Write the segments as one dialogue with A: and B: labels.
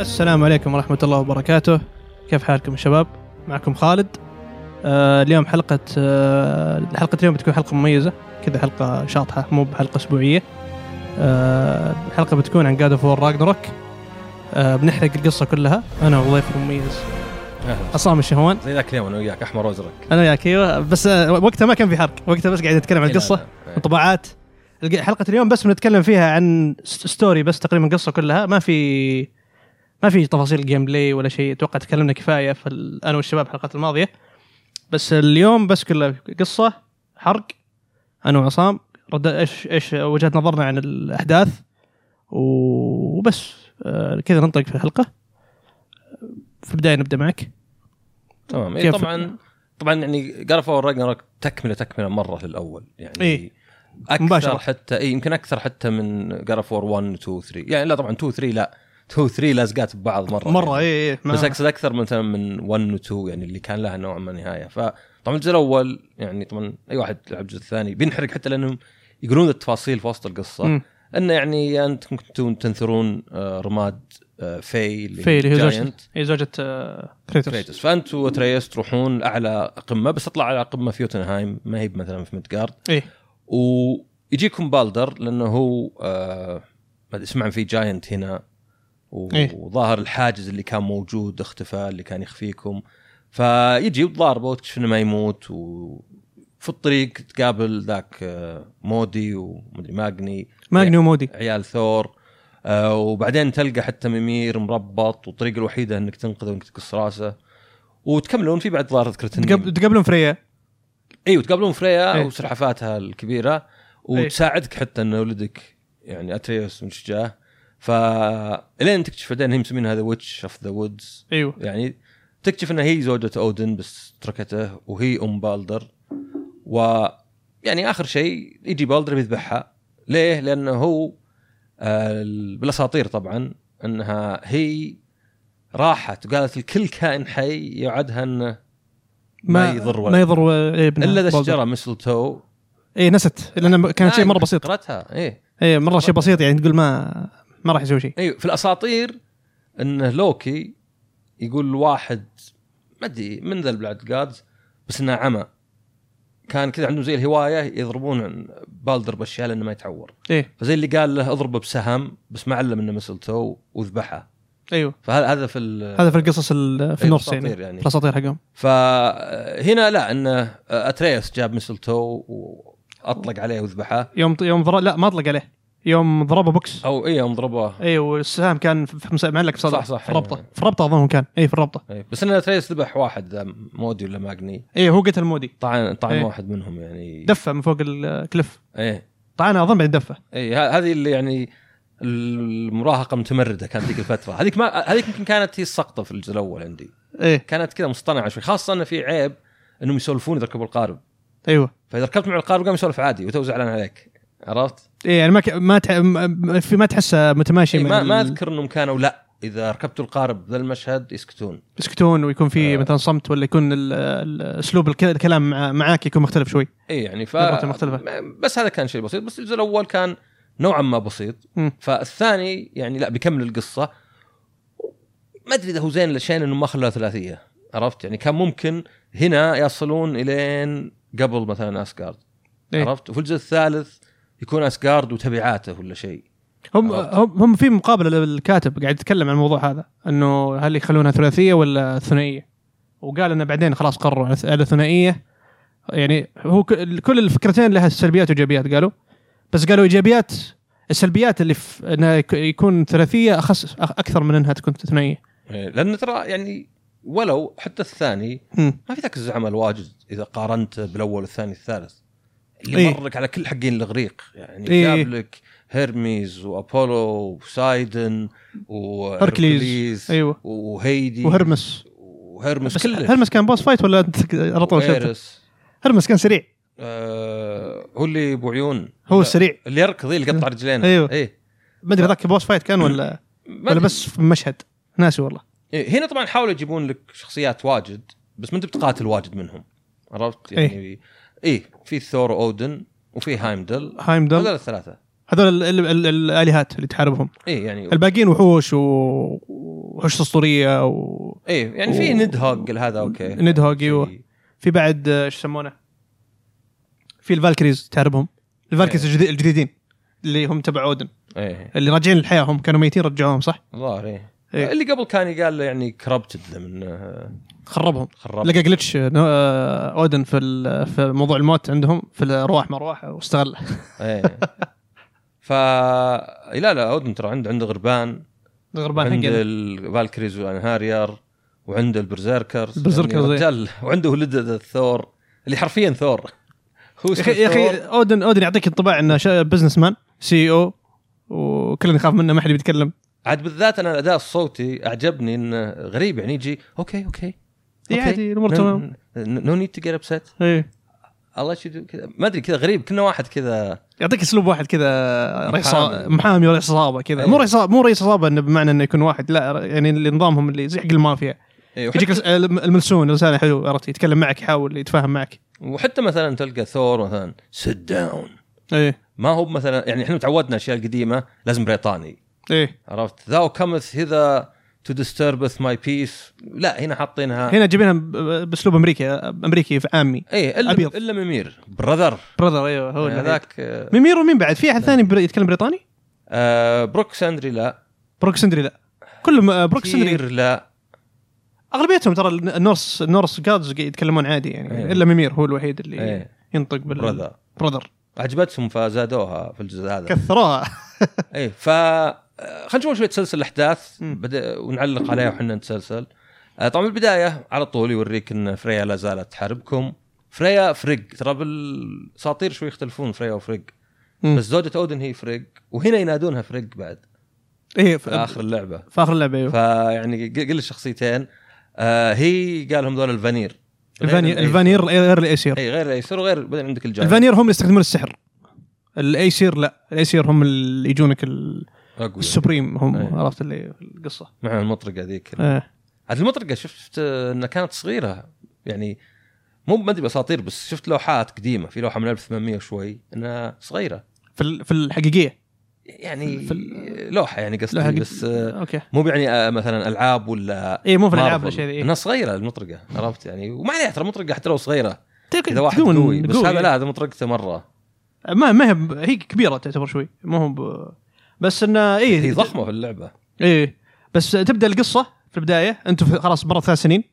A: السلام عليكم ورحمة الله وبركاته كيف حالكم يا شباب معكم خالد آه اليوم حلقة آه حلقة اليوم بتكون حلقة مميزة كذا حلقة شاطحة مو بحلقة أسبوعية آه الحلقة بتكون عن جاد اوف وور راجنروك آه بنحرق القصة كلها أنا وضيف المميز
B: أهلا.
A: عصام الشهوان
B: زي ذاك اليوم انا وياك احمر وازرق
A: أنا وياك أيوه بس آه وقتها ما كان في حرق وقتها بس قاعد أتكلم عن القصة انطباعات الق- حلقه اليوم بس بنتكلم فيها عن س- ستوري بس تقريبا القصه كلها ما في ما في تفاصيل جيم بلاي ولا شيء اتوقع تكلمنا كفايه في ال- انا والشباب الحلقات الماضيه بس اليوم بس كلها قصه حرق انا وعصام رد ايش ايش وجهه نظرنا عن الاحداث و- وبس آه، كذا ننطلق في الحلقه في البدايه نبدا معك
B: تمام إيه
A: كيف-
B: طبعا طبعا يعني جاد اوف راجنروك تكمله تكمله مره للاول يعني
A: إيه.
B: اكثر
A: مباشرة.
B: مباشرة. حتى اي يمكن اكثر حتى من جاد اوف 1 2 3 يعني لا طبعا 2 3 لا 2 3 لازقات ببعض مره
A: مره
B: يعني.
A: اي اي ما-
B: بس اقصد اكثر مثلا من 1 و 2 يعني اللي كان لها نوع ما نهايه فطبعا الجزء الاول يعني طبعا اي واحد لعب الجزء الثاني بينحرق حتى لانهم يقولون التفاصيل في وسط القصه
A: مم.
B: انه يعني انتم كنتم تنثرون آه، رماد آه، في اللي
A: في اللي هي زوجة
B: giant.
A: هي زوجة آه، كريتوس
B: كريتوس فانت وتريس تروحون لاعلى قمه بس اطلع على قمه في يوتنهايم ما هي مثلا في مدقارد
A: ايه
B: ويجيكم بالدر لانه هو آه ما أدري، اسمع في جاينت هنا و-
A: إيه.
B: وظاهر الحاجز اللي كان موجود اختفى اللي كان يخفيكم فيجي وتضاربه وتكتشف انه ما يموت وفي الطريق تقابل ذاك آه، مودي ومدري ماجني
A: ماجني ومودي
B: عيال ثور آه، وبعدين تلقى حتى ممير مربط والطريقه الوحيده انك تنقذه انك تقص راسه وتكملون في بعد ظاهر اذكر
A: تقب-
B: تنين
A: تقابلون فريا
B: اي وتقابلون فريا
A: إيه.
B: وسلحفاتها الكبيره وتساعدك حتى ان ولدك يعني اتريوس من شجاه فالين تكتشف بعدين هي مسمينها ذا ويتش اوف ذا وودز
A: ايوه
B: يعني تكتشف انها هي زوجة اودن بس تركته وهي ام بالدر و يعني اخر شيء يجي بالدر بيذبحها ليه؟ لانه هو آه، ال- بالاساطير طبعا انها هي راحت وقالت لكل كائن حي يعدها انه ما يضر ولا
A: ما يضر إيه، ابن
B: الا ذا الشجره مثل تو آه،
A: اي إيه، نست لان كانت شيء مره بسيط
B: قرأتها ايه
A: اي مره شيء بسيط يعني تقول ما ما راح يسوي شيء
B: ايوه في الاساطير انه لوكي يقول لواحد ما ادري من ذا البلاد جادز بس انه عمى كان كذا عندهم زي الهوايه يضربون عن بالدر باشياء لانه ما يتعور
A: ايه
B: فزي اللي قال له اضربه بسهم بس ما علم انه مسلته وذبحه
A: ايوه
B: فهذا هذا في ال-
A: هذا في القصص ال- في
B: أيوة،
A: النص
B: الأساطير
A: يعني
B: يعني.
A: الاساطير حقهم
B: فهنا لا انه اتريس جاب مسلته واطلق عليه وذبحه
A: يوم يوم ضرب لا ما اطلق عليه يوم ضربه بوكس
B: او اي إيه، يوم ضربه
A: ايوه والسهام كان في- في- معلق في صدره
B: صح، صح،
A: في الربطه
B: أيوة.
A: في الربطه اظن كان اي في الربطه
B: أي، إيه، بس انه اتريس ذبح واحد ذا مودي ولا ماجني
A: اي إيه، هو قتل مودي
B: طعن طعن
A: إيه.
B: واحد منهم يعني
A: دفه من فوق الكليف
B: ايه
A: طعنه اظن بعد دفه
B: اي ه- هذه اللي يعني المراهقه متمرده كانت ذيك الفتره هذيك ما هذيك يمكن كانت هي السقطه في الجزء الاول عندي
A: ايه
B: كانت كذا مصطنعه شوي خاصه انه في عيب انهم يسولفون اذا ركبوا القارب
A: ايوه
B: فاذا ركبت مع القارب قام يسولف عادي وتو زعلان عليك عرفت؟
A: ايه يعني ما ك... ما تح... ما- في ما تحسه متماشي
B: إيه
A: مع
B: ما, ما
A: ال-
B: اذكر انهم كانوا لا اذا ركبتوا القارب ذا المشهد يسكتون
A: يسكتون ويكون في
B: آه.
A: مثلا صمت ولا يكون ال- ال- اسلوب الك- الكلام مع- معاك يكون مختلف شوي
B: اي يعني ف
A: نظرته مختلفة.
B: بس هذا كان شيء بسيط بس الجزء الاول كان نوعا ما بسيط
A: مم.
B: فالثاني يعني لا بيكمل القصه ما ادري اذا هو زين لشين انه ما خلاه ثلاثيه عرفت يعني كان ممكن هنا يصلون الين قبل مثلا اسكارد
A: إيه.
B: عرفت وفي الجزء الثالث يكون اسكارد وتبعاته ولا شيء
A: هم
B: عرفت.
A: هم هم في مقابله للكاتب قاعد يتكلم عن الموضوع هذا انه هل يخلونها ثلاثيه ولا ثنائيه وقال انه بعدين خلاص قرروا على- على ثنائيه يعني هو ك- كل الفكرتين لها سلبيات وايجابيات قالوا بس قالوا ايجابيات السلبيات اللي في انها يك- يكون ثلاثيه اخس أخ- اكثر من انها تكون ثنائيه
B: إيه، لان ترى يعني ولو حتى الثاني
A: مم.
B: ما في ذاك الزعم الواجد اذا قارنت بالاول والثاني والثالث اللي
A: إيه.
B: مرك على كل حقين الاغريق يعني
A: إيه.
B: جاب لك هيرميز وابولو وسايدن وهركليز
A: هركليز ايوه
B: وهيدي
A: وهرمس
B: وهرمس
A: بس
B: كله
A: هرمس كان بوس فايت ولا انت على طول شفته؟
B: وإيرس.
A: هرمس كان سريع
B: آه هو اللي ابو عيون
A: هو
B: لا،
A: السريع
B: اللي يركض إيه، اللي قطع رجلينه
A: أيوه.
B: ايه
A: ما ادري ذاك بوس فايت كان ولا
B: ما
A: ولا
B: أدري.
A: بس في مشهد ناسي والله
B: إيه، هنا طبعا حاولوا يجيبون لك شخصيات واجد بس ما انت بتقاتل واجد منهم عرفت يعني ايه, إيه في ثور اودن وفي هايمدل
A: هايمدل
B: هذول الثلاثه
A: هذول ال- ال- ال- الالهات اللي تحاربهم
B: ايه يعني
A: الباقيين وحوش و... وحش اسطوريه و
B: ايه يعني في
A: و-
B: ند هوج هذا اوكي
A: ند هوج، أيوة.
B: شيء-
A: في بعد آه، ايش يسمونه؟ في الفالكريز تعرفهم الفالكريز
B: إيه.
A: الجديد الجديدين اللي هم تبع اودن
B: ايه
A: اللي راجعين للحياه هم كانوا ميتين رجعوهم صح؟
B: الظاهر ايه
A: إيه.
B: اللي قبل كان يقال له يعني كربتد من آه،
A: خربهم
B: خراب
A: لقى آه، جلتش اودن في ال- في موضوع الموت عندهم في الارواح مروحه واستغله
B: ايه ف إيه، لا لا اودن ترى عنده عنده غربان
A: الغربان
B: عند
A: حقنا
B: الفالكريز والانهاريار وعنده البرزيركرز
A: البرزيركرز،
B: يعني
A: إيه.
B: رجال وعنده ولد الثور اللي حرفيا ثور هو
A: يا اخي يا اخي اودن اودن يعطيك انطباع انه بزنس مان سي او E وكلنا نخاف منه ما حد بيتكلم
B: عاد بالذات انا الاداء الصوتي اعجبني انه غريب يعني يجي اوكي اوكي
A: إيه،
B: أوكي.
A: عادي، الأمور
B: No-
A: تمام.
B: no- no need to get upset
A: ايه
B: الله شو كذا ما ادري كذا غريب كنا واحد كذا
A: يعطيك اسلوب واحد كذا رئيس
B: محامي.
A: محامي ورئيس عصابه كذا
B: أيه.
A: مو رئيس مو رئيس عصابه انه بمعنى انه يكون واحد لا يعني اللي نظامهم اللي زي حق المافيا يجيك الس- الم- الملسون لسانه حلو عرفت يتكلم معك يحاول يتفاهم معك
B: وحتى مثلا تلقى ثور مثلا سيت داون
A: ايه
B: ما هو مثلا يعني احنا تعودنا اشياء القديمه لازم بريطاني
A: ايه
B: عرفت ذاو كمث هذا تو ديستربث ماي بيس لا هنا حاطينها
A: هنا جايبينها ب- ب- باسلوب امريكي امريكي في عامي
B: ايه الا
A: أبيض.
B: الا ممير براذر
A: براذر ايوه هو اللي-
B: هذاك آه،
A: ميمير ومين بعد في احد ثاني بر- يتكلم بريطاني؟
B: آه، بروك ساندري لا
A: بروك سندري لا كلهم آه، بروك سندري
B: كير لا
A: اغلبيتهم ترى الن- النورس النورس جادز يتكلمون عادي يعني
B: إيه.
A: الا ميمير هو الوحيد اللي
B: إيه.
A: ينطق بال
B: براذر
A: براذر
B: عجبتهم فزادوها في الجزء هذا
A: كثروها
B: ايه ف خلينا نشوف شويه تسلسل الاحداث
A: مم.
B: بدأ ونعلق عليها وحنا نتسلسل آه، طبعا البدايه على طول يوريك ان فريا لا زالت تحاربكم فريا فريج ترى بالاساطير شوي يختلفون فريا وفريج
A: مم.
B: بس زوجة اودن هي فريج وهنا ينادونها فريج بعد
A: ايه
B: في اخر اللعبه
A: في اخر اللعبه ايوه
B: فيعني يعني ق- قل الشخصيتين آه هي قالهم ذول الفانير
A: الفانير
B: غير
A: الفانير غير الايسير
B: اي غير الايسر وغير بعدين عندك الجاي
A: الفانير هم اللي يستخدمون السحر الايسير لا الايسير هم اللي يجونك ال-
B: أقوى.
A: السبريم هم
B: أيه.
A: عرفت اللي في القصه
B: مع المطرقه ذيك
A: ايه
B: عاد المطرقه شفت آه، انها كانت صغيره يعني مو ما ادري باساطير بس شفت لوحات قديمه في لوحه من 1800 وشوي انها صغيره
A: في ال- في الحقيقيه
B: يعني
A: في
B: لوحه يعني قصدي
A: لوحة قد-
B: بس آه،
A: اوكي
B: مو يعني آه، مثلا العاب ولا
A: اي إيه، مو في الالعاب
B: مارفل.
A: الاشياء ذي
B: انها صغيره المطرقه عرفت يعني وما عليها ترى مطرقه حتى لو صغيره
A: تك-
B: اذا واحد
A: تكون
B: قوي بس
A: إيه. قوي.
B: هذا لا هذا مطرقته مره
A: ما ما هي ب- هي كبيره تعتبر شوي ما هو ب- بس إيه، انه اي
B: هي ضخمه في اللعبه
A: اي إيه. بس تبدا القصه في البدايه انتم في- خلاص مرت ثلاث سنين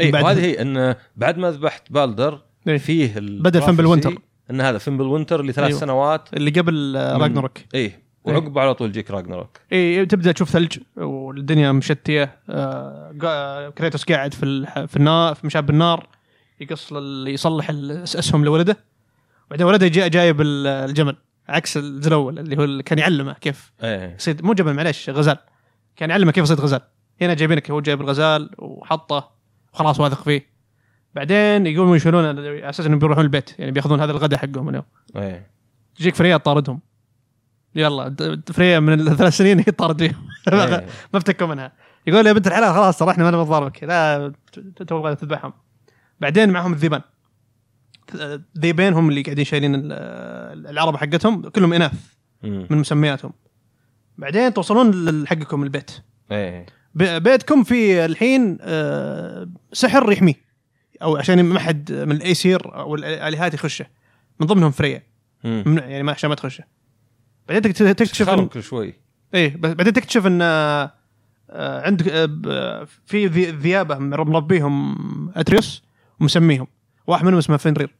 B: اي
A: إيه، بعد-
B: إيه، وهذه هي ان بعد ما ذبحت بالدر
A: إيه.
B: فيه
A: بدأ فيمبل وينتر.
B: ان هذا فيمبل وينتر اللي ثلاث
A: أيوه.
B: سنوات
A: اللي قبل آه،
B: من-
A: راجنروك
B: ايه وعقبه على طول يجيك راجنروك
A: اي تبدا تشوف ثلج والدنيا مشتيه آه، قا- كريتوس قاعد في الح- في النار في مشاب النار يقص لل- يصلح الأس- اسهم لولده بعدين ولده جاء جايب ال- الجمل عكس الجزء الاول اللي هو اللي كان يعلمه كيف
B: ايه
A: يصيد مو جمل معلش غزال كان يعلمه كيف يصيد غزال هنا جايبينك هو جايب الغزال وحطه وخلاص واثق فيه بعدين يقوموا يشيلونه على اساس انهم بيروحون البيت يعني بياخذون هذا الغداء حقهم اليوم
B: ايه
A: تجيك فريا تطاردهم يلا د- فريا من الثلاث سنين هي تطارد فيهم ما-
B: إيه.
A: ما افتكوا منها يقول يا بنت الحلال خلاص ترى احنا ما نبغى نضاربك لا ت- ت- تبغى تذبحهم بعدين معهم الذيبان ث- الذيبين هم اللي قاعدين شايلين ال- العربه حقتهم كلهم اناث
B: مم.
A: من مسمياتهم بعدين توصلون ل- حقكم البيت
B: ايه
A: بي- بيتكم في الحين آه، سحر يحميه او عشان ما حد من الايسير او الالهات يخشه من ضمنهم فريا
B: مم.
A: ممنوع يعني ما عشان ما تخشه بعدين تكت- تكتشف
B: خرب
A: ان
B: كل شوي
A: ايه بس بعدين تكتشف ان آه، آه، عندك آه، ب- آه، في ذي- ذيابه مر- مربيهم اتريوس ومسميهم واحد منهم اسمه فنرير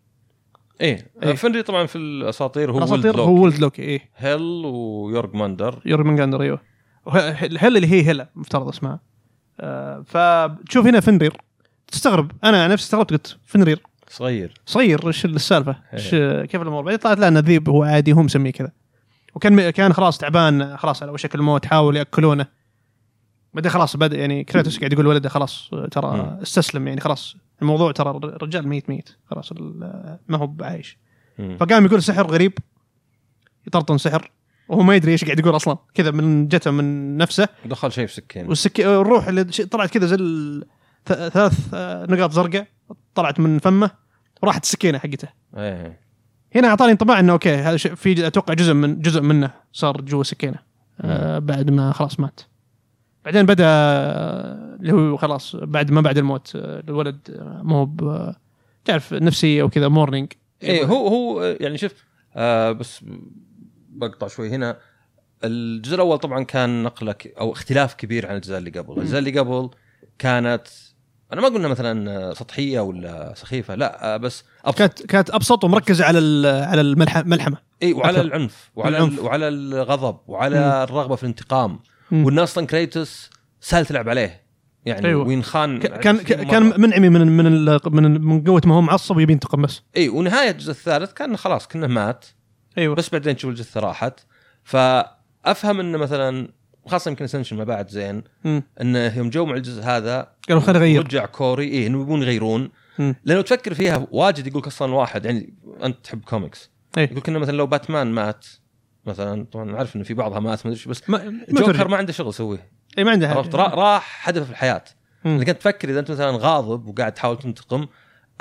B: ايه,
A: إيه.
B: فنري طبعا في الاساطير هو ولد
A: الاساطير
B: لوكي
A: هو ولد لوكي ايه
B: هيل ويورج ماندر
A: يورمنجاندر ايوه وه- الهيل اللي هي هيلا مفترض اسمها آه، فتشوف هنا فنرير تستغرب انا نفسي استغربت قلت فنرير
B: صغير
A: صغير ايش السالفه؟ ايش كيف الامور؟ بعدين طلعت لا انه ذيب هو عادي هو مسميه كذا. وكان كان خلاص تعبان خلاص على وشك الموت حاول ياكلونه. بعدين خلاص بدا يعني كريتوس قاعد يقول ولده خلاص ترى
B: مم.
A: استسلم يعني خلاص الموضوع ترى الرجال ميت ميت خلاص ال- ما هو بعايش.
B: مم.
A: فقام يقول سحر غريب يطرطن سحر وهو ما يدري ايش قاعد يقول اصلا كذا من جته من نفسه
B: دخل شيء في سكين
A: والسك... الروح اللي ش- طلعت كذا زي ال... ث... ثلاث آه، نقاط زرقاء طلعت من فمه وراحت السكينه حقته.
B: ايه
A: هنا اعطاني انطباع انه اوكي هذا شيء- في اتوقع جزء من جزء منه صار جوا سكينه آه بعد ما خلاص مات بعدين بدا آه، اللي هو خلاص بعد ما بعد الموت آه، الولد آه، مو ب- آه، تعرف نفسيه وكذا مورنينج
B: ايه هو هو يعني شوف آه بس بقطع شوي هنا الجزء الاول طبعا كان نقله ك- او اختلاف كبير عن الجزء اللي قبل، الجزء اللي قبل كانت انا ما قلنا مثلا سطحيه ولا سخيفه لا آه، بس أبسط
A: كانت كانت ابسط ومركزه على ال- على الملح- الملحمه
B: اي إيه، وعلى
A: أكثر.
B: العنف وعلى
A: العنف.
B: العنف. وعلى الغضب وعلى
A: مم.
B: الرغبه في الانتقام
A: مم.
B: والناس اصلا كريتوس سهل تلعب عليه يعني
A: أيوة.
B: أيوة. وينخان
A: ك- كان ك-
B: مرة.
A: كان منعمي من من ال- من من قوه ما هو معصب ويبي ينتقم بس
B: اي ونهايه إيه، الجزء الثالث كان خلاص كنا مات
A: ايوه
B: بس بعدين تشوف الجثه راحت فافهم انه مثلا خاصه يمكن اسنشن ما بعد زين
A: مم.
B: انه يوم جو مع الجزء هذا
A: قالوا خلينا نغير
B: رجع كوري اي انه يبون يغيرون
A: مم.
B: لانه تفكر فيها واجد يقول اصلا واحد يعني انت تحب كوميكس
A: إيه.
B: يقول كنا مثلا لو باتمان مات مثلا طبعا عارف انه في بعضها مات ما ادري إيش، بس
A: ما ما ترجع.
B: جوكر ما عنده شغل يسويه
A: اي ما عنده
B: عرفت
A: حاجه
B: را- راح هدف في الحياه
A: مم.
B: لكن تفكر اذا انت مثلا غاضب وقاعد تحاول تنتقم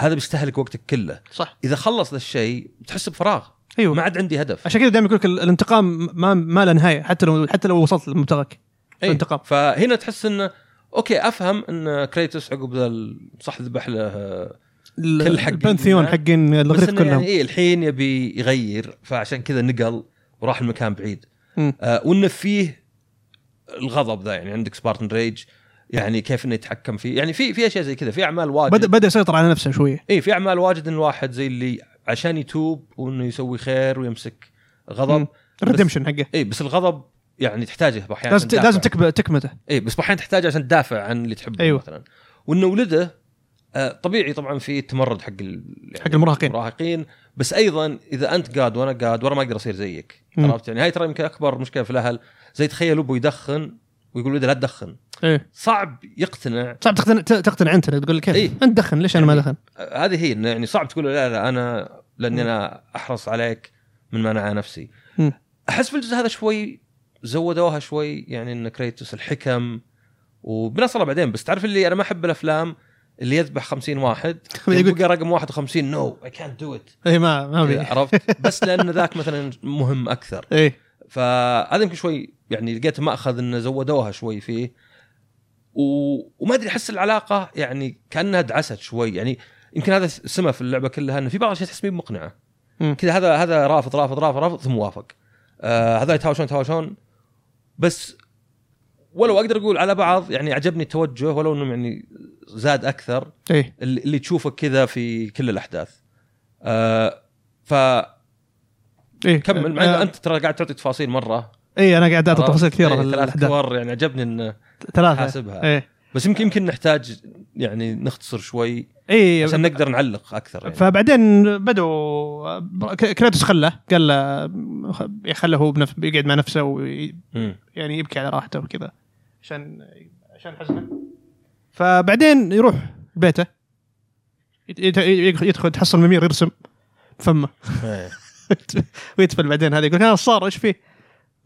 B: هذا بيستهلك وقتك كله
A: صح
B: اذا خلص ذا الشيء بتحس بفراغ
A: ايوه
B: ما عاد عندي هدف
A: عشان كذا دائما يقول لك ال- الانتقام ما ما له نهايه حتى لو حتى لو وصلت لمبتغاك
B: أي.
A: الانتقام.
B: فهنا تحس انه اوكي افهم ان كريتوس عقب ذا ال- صح ذبح له آه،
A: ال-
B: كل حقين
A: البنثيون
B: ما-
A: حقين
B: بس
A: الاغريق
B: انه
A: كلهم
B: يعني إيه الحين يبي يغير فعشان كذا نقل وراح المكان بعيد
A: مم.
B: آه وانه فيه الغضب ذا يعني عندك سبارتن ريج يعني كيف انه يتحكم فيه يعني في في اشياء زي كذا في اعمال واجد
A: بدا بدا يسيطر على نفسه شويه
B: اي إيه، في اعمال واجد ان الواحد زي اللي عشان يتوب وانه يسوي خير ويمسك غضب
A: الريدمشن حقه
B: اي بس الغضب يعني تحتاجه احيانا
A: لازم ت- لازم تكب- تكمته
B: اي إيه، بس احيانا تحتاجه عشان تدافع عن اللي تحبه
A: أيوة.
B: أيوة. مثلا وانه ولده آه، طبيعي طبعا في تمرد حق ال... يعني
A: حق المراهقين.
B: المراهقين بس ايضا اذا انت قاد وانا قاد وانا ما اقدر اصير زيك
A: مم.
B: عرفت يعني هاي ترى يمكن اكبر مشكله في الاهل زي تخيل ابو يدخن ويقول ولده لا تدخن إيه.
A: ايه
B: صعب يقتنع
A: صعب تقتنع ت- تقتنع انت تقول لك كيف
B: إيه.
A: انت دخن ليش انا ما دخن؟
B: آه، هذه هي إنه يعني صعب تقول له لا لا انا لاني انا احرص عليك من ما انا على نفسي
A: مم.
B: احس في الجزء هذا شوي زودوها شوي يعني ان كريتوس الحكم وبنصله بعدين بس تعرف اللي انا ما احب الافلام اللي يذبح 50 واحد
A: يقول-
B: يبقى رقم 51 نو اي كانت دو ات
A: اي ما ما
B: إيه.
A: بي
B: عرفت بس لان ذاك مثلا مهم اكثر
A: ايه
B: فهذا يمكن شوي يعني لقيت ماخذ انه زودوها شوي فيه و... وما ادري احس العلاقه يعني كانها دعست شوي يعني يمكن هذا سمه في اللعبه كلها انه في بعض الاشياء تحس بيه مقنعه
A: مم.
B: كذا هذا هذا رافض رافض رافض رافض ثم وافق آه هذا يتهاوشون يتهاوشون بس ولو اقدر اقول على بعض يعني عجبني التوجه ولو انه يعني زاد اكثر
A: ايه
B: اللي اللي تشوفه كذا في كل الاحداث آه فكمل
A: ايه
B: مع إن
A: آه،
B: انت ترى قاعد تعطي تفاصيل مره
A: ايه انا قاعد اعطي تفاصيل كثيره في
B: ثلاث
A: الأحداث.
B: كور يعني عجبني انه
A: ثلاثه
B: حاسبها
A: ايه
B: بس يمكن يمكن نحتاج يعني نختصر شوي
A: ايه
B: عشان نقدر نعلق اكثر يعني.
A: فبعدين بدوا ك- كريتوس خله قال له خله هو بنف... يقعد مع نفسه وي...
B: مم.
A: يعني يبكي على راحته وكذا عشان عشان حزنه فبعدين يروح بيته يت- يت- يدخل- يدخل تحصل ممير يرسم فمه
B: إيه.
A: ويتفل بعدين هذا يقول خلاص صار ايش فيه؟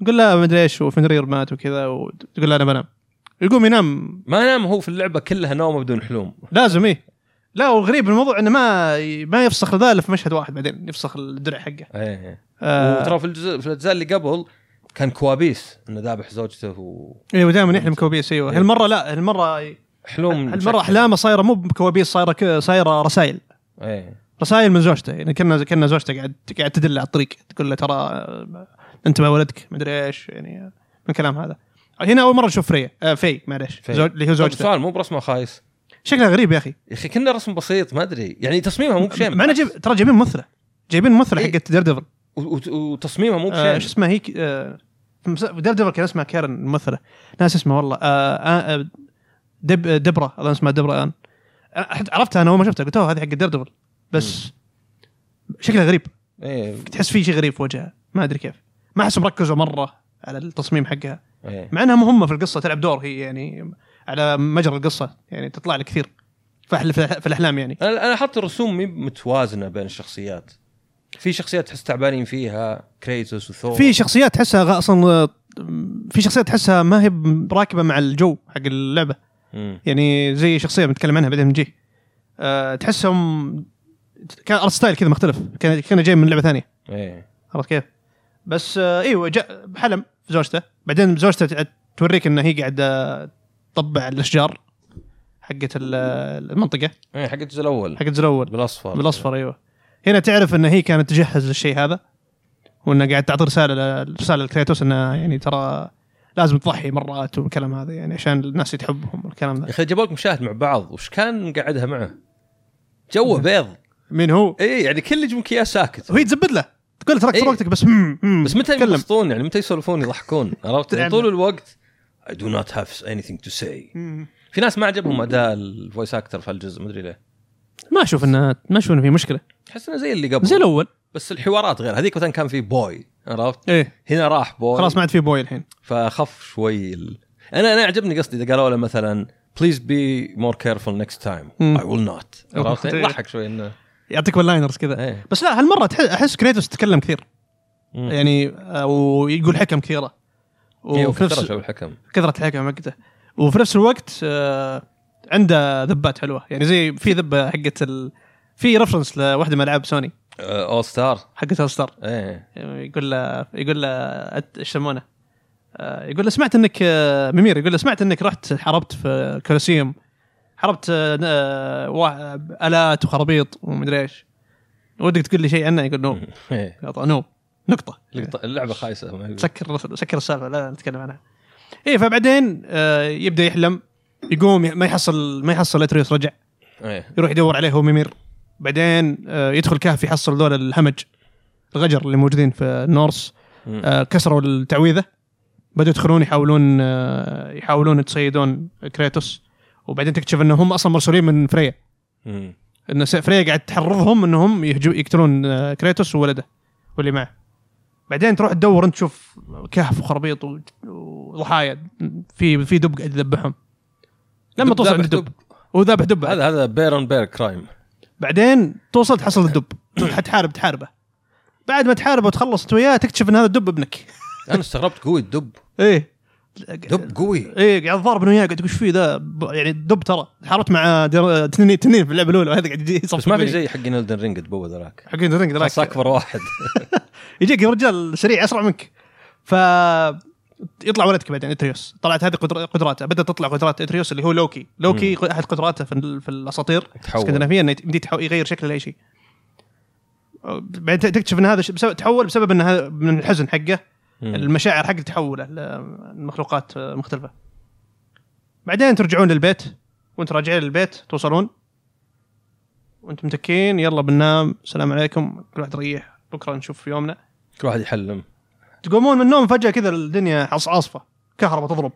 A: يقول لا ما ادري ايش وفنرير مات وكذا وتقول لا انا بنام يقوم ينام
B: ما نام هو في اللعبه كلها نومه بدون حلم
A: لازم ايه لا وغريب الموضوع انه ما ما يفسخ ذا الا في مشهد واحد بعدين يفسخ الدرع حقه
B: ايه
A: آه
B: وترى في الجزء في الاجزاء اللي قبل كان كوابيس انه ذابح زوجته وحلم
A: ايوه دائما يحلم كوابيس ايوه
B: إيه.
A: هالمره لا هالمره
B: مشكل.
A: هالمره احلامه صايره مو بكوابيس صايره ك- صايره رسائل
B: ايه
A: رسائل من زوجته يعني كنا كنا زوجته قاعد قاعد تدل على الطريق تقول له ترى آه، انت مع ولدك مدري ايش يعني آه، من كلام هذا هنا اول مره نشوف فريا آه في معليش
B: في.
A: زوج- اللي هو
B: طب
A: زوجته
B: سؤال مو برسمه خايس
A: شكلها غريب يا اخي
B: يا اخي كنا رسم بسيط ما ادري يعني تصميمها مو بشيء
A: مع انه جايب ترى جايبين ممثله جايبين ممثله
B: إيه.
A: حقت دير ديفل
B: و- و- وتصميمها
A: آه،
B: مو
A: شو
B: بشيء
A: اسمها هي ك- آه، مس- دير ديفل كان اسمها كارن الممثله ناس اسمها والله آه، آه، دب دبرة اظن اسمها دبرة الان أنا حت- عرفتها انا اول ما شفتها قلت اوه هذه حق دير ديفل بس شكلها غريب
B: ايه
A: تحس في شيء غريب في وجهها ما ادري كيف ما احسهم ركزوا مره على التصميم حقها
B: ايه
A: مع انها مهمه في القصه تلعب دور هي يعني على مجرى القصه يعني تطلع لك كثير في أحل- في الاحلام يعني
B: انا انا حاط الرسوم مي متوازنه بين الشخصيات في شخصيات تحس تعبانين فيها كريتوس وثور
A: في شخصيات تحسها غ- اصلا آه، في شخصيات تحسها ما هي راكبه مع الجو حق اللعبه
B: مم.
A: يعني زي شخصيه بنتكلم عنها بعدين بنجي أه تحسهم كان ارت ستايل كذا مختلف كان كان جاي من لعبه ثانيه
B: ايه
A: إيوه، عرفت كيف؟ بس آه ايوه جاء بحلم في زوجته بعدين زوجته تع- توريك انه هي قاعده تطبع الاشجار حقت ال- المنطقه
B: ايه حق الجزء الاول
A: حقت الجزء الاول
B: بالاصفر
A: بالاصفر ايوه هنا تعرف ان هي كانت تجهز للشيء هذا وانها قاعد تعطي رساله رساله لكريتوس انه يعني ترى لازم تضحي مرات والكلام هذا يعني عشان الناس تحبهم والكلام
B: يا
A: ذا
B: اخي جابوا لك مشاهد مع بعض وش كان مقعدها معه؟ جوه بيض
A: مين هو؟
B: اي يعني كل اللي يجيبك اياه ساكت
A: وهي تزبد له تقول له تركت
B: إيه.
A: وقتك بس هم هم
B: بس متى
A: تكلم
B: ينبسطون يعني متى يسولفون يضحكون عرفت يعني
A: يعني-
B: طول الوقت I do not have anything to say في ناس ما عجبهم اداء الفويس اكتر في الجزء مدري ليه
A: ما اشوف انه ما اشوف انه في مشكله
B: احس انه زي اللي قبل
A: زي الاول
B: بس الحوارات غير هذيك مثلا كان في بوي عرفت
A: ايه
B: هنا راح بوي
A: خلاص ما عاد في بوي الحين
B: فخف شوي ال... انا انا عجبني قصدي اذا قالوا له مثلا بليز بي مور كيرفول نكست تايم
A: مم.
B: اي ويل نوت عرفت يعني
A: أوكي.
B: ضحك شوي انه
A: يعطيك ون لاينرز كذا
B: ايه
A: بس لا هالمره تح- احس كريتوس تكلم كثير
B: مم.
A: يعني آه، ويقول حكم كثيره
B: إيه،
A: وفي نفس
B: وكثرة الحكم
A: كثره الحكم حقته وفي نفس الوقت آه، عنده ذبات حلوه يعني زي في ذبه حقت ال... في رفرنس لواحده من العاب سوني
B: اول ستار
A: حقت ستار
B: ايه
A: يقول له يقول له أت- ايش يسمونه آه، يقول له سمعت انك آه، ممير يقول له سمعت انك رحت حاربت في الكولوسيوم حاربت آه، آه، وا- الات وخرابيط ومدري ايش ودك تقول لي شيء عنه يقول نو
B: إيه.
A: قطع نو نقطه
B: اللقطة- اللعبه خايسه ما يقول.
A: سكر سكر السالفه لا نتكلم عنها ايه فبعدين آه، يبدا يحلم يقوم ي- ما يحصل ما يحصل اتريوس رجع
B: ايه
A: يروح يدور عليه هو ميمير بعدين آه، يدخل كهف يحصل ذول الهمج الغجر اللي موجودين في النورس
B: مم.
A: آه، كسروا التعويذه بدوا يدخلون يحاولون آه، يحاولون يتصيدون كريتوس وبعدين تكتشف انهم اصلا مرسولين من فريا
B: مم.
A: ان س- فريا قاعد تحرضهم انهم يهجو يقتلون آه، كريتوس وولده واللي معه بعدين تروح تدور انت تشوف كهف وخرابيط و- وضحايا في في دب قاعد يذبحهم لما
B: دب-
A: توصل عند
B: ذابح
A: الدب وذابح دب
B: هذا هذا بير اون بير كرايم
A: بعدين توصل تحصل الدب حتحارب تحاربه بعد ما تحاربه وتخلص انت وياه تكتشف ان هذا الدب ابنك
B: انا استغربت قوي الدب
A: ايه
B: دب قوي
A: ايه قاعد ضارب انه وياه قاعد اقول ايش فيه ذا ب- يعني الدب ترى حاربت مع در- تنين تنين في اللعبه الاولى وهذا قاعد يجي يصفق
B: بس ما في
A: بيني.
B: زي حق نلدن رينج دبوه ذراك
A: حقين درينج
B: بس
A: دراك
B: اكبر واحد
A: يجيك رجال سريع اسرع منك ف يطلع ولدك بعدين اتريوس طلعت هذه قدر- قدراته بدات تطلع قدرات اتريوس اللي هو لوكي لوكي
B: مم.
A: احد قدراته في, ال- في الاساطير
B: تحول.
A: الاسكندنافيه انه يمديه يتحو- يغير شكله لاي شيء بعدين تكتشف ان هذا ش- بسبب تحول بسبب ان هذا من الحزن حقه
B: مم.
A: المشاعر حقته تحوله لمخلوقات مختلفه بعدين ترجعون للبيت وانت راجعين للبيت توصلون وانتم متكين يلا بننام السلام عليكم كل واحد يريح بكره نشوف يومنا
B: كل واحد يحلم
A: تقومون من النوم فجاه كذا الدنيا عص- عاصفه كهرباء تضرب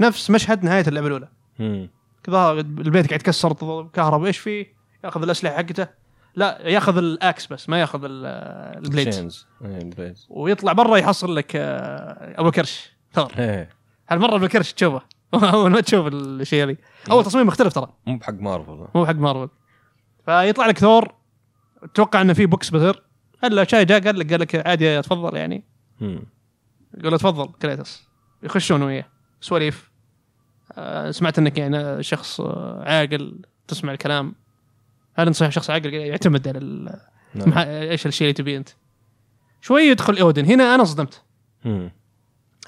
A: نفس مشهد نهايه اللعبه الاولى
B: مم.
A: كذا البيت قاعد يتكسر تضرب كهرباء ايش فيه ياخذ الاسلحه حقته لا ياخذ الاكس بس ما ياخذ ال- البليد
B: Chains. إيه، البليدز
A: ويطلع برا يحصل لك آه، ابو كرش ثور
B: ايه
A: هالمره بالكرش تشوفه اول ما تشوف الشيء هذي اول تصميم مختلف ترى
B: مو بحق مارفل
A: مو حق مارفل فيطلع لك ثور تتوقع انه في بوكس بثر الا شاي جاء قال لك قال لك عادي تفضل يعني
B: مم.
A: يقول له تفضل كريتوس يخشون وياه سواليف آه، سمعت انك يعني شخص آه، عاقل تسمع الكلام هل انت صحيح شخص عاقل قال يعتمد على ال-
B: نعم.
A: مح- ايش الشيء اللي تبيه انت شوي يدخل اودن هنا انا صدمت
B: مم.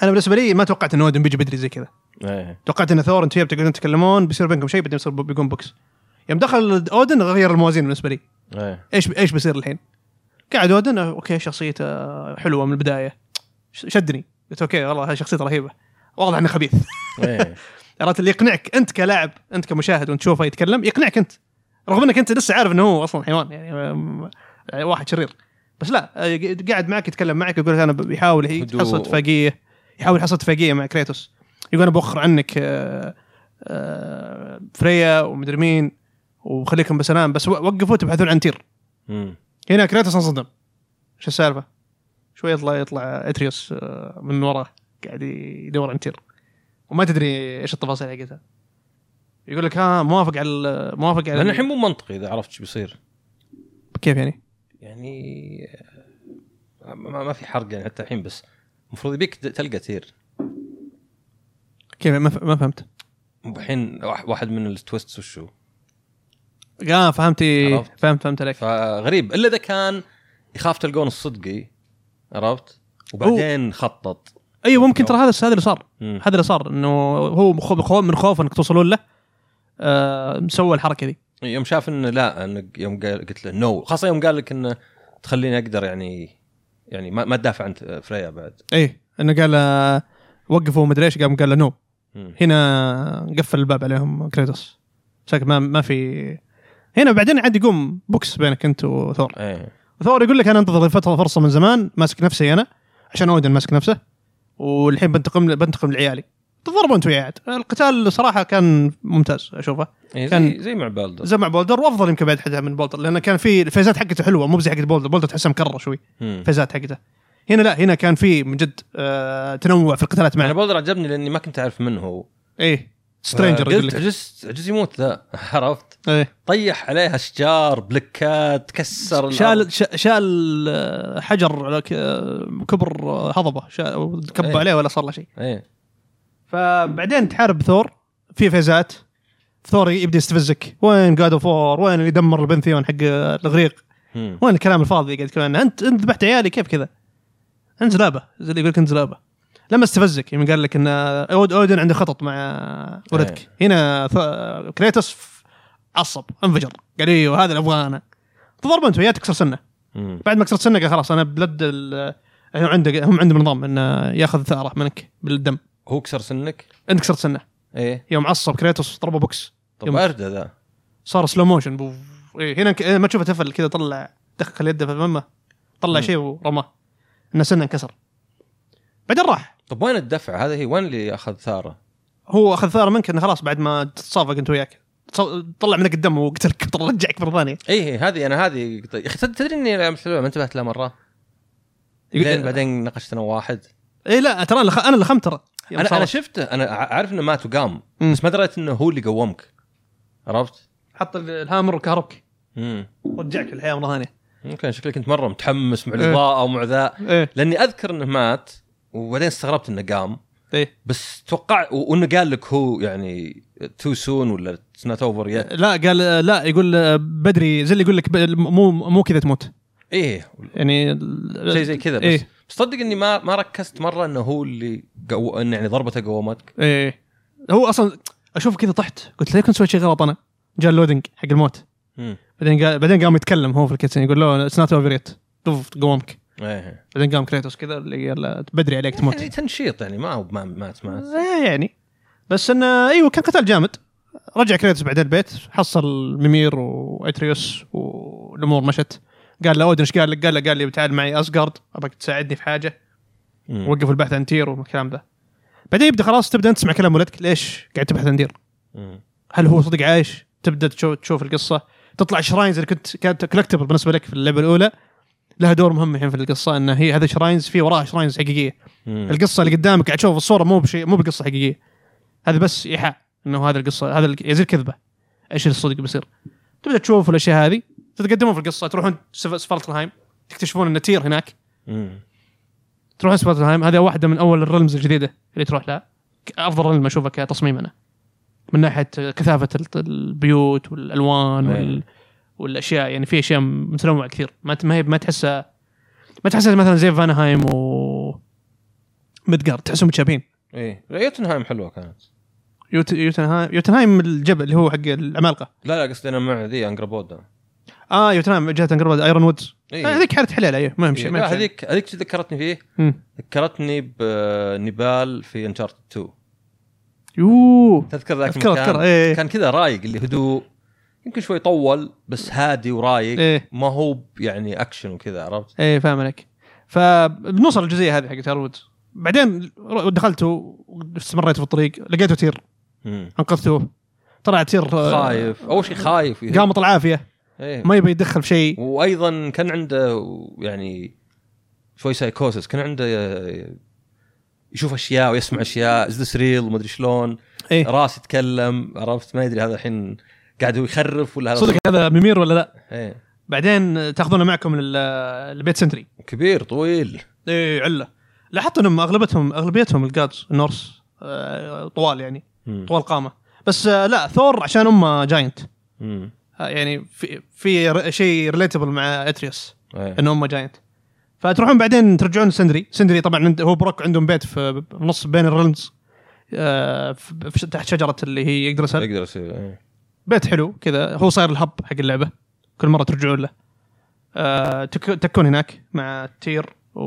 A: انا بالنسبه لي ما توقعت ان اودن بيجي بدري زي كذا
B: ايه
A: توقعت ان ثور انت وياه بتقعدون تتكلمون بيصير بينكم شيء بعدين يصير بيقوم بوكس يوم دخل اودن غير الموازين بالنسبه لي
B: ايه
A: ايش ايش بيصير الحين؟ قاعد اودن آه، اوكي شخصيته حلوه من البدايه ش- شدني قلت اوكي والله هذه شخصيته رهيبه واضح انه خبيث
B: ايه
A: عرفت اللي يقنعك انت كلاعب انت كمشاهد وانت تشوفه يتكلم يقنعك انت رغم انك انت لسه عارف انه هو اصلا حيوان يعني آم، آه، واحد شرير بس لا آه، يق- قاعد معك يتكلم معك يقول لك انا ب- يحاول هي-
B: هدوء.
A: يحصل اتفاقيه يحاول يحصل اتفاقيه مع كريتوس يقول انا بوخر عنك آه، آه، فريا ومدري مين وخليكم بسلام بس و- وقفوا تبحثون عن تير
B: مم.
A: هنا كريتوس انصدم شو السالفه؟ شوي يطلع يطلع اتريوس آه، من وراه قاعد يدور عن تير وما تدري ايش التفاصيل حقتها يقول لك ها موافق على ال- موافق على
B: لان
A: ال-
B: الحين مو منطقي اذا عرفت شو بيصير
A: كيف يعني؟
B: يعني آه، ما, ما في حرق يعني حتى الحين بس المفروض يبيك ت- تلقى تير
A: كيف يعني؟ ما, ف... ما فهمت
B: الحين واح- واحد من التويستس وشو
A: اه فهمت إيه.
B: عرفت.
A: فهمت فهمت عليك
B: فغريب الا اذا كان يخاف تلقون الصدقي عرفت وبعدين خطط
A: ايوه ممكن ترى هذا هذا اللي صار
B: مم.
A: هذا اللي صار انه هو مخو- مخو- من خوف انك توصلون له آه سوى الحركه دي
B: يوم شاف انه لا انا يوم قال قلت له نو خاصه يوم قال لك انه تخليني اقدر يعني يعني ما, ما تدافع عن فريا بعد
A: ايه انه قال آه، وقفوا مدري ايش قام قال له نو
B: مم.
A: هنا قفل الباب عليهم كريتوس شكل ما ما في هنا بعدين عاد يقوم بوكس بينك انت وثور
B: ايه
A: ثور يقول لك انا انتظر فتره فرصه من زمان ماسك نفسي انا عشان اودن ماسك نفسه والحين بنتقم بنتقم لعيالي تضربوا انتوا يا عاد القتال صراحه كان ممتاز اشوفه
B: إيه، زي
A: كان-
B: زي مع بالدر
A: زي مع بولدر وافضل يمكن بعد حتى من بولدر لانه كان في الفيزات حقته حلوه مو زي حقت بولدر بولدر تحسها مكرر شوي
B: مم.
A: الفيزات حقته هنا لا هنا كان في من جد آه تنوع في القتالات
B: انا
A: معه
B: بولدر عجبني لاني ما كنت اعرف من هو
A: ايه سترينجر يقول
B: آه، قلت
A: لك
B: عجزت عجز يموت ذا عرفت
A: ايه
B: طيح عليها اشجار بلكات كسر الأرض.
A: شال ش- شال آه، حجر على ك- آه، كبر آه، هضبه شا- كب
B: إيه.
A: عليه ولا صار له شيء
B: ايه
A: فبعدين تحارب ثور في فيزات ثور يبدا يستفزك وين جاد اوف وور وين اللي دمر البنثيون حق الاغريق
B: مم.
A: وين الكلام الفاضي اللي قاعد تقول عنه؟ انت انت ذبحت عيالي كيف كذا انت زلابه زي اللي يقول لك انت زلابه لما استفزك يوم قال لك ان أود اودن عنده خطط مع ولدك
B: إيه.
A: هنا ث- كريتوس ف- عصب انفجر قال ايوه هذا اللي ابغاه انا تضرب انت وياه تكسر سنه
B: مم.
A: بعد ما كسرت سنه قال خلاص انا بلد ال- هم عنده هم عندهم نظام انه ياخذ ثاره منك بالدم
B: هو كسر سنك
A: انت كسرت سنه
B: ايه
A: يوم عصب كريتوس ضربه بوكس
B: طب
A: يوم-
B: اردى ذا
A: صار سلو موشن بوف. إيه هنا ك- ما تشوفه تفل كذا طلع دخل يده في فمه طلع
B: مم.
A: شيء ورماه انه سنه انكسر بعدين راح
B: طب وين الدفع هذا هي وين اللي اخذ ثاره
A: هو اخذ ثاره منك انه خلاص بعد ما تتصافق انت وياك تص- طلع منك الدم وقتلك رجعك مره ثانيه
B: ايه إيه، هذه انا هذه يا اخي تد- تدري اني لما سويها ما انتبهت لها مره بعدين بعدين ناقشت انا واحد
A: اي إيه، لا ترى انا لخ- أنا اللي خمت ترى يوم
B: انا
A: صار.
B: انا شفته انا ع- عارف انه مات وقام
A: مم.
B: بس ما دريت انه هو اللي قومك عرفت؟
A: حط ال- الهامر وكهربك
B: امم
A: رجعك الحياه مره ثانيه
B: ممكن شكلك كنت مره متحمس مع
A: إيه.
B: الاضاءه ومع ذا
A: ايه
B: لاني اذكر انه مات وبعدين استغربت انه قام
A: ايه
B: بس توقع و- وانه قال لك هو يعني تو سون ولا اتس نوت اوفر يت
A: لا قال آه، لا يقول آه، بدري زي اللي يقول لك ب- مو مو كذا تموت
B: ايه
A: يعني
B: شيء زي كذا بس
A: إيه.
B: إيه؟ صدق اني ما ما ركزت مره انه هو اللي قو... انه يعني ضربته قومتك
A: ايه هو اصلا اشوف كذا طحت قلت ليه كنت سويت شيء غلط انا جاء اللودنج حق الموت
B: مم.
A: بعدين قال بعدين قام يتكلم هو في الكيتسين يقول له اتس نوت اوفر يت قومك
B: ايه
A: بعدين قام كريتوس كذا اللي قال له بدري عليك تموت
B: يعني تنشيط يعني ما هو ما مات مات
A: إيه يعني بس انه ايوه كان قتال جامد رجع كريتوس بعدين البيت حصل ميمير واتريوس والامور مشت قال له اودن ايش قال لك؟ قال له قال لي تعال معي اسجارد ابغاك تساعدني في حاجه
B: مم.
A: وقفوا البحث عن تير والكلام ذا بعدين يبدا خلاص تبدا انت تسمع كلام ولدك ليش قاعد تبحث عن تير؟
B: مم.
A: هل هو صدق عايش؟ تبدا تشوف, تشوف القصه تطلع شراينز اللي كنت كانت كولكتبل بالنسبه لك في اللعبه الاولى لها دور مهم الحين في القصه ان هي هذا شراينز في وراها شراينز حقيقيه
B: مم.
A: القصه اللي قدامك قاعد تشوف الصوره مو بشيء مو بقصه حقيقيه هذا بس ايحاء انه هذا القصه هذا ال- يصير كذبه ايش اللي الصدق بيصير تبدا تشوف الاشياء هذه تتقدمون في القصه تروحون سف- سفرتنهايم تكتشفون ان تير هناك
B: مم.
A: تروحون سفرتنهايم هذه واحده من اول الرلمز الجديده اللي تروح لها ك- افضل رلم اشوفه كتصميم انا من ناحيه كثافه الت- البيوت والالوان وال... والاشياء يعني في اشياء متنوعه كثير ما ت- ما هي ما تحسها ما تحسها مثلا زي فانهايم و مدقار تحسهم متشابهين
B: ايه يوتنهايم حلوه كانت
A: يوت- يوتنهايم يوتنهايم الجبل اللي هو حق العمالقه
B: لا لا قصدي انا مع ذي انجرابودا
A: اه يوتنهايم جهه انقرض ايرون وودز
B: إيه.
A: آه، هذيك حاله حلال ايوه ما يمشي ما
B: لا
A: يمشي.
B: هذيك هذيك شو ذكرتني فيه؟
A: مم.
B: ذكرتني بنبال في انشارتد 2
A: يوه
B: تذكر ذاك
A: أذكر-
B: المكان
A: أذكر، إيه.
B: كان كذا رايق اللي هدوء يمكن شوي طول بس هادي ورايق
A: إيه.
B: ما هو ب- يعني اكشن وكذا عرفت؟
A: ايه فاهم عليك فبنوصل الجزئيه هذه حقت ايرون وودز بعدين ر- دخلت واستمريت في الطريق لقيته تير
B: مم.
A: انقذته طلع تير آه،
B: خايف اول شيء خايف
A: قامط العافيه
B: إيه.
A: ما يبي يتدخل في شيء
B: وايضا كان عنده يعني شوي سايكوسس كان عنده آه، يشوف اشياء ويسمع اشياء از ذس ريل وما ادري شلون
A: إيه.
B: راس يتكلم عرفت ما يدري هذا الحين قاعد هو يخرف ولا هذا
A: صدق هذا ميمير ولا لا
B: إيه.
A: بعدين تاخذونه معكم لل- لبيت سنتري
B: كبير طويل
A: ايه عله لاحظت انهم اغلبتهم اغلبيتهم الجادز النورس آه، طوال يعني
B: مم.
A: طوال قامه بس آه، لا ثور عشان امه جاينت
B: مم.
A: آه، يعني في في ر- شيء ريليتبل مع اتريوس
B: إيه.
A: ان امه جاينت فتروحون بعدين ترجعون سندري سندري طبعا عند- هو بروك عندهم بيت في في نص بين الرلمز آه، في- في- تحت شجره اللي هي يقدر يسال
B: يقدر يصير إيه.
A: بيت حلو كذا هو صاير الهب حق اللعبه كل مره ترجعون له آه تك- تكون هناك مع تير و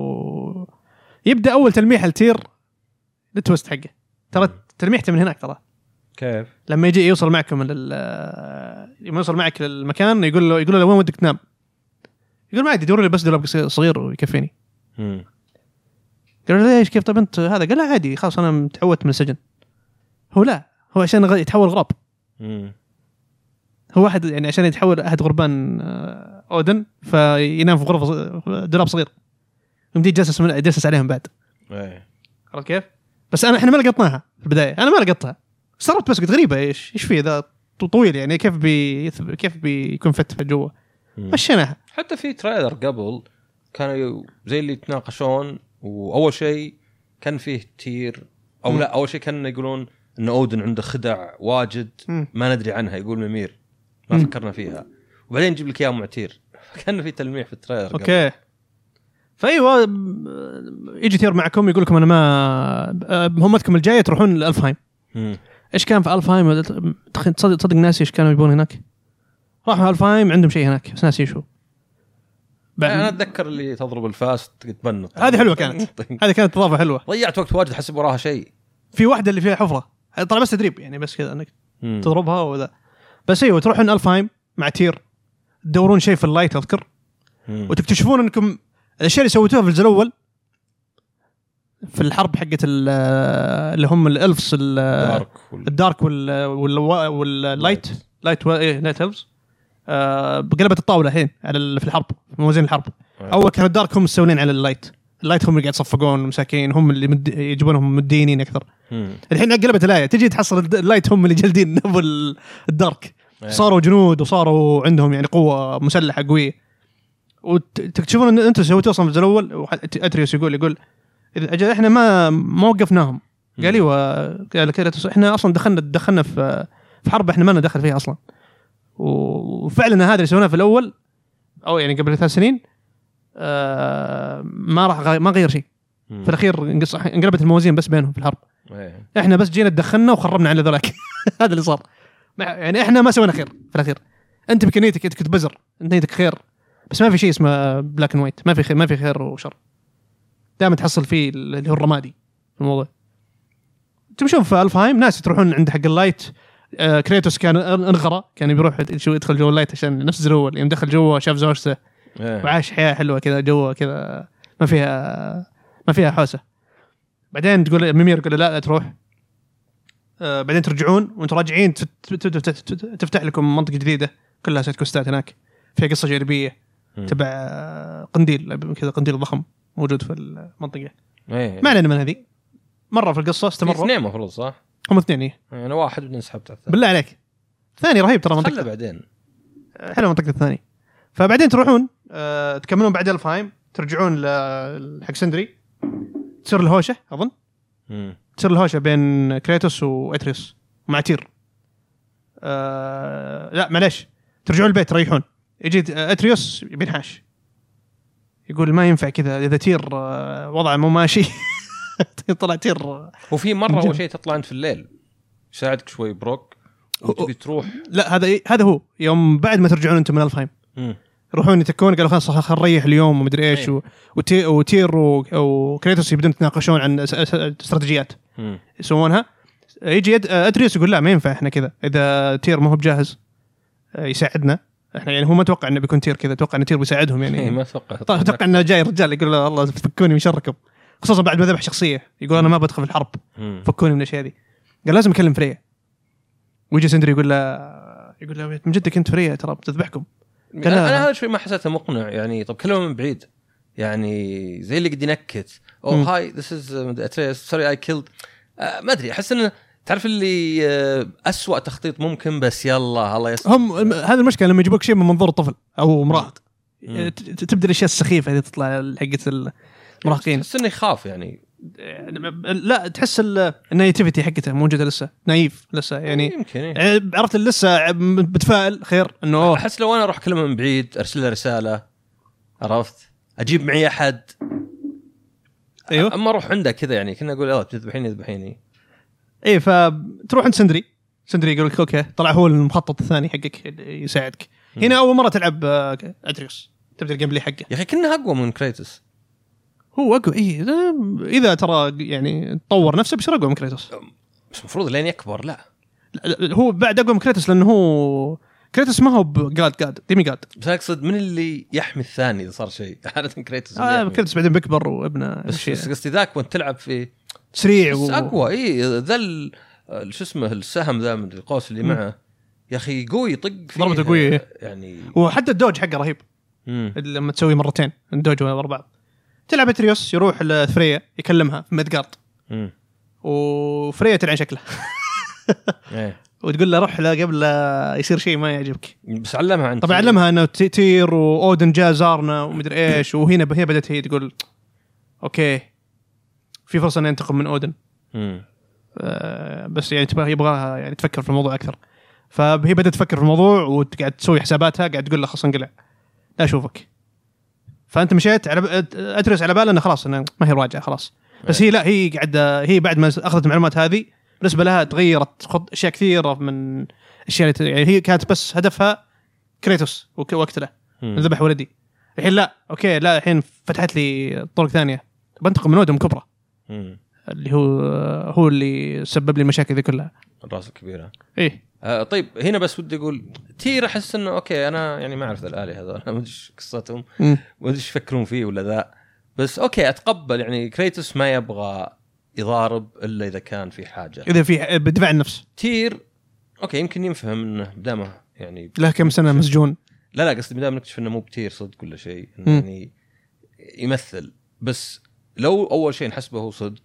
A: يبدا اول تلميح لتير التويست حقه ترى تلميحته من هناك ترى
B: كيف؟
A: لما يجي يوصل معكم لل آه، لما يوصل معك للمكان يقول له يقول له وين ودك تنام؟ يقول ما عندي دوروا لي بس دولاب قصير- صغير ويكفيني
B: مم.
A: قال له ليش كيف طب انت هذا قال لا عادي خلاص انا متعودت من السجن هو لا هو عشان غ- يتحول غراب
B: مم.
A: هو واحد يعني عشان يتحول احد غربان آه، اودن فينام في غرفه ص- دولاب صغير يمديه يتجسس من- يتجسس عليهم بعد
B: إيه.
A: عرفت كيف؟ بس انا احنا ما لقطناها في البدايه انا ما لقطتها استغربت بس قلت غريبه ايش ايش في ذا ط- طويل يعني كيف بي يثب- كيف بيكون فت جوا
B: مم.
A: مشيناها
B: حتى في تريلر قبل كانوا يو- زي اللي يتناقشون واول شيء كان فيه تير او
A: مم.
B: لا اول شيء كانوا يقولون ان اودن عنده خدع واجد
A: مم.
B: ما ندري عنها يقول ممير ما
A: مم.
B: فكرنا فيها وبعدين يجيب لك اياه مع تير كان في تلميح في التريلر قبل.
A: اوكي فايوه م- آه، يجي تير معكم يقول لكم انا ما آه، مهمتكم الجايه تروحون لالفهايم
B: مم.
A: ايش كان في الفهايم تخ- تصدق تصدق ناسي ايش كانوا يبون هناك راحوا الفهايم عندهم شيء هناك بس ناسي شو بعد-
B: انا اتذكر اللي تضرب الفاس تبنط
A: هذه حلوه كانت هذه كانت اضافه حلوه
B: طيب. ضيعت وقت واجد احسب وراها شيء
A: في واحده اللي فيها حفره طلع بس تدريب يعني بس كذا انك
B: مم.
A: تضربها وذا بس ايوه تروحون الفهايم مع تير تدورون شيء في اللايت اذكر
B: مم.
A: وتكتشفون انكم الاشياء اللي سويتوها في الجزء الاول في الحرب حقت ال- اللي هم الالفس ال-
B: دارك وال-
A: الدارك وال وال واللايت لايت و- ايه لايت هيلز آه قلبت الطاوله الحين على ال- في الحرب في موازين الحرب
B: أيوة.
A: اول كانوا الدارك هم مستولين على اللايت اللايت هم اللي قاعد يصفقون مساكين هم اللي مد... يجيبونهم مدينين اكثر
B: مم.
A: الحين قلبت الايه تجي تحصل الد- اللايت هم اللي جالدين ابو ال- الدارك
B: أيوة.
A: صاروا جنود وصاروا عندهم يعني قوه مسلحه قويه وتكتشفون ان انتم سويتوا اصلا في الجزء الاول وح- اتريوس يقول يقول إذا أجل احنا ما ما وقفناهم قال ايوه قال لك لا تس- احنا اصلا دخلنا دخلنا في في حرب احنا ما لنا دخل فيها اصلا و- وفعلا هذا اللي سويناه في الاول او يعني قبل ثلاث سنين آه، ما راح غ- ما غير شيء
B: مم.
A: في الاخير انقص- انقلبت الموازين بس بينهم في الحرب
B: إيه.
A: احنا بس جينا تدخلنا وخربنا على ذولاك هذا اللي صار ما- يعني احنا ما سوينا خير في الاخير انت بامكانيتك انت كنت بزر انت نيتك خير بس ما في شيء اسمه بلاك اند وايت ما في خير ما في خير وشر دائما تحصل فيه اللي هو الرمادي في الموضوع تمشون في الفهايم ناس تروحون عند حق اللايت آه كريتوس كان انغرى كان بيروح شو يدخل جوا اللايت عشان نفس الاول يوم دخل جوا شاف زوجته
B: إيه.
A: وعاش حياه حلوه كذا جوا كذا ما فيها ما فيها حوسه بعدين تقول ميمير يقول له لا لا تروح آه، بعدين ترجعون وانتم راجعين تت- تت- تت- تت- تفتح لكم منطقه جديده كلها سايد كوستات هناك فيها قصه جانبيه
B: مم.
A: تبع آه، قنديل كذا قنديل ضخم موجود في المنطقه
B: إيه.
A: ما علينا من هذه مره في القصه
B: في
A: استمروا
B: اثنين المفروض صح؟
A: هم اثنين إيه.
B: إيه، انا واحد بعدين سحبت على الثاني
A: بالله عليك ثاني رهيب ترى
B: خله
A: منطقه
B: بعدين
A: حلو منطقه الثاني فبعدين تروحون آه تكملون بعد الفايم ترجعون ل- حق سندري تصير الهوشه اظن
B: مم.
A: تصير الهوشه بين كريتوس واتريوس مع تير آه لا معليش ترجعون البيت تريحون يجي آه، اتريوس بينحاش يقول ما ينفع كذا اذا تير آه، وضعه مو ماشي طلع تير آه،
B: وفي مره
A: نجم.
B: اول شيء تطلع انت في الليل يساعدك شوي بروك وتبي تروح
A: لا هذا إيه؟ هذا هو يوم بعد ما ترجعون انتم من الفايم
B: مم.
A: يروحون يتكون قالوا خلاص خل نريح اليوم ومدري ايش
B: أيوة.
A: و- وتي وتير و- وكريتوس يبدون يتناقشون عن أس- أس- استراتيجيات
B: مم.
A: يسوونها يجي يد- ادريوس يقول لا ما ينفع احنا كذا اذا تير ما هو بجاهز آه، يساعدنا احنا يعني هو ما توقع انه بيكون تير كذا توقع ان تير بيساعدهم
B: إيه،
A: يعني
B: ما اتوقع
A: طيب اتوقع انه جاي رجال يقول له الله فكوني من شركم خصوصا بعد ما ذبح شخصيه يقول انا ما بدخل في الحرب
B: مم.
A: فكوني من الاشياء دي قال لازم اكلم فريا ويجي سندري يقول له يقول له من جدك انت فريا ترى بتذبحكم
B: انا
A: كلام.
B: أنا هذا شوي ما حسيته مقنع يعني طب كلمه من بعيد يعني زي اللي قد ينكت "Oh, او
A: مم.
B: هاي ذيس از اتريس سوري اي كيلد آه، ما ادري احس انه تعرف اللي آه، أسوأ تخطيط ممكن بس يلا الله يستر
A: هم هذه المشكله لما يجيبوك شيء من منظور طفل او امراه
B: مم.
A: ت- ت- تبدا الاشياء السخيفه اللي تطلع حقت المراهقين
B: احس انه يخاف يعني
A: لا تحس ال- النايتيفيتي حقته موجوده لسه نايف لسه يعني
B: يمكن إيه.
A: يعني عرفت اللي لسه بتفائل خير انه أوه،
B: احس لو انا اروح كلمه من بعيد ارسل له رساله عرفت اجيب معي احد
A: ايوه
B: اما اروح عندك كذا يعني كنا اقول اه تذبحيني ذبحيني
A: اي إيه، فتروح عند سندري سندري يقول لك اوكي طلع هو المخطط الثاني حقك اللي يساعدك هنا اول مره تلعب آه، ادريوس تبدا الجيم بلاي حقه
B: يا اخي كنا اقوى من كريتوس
A: هو اقوى اي اذا ترى يعني طور نفسه بيصير اقوى من كريتوس
B: بس المفروض لين يكبر لا
A: لا، لا، هو بعد اقوى من كريتوس لانه هو كريتوس ما هو بجاد جاد ديمي جاد
B: بس أنا اقصد من اللي يحمي الثاني اذا صار شيء عاده كريتوس اللي
A: آه
B: يحمي.
A: كريتوس بعدين بيكبر وابنه
B: يعني. بس
A: بس
B: بس قصدي ذاك وانت تلعب في
A: سريع
B: بس
A: و...
B: اقوى اي ذا ال- ال- شو اسمه السهم ذا مدري القوس اللي
A: مم.
B: معه يا اخي قوي يطق فيه
A: ضربته قوية.
B: يعني
A: وحتى الدوج حقه رهيب
B: مم.
A: لما تسوي مرتين الدوج ورا بعض تلعب اتريوس يروح لفريا يكلمها في مدقارد
B: مم.
A: وفريا تلعن شكله
B: إيه.
A: وتقول له روح له قبل لا يصير شيء ما يعجبك
B: بس علمها عن
A: طبعا علمها انه تي- تير واودن جاء زارنا ومدري ايش وهنا هي بدات هي تقول اوكي في فرصه اني انتقم من اودن
B: مم.
A: آه، بس يعني تبغى يبغاها يعني تفكر في الموضوع اكثر فهي بدات تفكر في الموضوع وقاعد تسوي حساباتها قاعد تقول له خلاص انقلع لا اشوفك فانت مشيت على ب- ادرس على باله انه خلاص انه ما هي راجعه خلاص بس هي لا هي قاعده هي بعد ما اخذت المعلومات هذه بالنسبه لها تغيرت خط اشياء كثيره من الاشياء اللي ت- يعني هي كانت بس هدفها كريتوس وك- واقتله
B: مم.
A: ذبح ولدي الحين لا اوكي لا الحين فتحت لي طرق ثانيه بنتقم من اودم كبرى
B: مم.
A: اللي هو هو اللي سبب لي المشاكل دي كلها
B: الراس الكبيره
A: ايه
B: آه طيب هنا بس ودي اقول تير احس انه اوكي انا يعني ما اعرف ذا الالهه هذول ما ادري ايش قصتهم ما ادري ايش يفكرون فيه ولا ذا بس اوكي اتقبل يعني كريتوس ما يبغى يضارب الا اذا كان في حاجه
A: اذا في بدفاع النفس
B: تير اوكي يمكن ينفهم انه بدامه يعني
A: له كم سنه مسجون
B: لا لا قصدي بدام نكتشف انه مو بتير صدق ولا شيء إنه
A: مم.
B: يعني يمثل بس لو اول شيء نحسبه هو صدق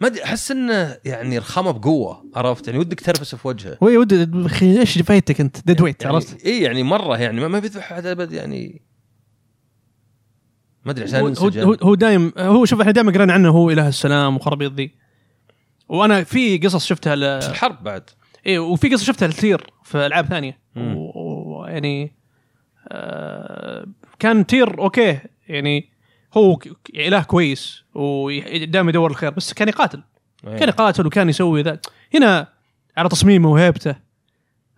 B: ما ادري احس انه يعني رخامه بقوه عرفت يعني ودك ترفسه في وجهه
A: وي ود اخي ايش فايتك انت ديد ويت
B: يعني
A: عرفت؟
B: اي يعني مره يعني ما, ما بيذبح احد ابد يعني ما ادري عشان
A: هو- هو
B: انسجن
A: هو دايم هو شوف احنا دائما قرينا عنه هو اله السلام وخرابيط ذي وانا في قصص شفتها ل...
B: بس الحرب بعد
A: اي وفي قصص شفتها لتير في العاب ثانيه
B: مم.
A: ويعني يعني، آه كان تير اوكي يعني هو ك- ك- اله كويس ودائما يدور الخير بس كان يقاتل كان
B: إيه.
A: يقاتل وكان يسوي ذا هنا على تصميمه وهيبته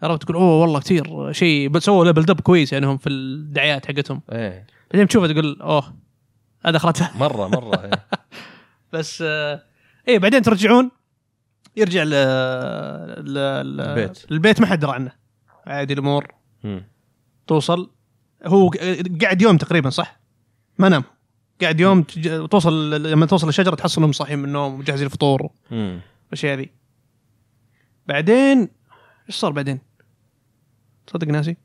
A: عرفت تقول اوه والله كثير شيء بل- سووا ليفل دب كويس يعني هم في الدعايات حقتهم
B: ايه
A: بعدين تشوفه تقول اوه هذا اخرتها
B: مره مره إيه.
A: بس آه ايه بعدين ترجعون يرجع ل... ل... ل...
B: البيت.
A: البيت ما حد درى عنه عادي الامور
B: مم.
A: توصل هو ق- قاعد يوم تقريبا صح؟ ما نام قاعد يوم تج... توصل لما توصل الشجره تحصلهم صاحيين من النوم ومجهزين الفطور
B: مم.
A: الاشياء ذي بعدين ايش صار بعدين؟ صدق ناسي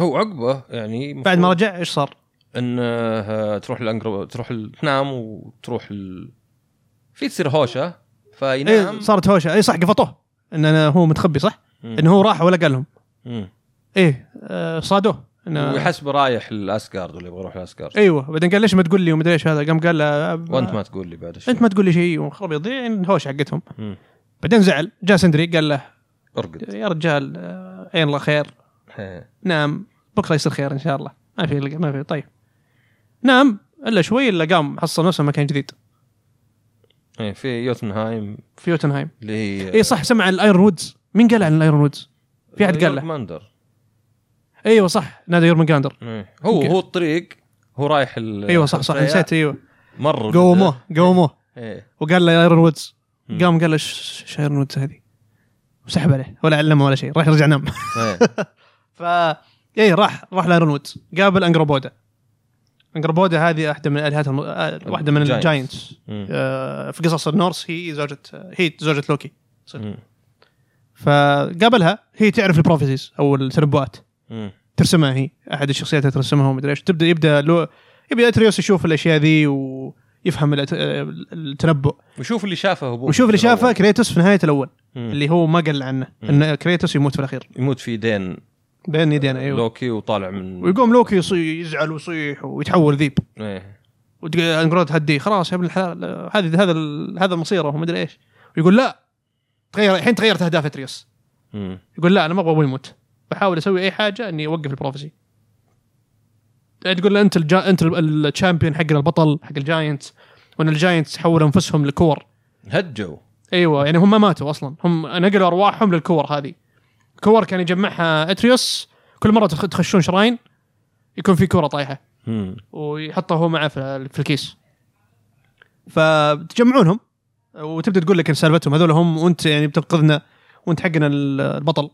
B: هو عقبه يعني
A: بعد ما
B: مفروض
A: رجع ايش صار؟
B: انه آه، تروح الانجرو تروح ال- تنام وتروح ال... في تصير هوشه فينام
A: اي إيه، صارت هوشه اي صح قفطوه ان أنا هو متخبي صح؟
B: نعم. مم.
A: انه هو راح ولا قال لهم
B: مم.
A: ايه آه صادوه انه
B: ويحسب رايح الاسكارد ولا يبغى يروح الاسكارد
A: ايوه بعدين قال ليش ما تقول لي ومدري ايش هذا قام قال له أب-
B: وانت ما تقول لي بعد الشيء
A: انت ما تقول لي شيء وخرب يضيع الهوشه حقتهم
B: مم.
A: بعدين زعل جاء سندري قال له
B: ارقد
A: يا رجال آه، عين الله خير
B: إيه.
A: نام بكره يصير خير ان شاء الله ما في ما في طيب نام الا شوي الا قام حصل نفسه مكان جديد
B: إيه، في يوتنهايم
A: في يوتنهايم
B: اللي هي
A: اي إيه، صح سمع عن الايرون وودز مين قال عن الايرون وودز؟ في أحد قال له.
B: ماندر
A: ايوه صح نادي يورمنجاندر
B: إيه. هو
A: يمكن.
B: هو الطريق هو رايح ال
A: ايوه صح صح نسيت ايوه
B: مر
A: قوموه قوموه
B: ايه
A: وقال له ايرون وودز
B: مم.
A: قام قال له "ش- ش ايرون وودز هذه وسحب عليه ولا علمه ولا شيء راح يرجع نام
B: إيه.
A: ف اي راح راح لايرون وودز قابل انجروبودا انجروبودا هذه واحده من الهات الم... آه، واحده من
B: الجاينتس.
A: الجاينتس
B: مم.
A: آه، في قصص النورس هي زوجة هي زوجة لوكي
B: مم.
A: فقابلها هي تعرف البروفيسيز او التنبؤات
B: مم.
A: ترسمها هي احد الشخصيات اللي ترسمها ومدري ايش تبدا يبدا لو يبدا اتريوس يشوف الاشياء ذي ويفهم الأت- التنبؤ
B: وشوف اللي شافه ابوه
A: وشوف اللي شافه كريتوس في نهايه الاول
B: اللي
A: اللي هو ما قال عنه
B: مم.
A: ان كريتوس يموت في الاخير
B: يموت في دين
A: بين يدينا ايوه
B: لوكي وطالع من
A: ويقوم لوكي يصي- يزعل ويصيح ويتحول ذيب
B: ايه
A: وانجرود تهديه خلاص يا ابن الحلال هذه هذا ال- هذا مصيره ومدري ايش ويقول لا تغير الحين تغيرت اهداف اتريوس
B: مم.
A: يقول لا انا ما ابغى ابوي يموت بحاول اسوي اي حاجه اني اوقف البروفيسي يعني تقول له انت الجا... انت الشامبيون حقنا البطل حق الجاينتس وان الجاينتس حولوا انفسهم لكور
B: هجوا
A: ايوه يعني هم ما ماتوا اصلا هم نقلوا ارواحهم للكور هذه كور كان يجمعها اتريوس كل مره تخ- تخشون شراين يكون في كوره طايحه
B: مم.
A: ويحطها هو معه في في الكيس فتجمعونهم وتبدا تقول لك إن سالفتهم هذول هم وانت يعني بتنقذنا وانت حقنا ال- البطل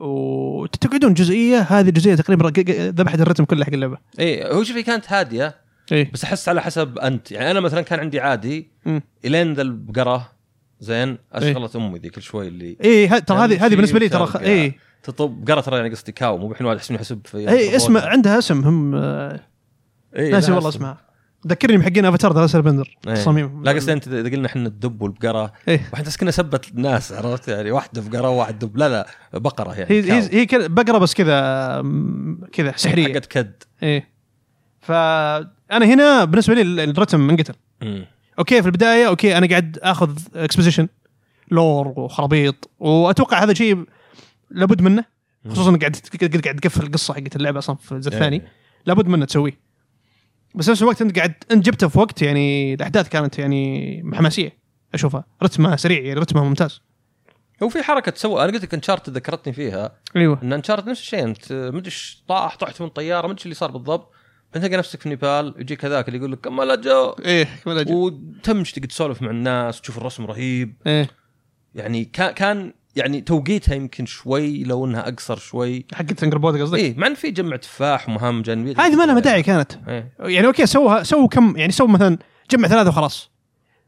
A: وتقعدون جزئيه هذه جزئيه تقريبا ق- ق- ذبحت الرتم كله حق اللعبه
B: اي إيه، هو شوف هي كانت هاديه
A: اي
B: بس احس على حسب انت يعني انا مثلا كان عندي عادي
A: مم. إيه.
B: الين ذا البقره زين اشغلت امي ذي كل شوي اللي
A: اي إيه، ه- ترى هذه هذه
B: تمشي
A: بالنسبه لي ترى خ- إيه.
B: وترقع.
A: اي
B: تطب قرا ترى يعني قصدي كاو مو بحين واحد يحسب يحسب في
A: اي اسم إيه، عندها اسم هم آه،
B: يعني إيه، لا
A: ناسي والله
B: اسم.
A: اسمها ذكرني محقين افاتار ذا لاسر بندر
B: إيه.
A: تصاميمهم
B: لا قصدي انت اذا قلنا احنا الدب والبقره
A: إيه.
B: واحد بس كنا سبت ناس عرفت يعني واحده بقره وواحد دب لا لا بقره يعني
A: هي
B: كاو.
A: هي هي كذا- بقره بس كذا م- كذا سحريه
B: حقت كد
A: ايه فانا هنا بالنسبه لي ال- الرتم انقتل
B: مم.
A: اوكي في البدايه اوكي انا قاعد اخذ اكسبوزيشن لور وخرابيط واتوقع هذا شيء لابد منه خصوصا إنك قاعد قاعد قاعد تقفل القصه حقت اللعبه اصلا في الجزء الثاني
B: إيه.
A: لابد منه تسويه بس نفس الوقت انت قاعد انت جبته في وقت يعني الاحداث كانت يعني حماسيه اشوفها رتمها سريع يعني رتمها ممتاز
B: هو في حركه تسوى انا قلت لك انشارت ذكرتني فيها
A: ايوه
B: ان انشارت نفس الشيء انت مدري ايش طاح طحت من طياره مدري إيش اللي صار بالضبط بعدين تلقى نفسك في نيبال يجيك هذاك اللي يقول لك كم لا جو
A: ايه
B: وتمشي تقعد تسولف مع الناس تشوف الرسم رهيب
A: ايه
B: يعني كان كان يعني توقيتها يمكن شوي لو انها اقصر شوي
A: حقت سنجر بود قصدك
B: اي مع ان في جمع تفاح ومهام جانبيه
A: هذه ما لها داعي كانت
B: إيه.
A: يعني اوكي سووها سووا كم يعني سووا مثلا جمع ثلاثه وخلاص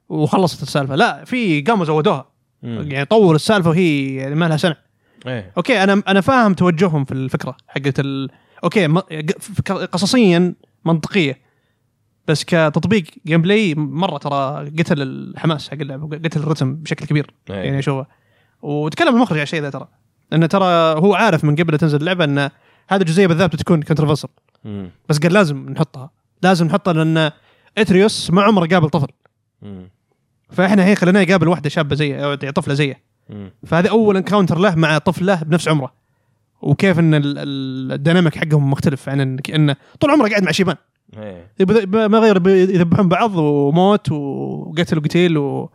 A: وخلصت السالفه لا في قاموا زودوها
B: مم.
A: يعني طور السالفه وهي يعني ما لها سنه
B: ايه
A: اوكي انا انا فاهم توجههم في الفكره حقت ال... اوكي م... ق- قصصيا منطقيه بس كتطبيق جيم بلاي مره ترى قتل الحماس حق اللعبه قتل الرتم بشكل كبير
B: إيه.
A: يعني اشوفه وتكلم المخرج على الشيء ذا ترى انه ترى هو عارف من قبل لا تنزل اللعبه ان هذه الجزئيه بالذات بتكون كونترفرسل
B: مم.
A: بس قال لازم نحطها لازم نحطها لان اتريوس ما عمره قابل طفل
B: مم.
A: فاحنا هي خليناه يقابل واحده شابه زيه أو طفله زيه
B: مم.
A: فهذا اول انكاونتر له مع طفله بنفس عمره وكيف ان ال- ال- الديناميك حقهم مختلف عن إن- انه طول عمره قاعد مع شيبان
B: ايه
A: يب- ما غير بي- يذبحون بعض وموت وقتل وقتيل و-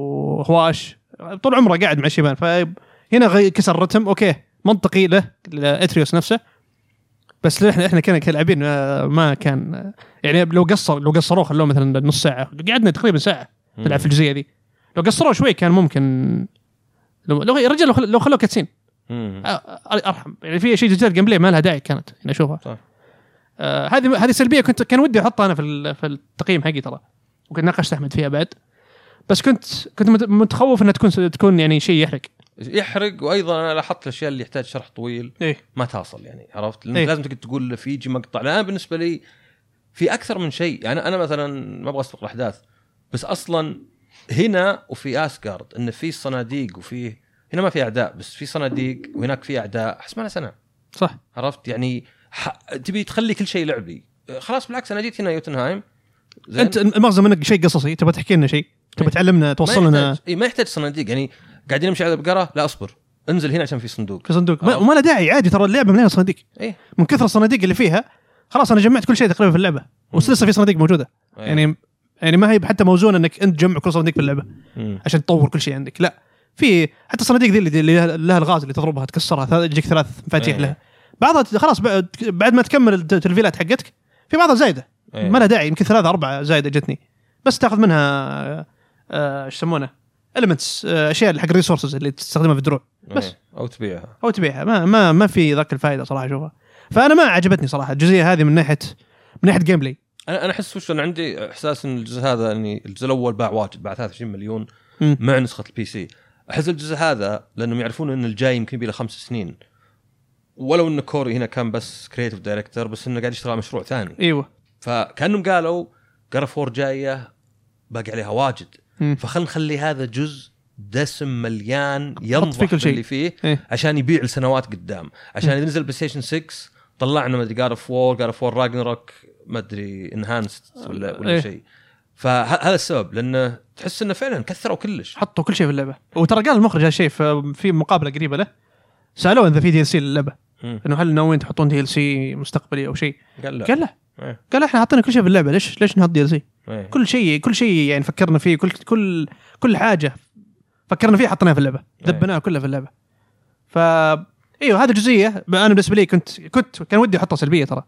A: وهواش طول عمره قاعد مع شيبان فهنا غي- كسر الرتم اوكي منطقي له لاتريوس نفسه بس احنا احنا كنا كلاعبين آه، ما كان آه، يعني لو قصر لو قصروه خلوه مثلا نص ساعه قعدنا تقريبا ساعه نلعب في الجزئيه دي لو قصروه شوي كان ممكن لو لو يا رجال لو خل- لو خلوه كاتسين
B: مم.
A: أ- أ- ارحم يعني في شيء جزئيه جيم بلاي ما لها داعي كانت انا اشوفها
B: صح.
A: آه، هذه هذه سلبيه كنت كان ودي احطها انا في ال- في التقييم حقي ترى وكنت ناقشت احمد فيها بعد بس كنت كنت مت- متخوف انها تكون تكون يعني شيء يحرق
B: يحرق وايضا انا لاحظت الاشياء اللي يحتاج شرح طويل
A: ايه
B: ما تحصل يعني عرفت لانك
A: إيه.
B: إيه؟ لازم تقعد تقول له في يجي مقطع لان انا بالنسبه لي في اكثر من شيء يعني انا مثلا ما ابغى اسبق الاحداث بس اصلا هنا وفي اسكارد ان في صناديق وفي هنا ما في اعداء بس في صناديق وهناك في اعداء احس ما لها سنه
A: صح
B: عرفت يعني ح... تبي تخلي كل شيء لعبي خلاص بالعكس انا جيت هنا يوتنهايم زين؟
A: انت المغزى منك شيء قصصي تبغى تحكي لنا شيء تبغى
B: إيه.
A: تعلمنا توصل لنا
B: اي ما يحتاج صناديق يعني قاعدين نمشي على البقره لا اصبر انزل هنا عشان في صندوق
A: في صندوق ما-
B: آه.
A: وما له داعي عادي ترى اللعبه مليانه صناديق
B: ايه
A: من كثر الصناديق اللي فيها خلاص انا جمعت كل شيء تقريبا في اللعبه ولسه في صناديق موجوده
B: إيه.
A: يعني يعني ما هي حتى موزونه انك انت تجمع كل صناديق في اللعبه
B: مم.
A: عشان تطور كل شيء عندك لا في حتى الصناديق ذي اللي- اللي لها- لها الغاز اللي تضربها تكسرها ثل- تجيك ثلاث مفاتيح
B: إيه.
A: لها بعضها ت- خلاص بعد بعد ما تكمل الت- التلفيلات حقتك في بعضها زايده
B: إيه.
A: ما لها داعي يمكن ثلاثه اربعه زايده جتني بس تاخذ منها آه، آه، ايش يسمونه؟ المنتس اشياء اللي حق الريسورسز اللي تستخدمها في الدروع بس
B: إيه. او تبيعها
A: او تبيعها ما ما ما في ذاك الفائده صراحه اشوفها فانا ما عجبتني صراحه الجزئيه هذه من ناحيه من ناحيه جيم بلاي
B: انا انا احس وش انا عندي احساس ان الجزء هذا اني الجزء الاول باع واجد باع 23 مليون
A: مم.
B: مع نسخه البي سي احس الجزء هذا لانهم يعرفون ان الجاي يمكن له خمس سنين ولو ان كوري هنا كان بس كريتيف دايركتور بس انه قاعد يشتغل على مشروع ثاني
A: ايوه
B: فكانهم قالوا قرا فور جايه باقي عليها واجد
A: مم.
B: فخلنا نخلي هذا جزء دسم مليان ينضح
A: فيه كل شيء.
B: اللي فيه
A: إيه.
B: عشان يبيع لسنوات قدام عشان اذا نزل بلاي ستيشن 6 طلعنا ما ادري جار اوف وور جار اوف وور راجنروك ما ادري انهانست ولا ولا
A: إيه.
B: شيء فهذا السبب لانه تحس انه فعلا كثروا كلش
A: حطوا كل شيء في اللعبه وترى قال المخرج هالشيء في في مقابله قريبه له سالوه اذا في دي سي للعبه
B: مم.
A: انه هل ناويين تحطون دي ال سي مستقبلي او شيء؟
B: قال لا
A: قال لا
B: إيه.
A: قال لا احنا حاطين كل شيء في اللعبه ليش ليش نحط دي ال سي؟
B: إيه.
A: كل شيء كل شيء يعني فكرنا فيه كل كل كل حاجه فكرنا فيها حطيناها في اللعبه
B: أي.
A: دبناها كلها في اللعبه ف ايوه هذه جزئيه انا بالنسبه لي كنت كنت كان ودي احطها سلبيه ترى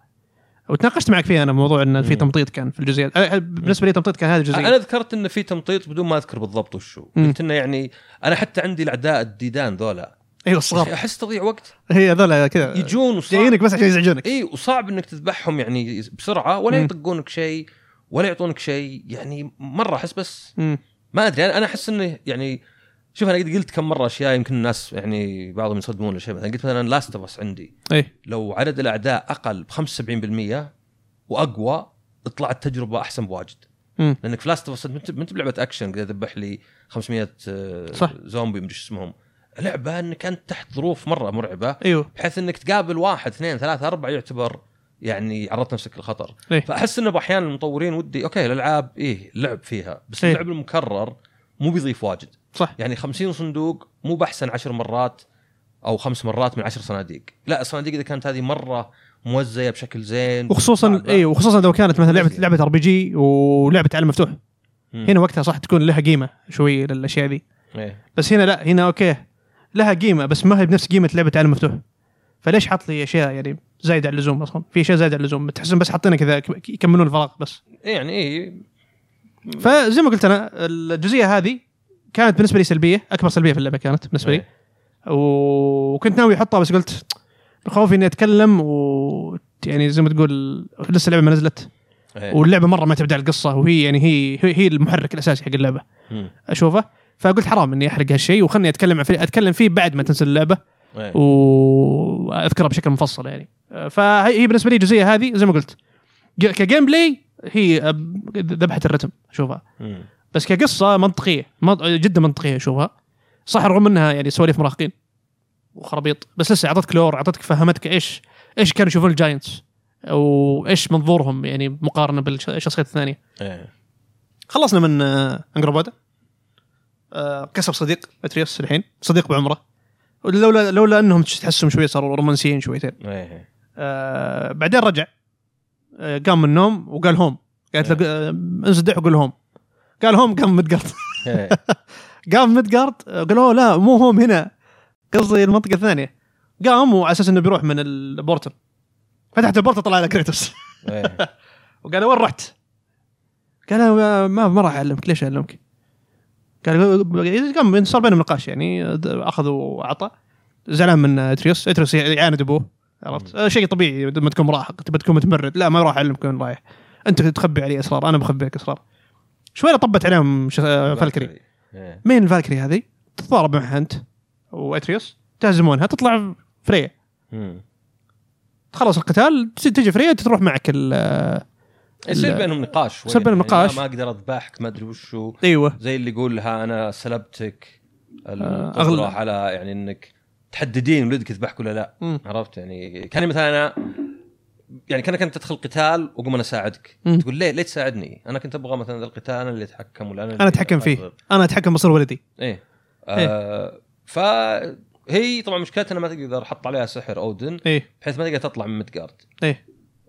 A: وتناقشت معك فيها انا موضوع ان في
B: مم. أه،
A: تمطيط كان في الجزئيه أه، بالنسبه لي تمطيط كان هذه الجزئيه
B: انا ذكرت انه في تمطيط بدون ما اذكر بالضبط وشو
A: مم.
B: قلت انه يعني انا حتى عندي الاعداء الديدان ذولا
A: ايوه الصغار
B: احس تضيع وقت
A: هي هذول كذا
B: يجون وصعب
A: جايينك بس عشان يزعجونك
B: اي وصعب انك تذبحهم يعني بسرعه ولا
A: مم.
B: يطقونك شيء ولا يعطونك شيء يعني مره احس بس
A: مم.
B: ما ادري انا انا احس انه يعني شوف انا قد قلت كم مره اشياء يمكن الناس يعني بعضهم يصدمون ولا شيء مثلا قلت مثلا لاست اوف اس عندي
A: اي
B: لو عدد الاعداء اقل ب 75% واقوى طلعت تجربه احسن بواجد
A: مم.
B: لانك في لاست اوف اس ما انت بلعبه اكشن قاعد ذبح لي 500 آه،
A: صح.
B: زومبي مدري شو اسمهم لعبه انك انت تحت ظروف مره مرعبه
A: ايوه
B: بحيث انك تقابل واحد اثنين ثلاثة أربعة يعتبر يعني عرضت نفسك للخطر
A: إيه.
B: فأحس انه أحيانا المطورين ودي أوكي الألعاب إيه لعب فيها بس
A: إيه.
B: اللعب المكرر مو بيضيف واجد
A: صح
B: يعني خمسين صندوق مو بأحسن عشر مرات أو خمس مرات من عشر صناديق لا الصناديق إذا كانت هذه مرة موزعة بشكل زين
A: وخصوصا
B: صعبة.
A: ايوه وخصوصا لو كانت مثلا لعبه
B: إيه.
A: لعبه ار بي جي ولعبه عالم مفتوح
B: مم.
A: هنا وقتها صح تكون لها قيمه شويه للاشياء ذي
B: إيه.
A: بس هنا لا هنا اوكي لها قيمه بس ما هي بنفس قيمه لعبه عالم مفتوح فليش حاط لي اشياء يعني زايد على اللزوم اصلا في اشياء زايد على اللزوم تحسهم بس حاطينها كذا ك- يكملون الفراغ بس
B: يعني إيه
A: فزي ما قلت انا الجزئيه هذه كانت بالنسبه لي سلبيه اكبر سلبيه في اللعبه كانت بالنسبه لي
B: إيه.
A: وكنت ناوي احطها بس قلت خوفي اني اتكلم و يعني زي ما تقول لسه اللعبه ما نزلت
B: إيه.
A: واللعبه مره ما تبدا القصه وهي يعني هي هي- هي المحرك الاساسي حق اللعبه
B: مم.
A: اشوفه فقلت حرام اني احرق هالشيء وخلني اتكلم عن فريق اتكلم فيه بعد ما تنزل اللعبه
B: إيه.
A: واذكرها بشكل مفصل يعني فهي بالنسبه لي الجزئيه هذه زي ما قلت ج- كجيم بلاي هي أب- ذبحه الرتم اشوفها
B: مم.
A: بس كقصه منطقيه منط- جدا منطقيه اشوفها صح رغم انها يعني سواليف مراهقين وخرابيط بس لسه اعطتك لور اعطتك فهمتك ايش ايش كانوا يشوفون الجاينتس وايش منظورهم يعني مقارنه بالشخصيات الثانيه
B: إيه.
A: خلصنا من آه، انجروبودا آه، كسب صديق اتريوس الحين صديق بعمره لولا لولا انهم تحسهم شوي صاروا رومانسيين شويتين
B: إيه.
A: آه، بعدين رجع آه، قام من النوم وقال هوم قالت له آه، انزدح وقول هوم قال هوم قام مدقرط
B: إيه.
A: قام مدقرط آه، قال اوه لا مو هوم هنا قصدي المنطقه الثانيه قام وعلى اساس انه بيروح من البورتل فتحت البورتل طلع له كريتوس
B: إيه.
A: وقال وين رحت؟ قال أنا ما- ما ما راح اعلمك ليش اعلمك؟ قال قام صار بينهم نقاش يعني د- اخذ وعطى زعلان من اتريوس اتريوس يعاند ابوه عرفت؟ آه، شيء طبيعي لما تكون مراهق تبى تكون متمرد لا ما راح اعلمك وين رايح انت تخبي علي اسرار انا بخبي عليك اسرار شوي طبت عليهم ش- آه، فالكري
B: إيه.
A: مين الفالكري هذه؟ تتضارب معها انت واتريوس تهزمونها تطلع فريا
B: مم.
A: تخلص القتال ت- تجي فريا تروح معك ال-
B: يصير
A: ال-
B: بينهم نقاش شوي.
A: يصير بينهم
B: يعني ما-
A: نقاش.
B: ما اقدر اذبحك ما ادري وشو
A: ايوه
B: زي اللي يقولها انا سلبتك
A: آه،
B: القدره
A: أغلى.
B: على يعني انك تحددين ولدك يذبحك ولا لا
A: مم.
B: عرفت يعني كان مثلا انا يعني كانك انت تدخل قتال واقوم انا اساعدك
A: مم.
B: تقول ليه ليه تساعدني؟ انا كنت ابغى مثلا ذا القتال انا اللي اتحكم ولا انا
A: انا اتحكم فيه إيه. انا اتحكم بصير ولدي
B: ايه آه فهي طبعا مشكلتها انها ما تقدر حط عليها سحر اودن
A: ايه
B: بحيث ما تقدر تطلع من مدقارد
A: ايه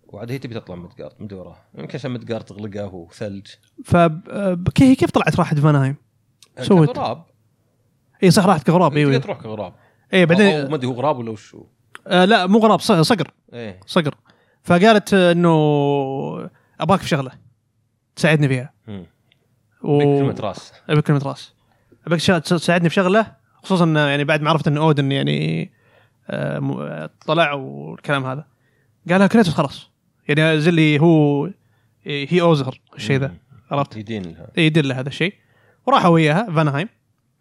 B: وعاد هي تبي تطلع من مدقارد من دوره يمكن عشان مدقارد تغلقه وثلج
A: فكيف كيف طلعت راحت فانايم؟ سوت.
B: يعني كغراب
A: اي صح راحت كغراب
B: تقدر
A: ايوه
B: تروح كغراب
A: اي
B: بعدين ما
A: بعدين
B: ادري هو غراب ولا وشو
A: آه لا مو غراب ص- صقر
B: ايه
A: صقر فقالت آه، انه ابغاك في شغله تساعدني فيها
B: مم.
A: و...
B: كلمة راس
A: ابيك كلمة راس ابيك شغلة تس- تساعدني في شغله خصوصا إنه يعني بعد ما عرفت ان اودن يعني آه، م- آه، طلع والكلام هذا قالها كريتوس خلاص يعني زي اللي هو هي اوزهر الشيء ذا عرفت
B: يدين لها
A: يدل هذا الشيء وراحوا وياها فانهايم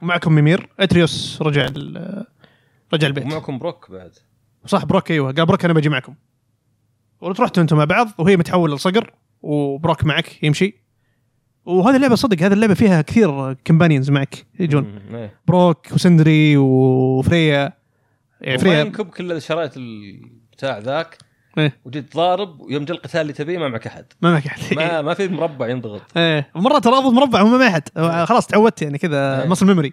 A: ومعكم ميمير اتريوس رجع ال- رجع البيت
B: ومعكم بروك بعد
A: صح بروك ايوه قال بروك انا بجي معكم ورحتوا انتم مع بعض وهي متحوله لصقر وبروك معك يمشي وهذه اللعبه صدق هذه اللعبه فيها كثير كمبانيونز معك يجون
B: مم. ايه
A: بروك وسندري وفريا يعني
B: وما
A: فريا
B: ينكب كل شريت البتاع ذاك
A: إيه.
B: وجيت ضارب ويوم جاء القتال اللي تبيه ما معك احد
A: ما معك احد
B: ما ما في مربع ينضغط
A: ايه ومره ترى اضبط مربع وما معي احد خلاص تعودت يعني كذا
B: إيه.
A: مصل ميموري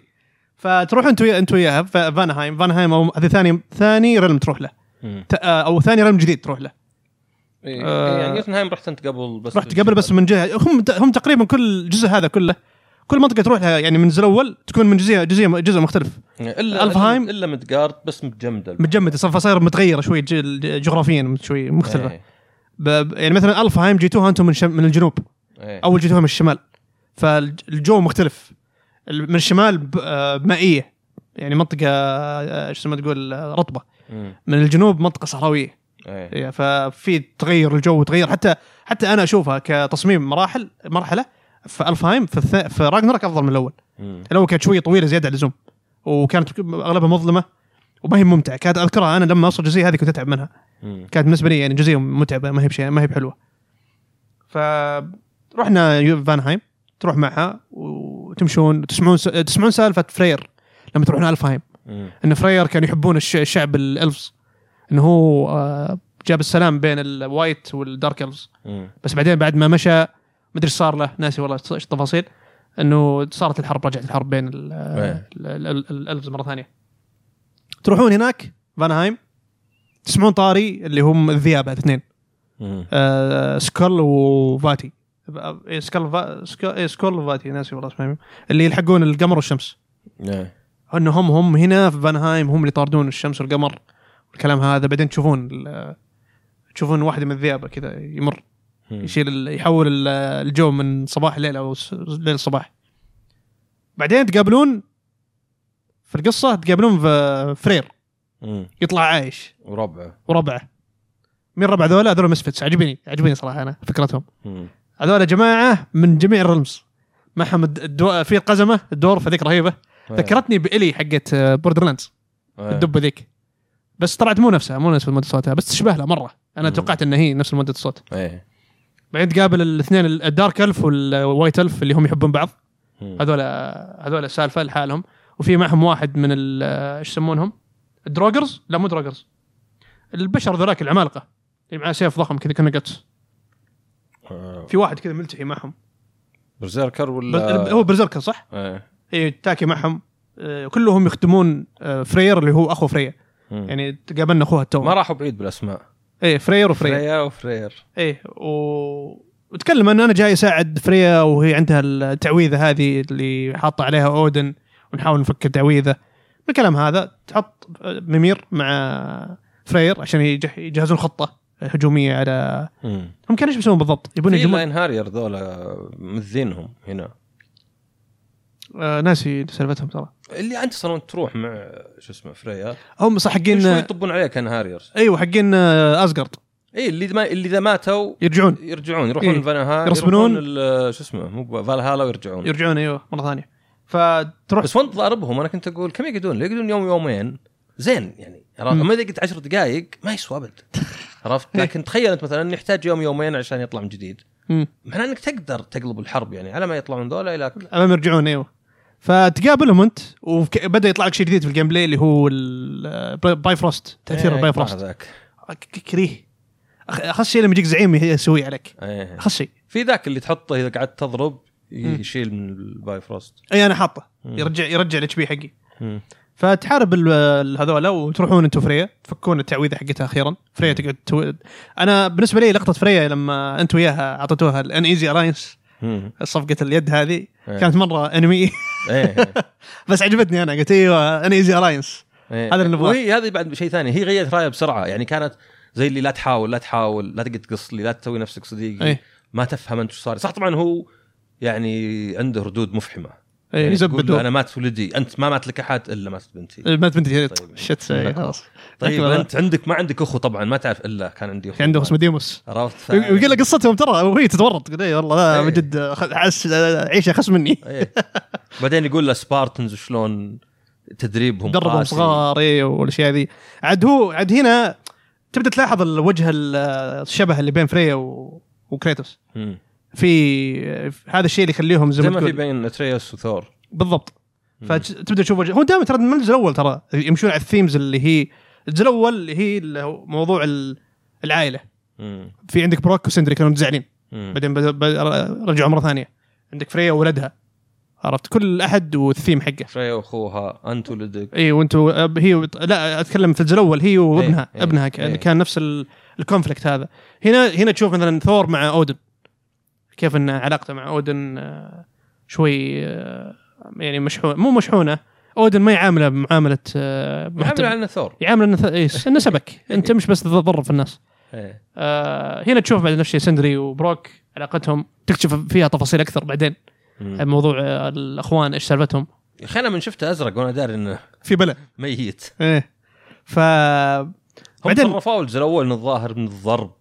A: فتروح انت ويا انت وياها ف- فانهايم فانهايم او هذه ثاني ثاني ريلم تروح له
B: مم.
A: ت- آه، او ثاني رمي جديد تروح له
B: إيه.
A: آه.
B: يعني يوتنهايم رحت انت قبل بس
A: رحت قبل بس من جهه هم هم تقريبا كل الجزء هذا كله كل منطقه تروح لها يعني من الجزء الاول تكون من جزئيه جزئيه جزء مختلف
B: الا
A: ألفهايم.
B: الفهايم الا متجارد بس متجمده
A: متجمده صار فصاير متغيره شوي ج- ج- جغرافيا شوي مختلفه
B: إيه.
A: ب- ب- يعني مثلا الفهايم جيتوها انتم من شم من الجنوب
B: إيه.
A: اول جيتوها من الشمال فالجو مختلف ال- من الشمال ب- آه، مائيه يعني منطقه آه، شو اسمها تقول آه، رطبه
B: مم.
A: من الجنوب منطقه صحراويه
B: إيه.
A: إيه، ففي تغير الجو تغير حتى حتى انا اشوفها كتصميم مراحل مرحله في الفهايم في, الث... في راجنرك افضل من الاول،
B: مم.
A: الاول كانت شويه طويله زياده عن اللزوم وكانت اغلبها مظلمه وما هي ممتعه، كانت اذكرها انا لما اوصل الجزئيه هذه كنت اتعب منها،
B: مم.
A: كانت بالنسبه لي يعني جزئيه متعبه ما هي بشيء ما هي بحلوه. ف رحنا يو- فانهايم تروح معها وتمشون تسمعون س... تسمعون سالفه فرير لما تروحون الفهايم
B: مم.
A: ان فرير كانوا يحبون الش- الشعب الالفز انه هو آه، جاب السلام بين الوايت والدارك الفز
B: مم.
A: بس بعدين بعد ما مشى ما ادري ايش صار له ناسي والله ايش التفاصيل انه صارت الحرب رجعت الحرب بين ال-
B: إيه.
A: ال- ال- ال- الالفز مره ثانيه تروحون هناك فانهايم تسمعون طاري اللي هم الذئاب الاثنين
B: مم.
A: آه، سكول وفاتي إيه، سكول فا... سكول... إيه، سكول وفاتي ناسي والله اسمهم اللي يلحقون القمر والشمس
B: إيه.
A: انه هم هم هنا في فانهايم هم اللي يطاردون الشمس والقمر والكلام هذا بعدين تشوفون ال- تشوفون واحد من الذئابه كذا يمر
B: مم.
A: يشيل ال- يحول ال- الجو من صباح الليل او س- ليل الصباح بعدين تقابلون في القصه تقابلون في فرير
B: مم.
A: يطلع عايش
B: وربعه
A: وربعه مين ربع ذولا هذول مسفتس عجبني عجبني صراحه انا فكرتهم
B: مم.
A: هذول جماعه من جميع الرمز معهم الد- الدو... في القزمه الدورفه ذيك رهيبه
B: إيه.
A: ذكرتني بالي حقت آه، بوردرلاندز
B: إيه.
A: الدبه ذيك بس طلعت مو نفسها مو نفس مده صوتها بس تشبه لها مره انا
B: مم.
A: توقعت انها هي نفس مده الصوت
B: ايه
A: بعدين تقابل الاثنين ال- الدارك الف والوايت الف اللي هم يحبون بعض
B: مم.
A: هذول هذول سالفه لحالهم وفي معهم واحد من ال- ايش يسمونهم؟ الدروجرز لا مو دروجرز البشر ذولاك العمالقه اللي معاه سيف ضخم كذا كانه قتس
B: آه،
A: في واحد كذا ملتحي معهم
B: برزيركر
A: بل...
B: ولا
A: هو برزركر صح؟
B: ايه
A: اي تاكي معهم آه، كلهم يخدمون آه، فرير اللي هو اخو فريا
B: مم.
A: يعني تقابلنا اخوها
B: ما
A: تو
B: راحوا بعيد بالاسماء
A: اي فرير وفريا
B: فريا وفرير
A: ايه و... وتكلم ان انا جاي اساعد فريا وهي عندها التعويذه هذه اللي حاطه عليها اودن ونحاول نفك التعويذه بالكلام هذا تحط ممير مع فرير عشان يجه- يجهزون خطه هجوميه على
B: مم.
A: هم كانوا ايش بيسوون بالضبط؟ يبون
B: في
A: يهجمون
B: لاين هارير ذولا مذينهم هنا
A: آه ناسي سالفتهم ترى
B: اللي انت اصلا تروح مع شو اسمه فريا
A: هم صح
B: كل شوي
A: حقين
B: يطبون عليك كان هارير
A: ايوه حقين آه، ازقرط
B: اي اللي ما اللي اذا ماتوا
A: يرجعون
B: يرجعون يروحون
A: إيه.
B: إيه؟ فالها
A: يرسبنون.
B: يروحون ال- شو اسمه مو فالهالا ويرجعون
A: يرجعون ايوه مره ثانيه فتروح
B: بس وانت ضاربهم انا كنت اقول كم يقعدون؟ لو يقعدون يوم يومين زين يعني عرفت؟
A: مم. إيه.
B: ما اذا قلت 10 دقائق ما يسوى ابد عرفت؟ لكن تخيل انت مثلا يحتاج يوم يومين عشان يطلع من جديد
A: مم.
B: معناه انك تقدر تقلب الحرب يعني على ما يطلعون ذولا الى
A: امام يرجعون ايوه فتقابلهم انت وبدا يطلع لك شيء جديد في الجيم بلاي اللي هو ال- باي فروست تاثير
B: إيه،
A: الباي
B: يطلع
A: فروست
B: ذاك
A: ك- كريه أخ- اخس شيء لما يجيك زعيم يسويه عليك
B: إيه.
A: اخس شيء
B: في ذاك اللي تحطه اذا قعدت تضرب
A: مم.
B: يشيل من الباي فروست
A: اي انا حاطه
B: مم.
A: يرجع يرجع الاتش بي حقي
B: مم.
A: فتحارب ال- ال- هذولا وتروحون انتم فريا تفكون التعويذه حقتها اخيرا فريا تقعد تو... انا بالنسبه لي لقطه فريا لما انت وياها اعطيتوها الان ايزي الاينس
B: مم.
A: صفقه اليد هذه
B: إيه.
A: كانت مره انمي
B: إيه.
A: بس عجبتني انا قلت ايوه ان ايزي الاينس
B: إيه.
A: هذا اللي نبغاه.
B: وهي هذه بعد شيء ثاني هي غيرت رايها بسرعه يعني كانت زي اللي لا تحاول لا تحاول لا تقعد تقص لي لا تسوي نفسك صديقي
A: إيه.
B: ما تفهم انت شو صار صح طبعا هو يعني عنده ردود مفحمه
A: إيه،
B: يعني
A: يزبد
B: تقول له انا مات ولدي انت ما مات لك احد الا مات بنتي
A: ما إيه، بنتي
B: طيب.
A: شت إيه، خلاص
B: طيب
A: أكبر.
B: انت عندك ما عندك اخو طبعا ما تعرف الا كان عندي اخو
A: في عنده اسمه ديموس
B: عرفت
A: ويقول لك قصتهم ترى وهي تتورط تقول اي والله لا
B: إيه.
A: من جد خ- حس عيشه خس مني
B: إيه. بعدين يقول له سبارتنز وشلون تدريبهم
A: دربهم
B: قاسي.
A: صغار إيه، اي والاشياء ذي عاد هو عاد هنا تبدا تلاحظ الوجه ال- الشبه اللي بين فريا و... وكريتوس
B: مم.
A: في هذا الشيء اللي يخليهم زي
B: زي
A: ما
B: ما في
A: تقول
B: بين اتريوس وثور
A: بالضبط
B: مم.
A: فتبدا تشوف وجه هو دائما ترى من الجزء الاول ترى يمشون على الثيمز اللي هي الجزء الاول اللي هي اللي هو موضوع ال- العائله
B: مم.
A: في عندك بروك وسندري كانوا متزعلين
B: مم.
A: بعدين بدأ- بدأ- رجعوا مره ثانيه عندك فريا وولدها عرفت كل احد والثيم حقه
B: فريا واخوها انت ولدك
A: اي وانتوا أب- هي وط- لا اتكلم في الجزء الاول هي وابنها
B: إيه،
A: ابنها كان,
B: إيه.
A: كان نفس ال- الكونفليكت هذا هنا هنا تشوف مثلا ثور مع اودن كيف ان علاقته مع اودن آه، شوي آه، يعني مشحون مو مشحونه اودن ما يعامله بمعامله آه،
B: محمد
A: محترم
B: على ثور
A: يعامله انه ث- إيه، انه سبك انت مش بس تضرب في الناس
B: إيه.
A: آه، هنا تشوف بعد نفس الشيء سندري وبروك علاقتهم تكتشف فيها تفاصيل اكثر بعدين
B: مم.
A: موضوع آه، الاخوان ايش سالفتهم
B: يا اخي انا من شفته ازرق وانا داري انه
A: في بلا
B: ميت
A: ايه ف
B: هم
A: بعدين-
B: صرفوه الجزء الاول من الظاهر من الضرب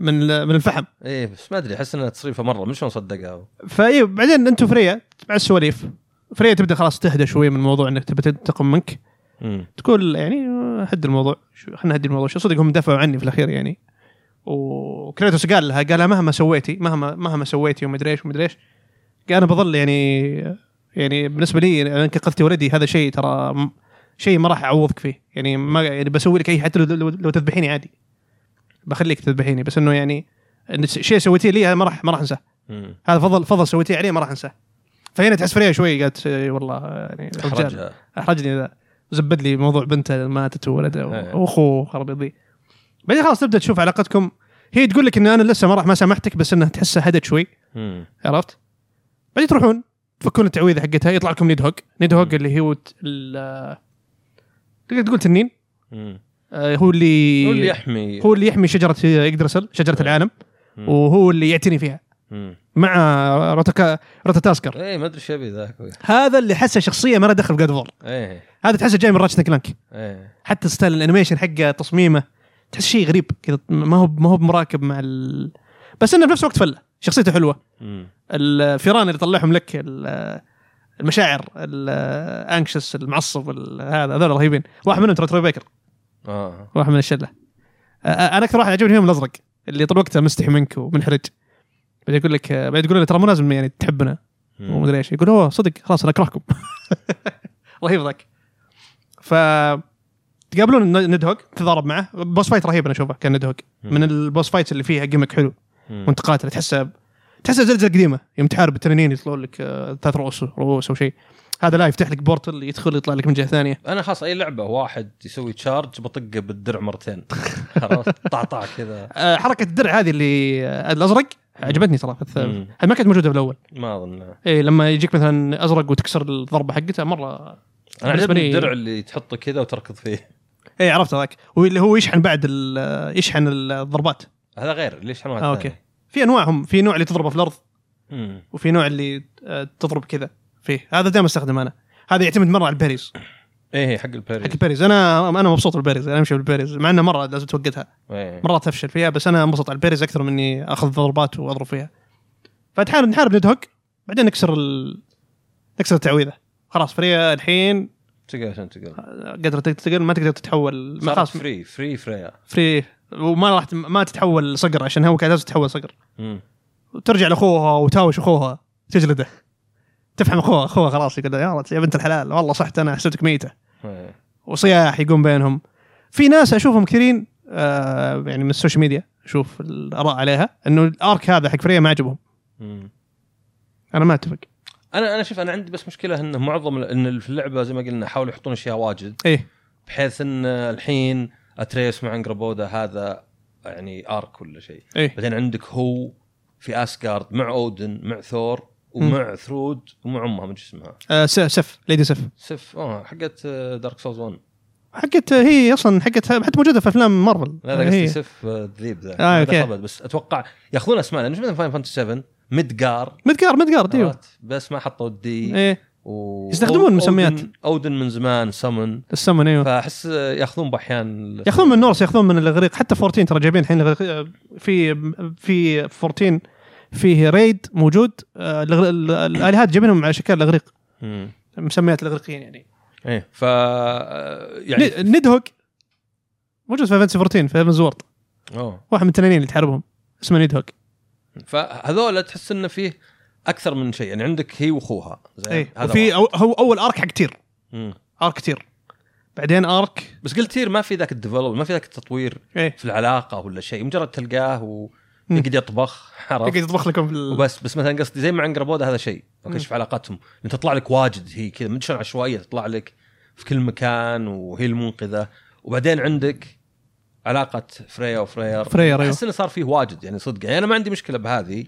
A: من ال- من الفحم
B: ايه بس ما ادري احس انها تصريفه مره مش شلون صدقها
A: فاي بعدين انتم فريا مع السواليف فريا تبدا خلاص تهدى شوي من موضوع انك تبي تنتقم منك
B: مم.
A: تقول يعني آه، هد الموضوع شو خلينا نهدي الموضوع شو صدق هم دفعوا عني في الاخير يعني وكريتوس قال لها قال لها مهما سويتي مهما مهما سويتي ومدري ايش ومدري ايش قال انا بظل يعني يعني بالنسبه لي انا قتلتي ولدي هذا شيء ترى م- شيء ما راح اعوضك فيه يعني ما يعني بسوي لك اي حتى لو, لو, لو تذبحيني عادي بخليك تذبحيني بس انه يعني إن شيء سويتيه لي هذا ما راح ما راح انساه
B: مم.
A: هذا فضل فضل سويتيه عليه ما راح انساه فهنا تحس فريا شوي قالت إيه والله يعني رجال
B: احرجها
A: احرجني ذا زبد لي موضوع بنته ماتت وولدها
B: إيه.
A: واخوه خرب يضيع بعدين خلاص تبدا تشوف علاقتكم هي تقول لك ان انا لسه ما راح ما سامحتك بس انها تحسها هدت شوي
B: مم.
A: عرفت بعدين تروحون تفكون التعويذه حقتها يطلع لكم نيد هوك نيد هوك اللي هو ت- ال- تقدر تقول تنين
B: مم.
A: آه، هو اللي
B: هو اللي يحمي إيه.
A: هو اللي يحمي شجره يقدرسل شجره العالم
B: مم.
A: وهو اللي يعتني فيها
B: مم.
A: مع رتكا رتتاسكر
B: ايه ما ادري ايش يبي ذاك
A: هذا اللي حسه شخصيه ما لها دخل بجاد فور
B: ايه
A: هذا تحسه جاي من راتشت كلانك
B: ايه
A: حتى ستايل الانيميشن حقه تصميمه تحس شيء غريب كذا ما هو ما هو مراكب مع ال... بس انه بنفس الوقت فله شخصيته حلوه
B: مم.
A: الفيران اللي طلعهم لك ال- المشاعر الانكشس المعصب ال- هذا هذول رهيبين واحد منهم ترى تروي بيكر
B: اه
A: واحد من الشله أ- أ- انا اكثر واحد عجبني فيهم الازرق اللي طول وقته مستحي منك ومنحرج بعدين يقول لك بعدين تقول له ترى مو لازم يعني تحبنا
B: مم.
A: ومدري ايش يقول اوه صدق خلاص انا اكرهكم رهيب ذاك ف تقابلون ندهوك تضارب معه بوس فايت رهيب انا اشوفه كان ندهوك من البوس فايتس اللي فيها جيمك حلو
B: مم.
A: وانت قاتل تحسه تحسه زلزله قديمه يوم تحارب التنانين يطلعون لك آه، ثلاث رؤوس رؤوس او شيء هذا لا يفتح لك بورتل يدخل يطلع لك من جهه ثانيه
B: انا خلاص اي لعبه واحد يسوي تشارج بطقه بالدرع مرتين عرفت طعطع كذا
A: آه، حركه الدرع هذه اللي آه، الازرق عجبتني ترى في الث-
B: مم.
A: هذه ما كانت موجوده بالاول
B: ما اظن
A: إيه لما يجيك مثلا ازرق وتكسر الضربه حقته مره
B: انا
A: بالنسبة
B: عجبني
A: لي-
B: الدرع اللي تحطه كذا وتركض فيه
A: اي إيه، عرفت هذاك واللي هو يشحن بعد ال- يشحن الضربات
B: هذا غير ليش حنوع
A: آه، اوكي في انواعهم في نوع اللي تضربه في الارض
B: اوكي
A: وفي نوع اللي آه، تضرب كذا فيه هذا دائما استخدمه انا هذا يعتمد مره على الباريز
B: ايه حق
A: حق
B: الباري
A: الباريز انا انا مبسوط بالباريز انا امشي بالباريز مع انه مره لازم توقتها
B: إيه.
A: مرات افشل فيها بس انا انبسط على الباريز اكثر من اني اخذ ضربات واضرب فيها فتحارب نحارب ندهك بعدين نكسر ال... نكسر التعويذه خلاص فريا الحين
B: تقدر عشان تقدر
A: آه، قادره تقتل ما تقدر تتحول ما
B: صارت
A: خلاص
B: فري فري فريا
A: فري وما راح ت- ما تتحول صقر عشان هو كان لازم تتحول صقر
B: مم.
A: وترجع لاخوها وتاوش اخوها تجلده تفهم اخوها اخوها خلاص يقول لها يا رت- يا بنت الحلال والله صحت انا حسبتك ميته
B: إيه.
A: وصياح يقوم بينهم في ناس اشوفهم كثيرين آه يعني من السوشيال ميديا اشوف الاراء عليها انه الارك هذا حق فريا ما عجبهم
B: مم.
A: انا ما اتفق
B: انا انا شوف انا عندي بس مشكله ان معظم ان في اللعبه زي ما قلنا حاولوا يحطون اشياء واجد
A: ايه
B: بحيث ان الحين اتريس مع انجربودا هذا يعني ارك ولا شيء
A: ايه
B: بعدين عندك هو في اسكارد مع اودن مع ثور ومع ثرود ومع امها من شو اسمها
A: آه س- سف ليدي سف
B: سف اه حقت دارك سولز 1
A: حقت هي اصلا حقت حتى موجوده في افلام مارفل
B: لا لا
A: هي.
B: قصدي سف آه، الذيب ذا
A: إيه. آه،
B: هذا
A: أوكي.
B: خبل، بس اتوقع ياخذون اسماء لأن مش مثل فاين فانتسي 7 مدقار
A: مدقار مدقار ايوه
B: عرفت؟ بس ما حطوا الدي
A: ايه
B: و...
A: يستخدمون
B: أودن-
A: مسميات.
B: اودن من زمان سمن
A: السمن ايوه
B: فاحس ياخذون باحيان
A: ياخذون من النورس ياخذون من الاغريق حتى 14 ترى جايبين الحين الإغريق- آه، في في 14 فيه ريد موجود آه، الإغريق- ال- الالهات جايبينهم على شكل الاغريق
B: مم.
A: مسميات الاغريقيين يعني,
B: ايه ف يعني
A: يعني ندهوك موجود في فانتسي 14 في ايفنز وورد
B: اوه
A: واحد من التنانين اللي تحاربهم اسمه ندهوك
B: آه، فهذول تحس انه فيه اكثر من شيء يعني عندك هي واخوها زين
A: اي
B: هذا
A: إيه. وفي
B: واحد.
A: أو هو اول ارك حق تير
B: مم.
A: ارك تير بعدين ارك
B: بس قلت تير ما في ذاك الديفلوب ما في ذاك التطوير
A: ايه
B: في العلاقه ولا شيء مجرد تلقاه و...
A: مم.
B: يقعد يطبخ عرفت
A: يقعد يطبخ لكم في ال-
B: وبس بس مثلا قصدي زي ما عنقربوده هذا شيء
A: مم.
B: اوكي شوف علاقتهم لأن تطلع لك واجد هي كذا من شلون عشوائيه تطلع لك في كل مكان وهي المنقذه وبعدين عندك علاقه فريا وفرير
A: فرير، أيوه.
B: احس انه صار فيه واجد يعني صدق يعني انا ما عندي مشكله بهذه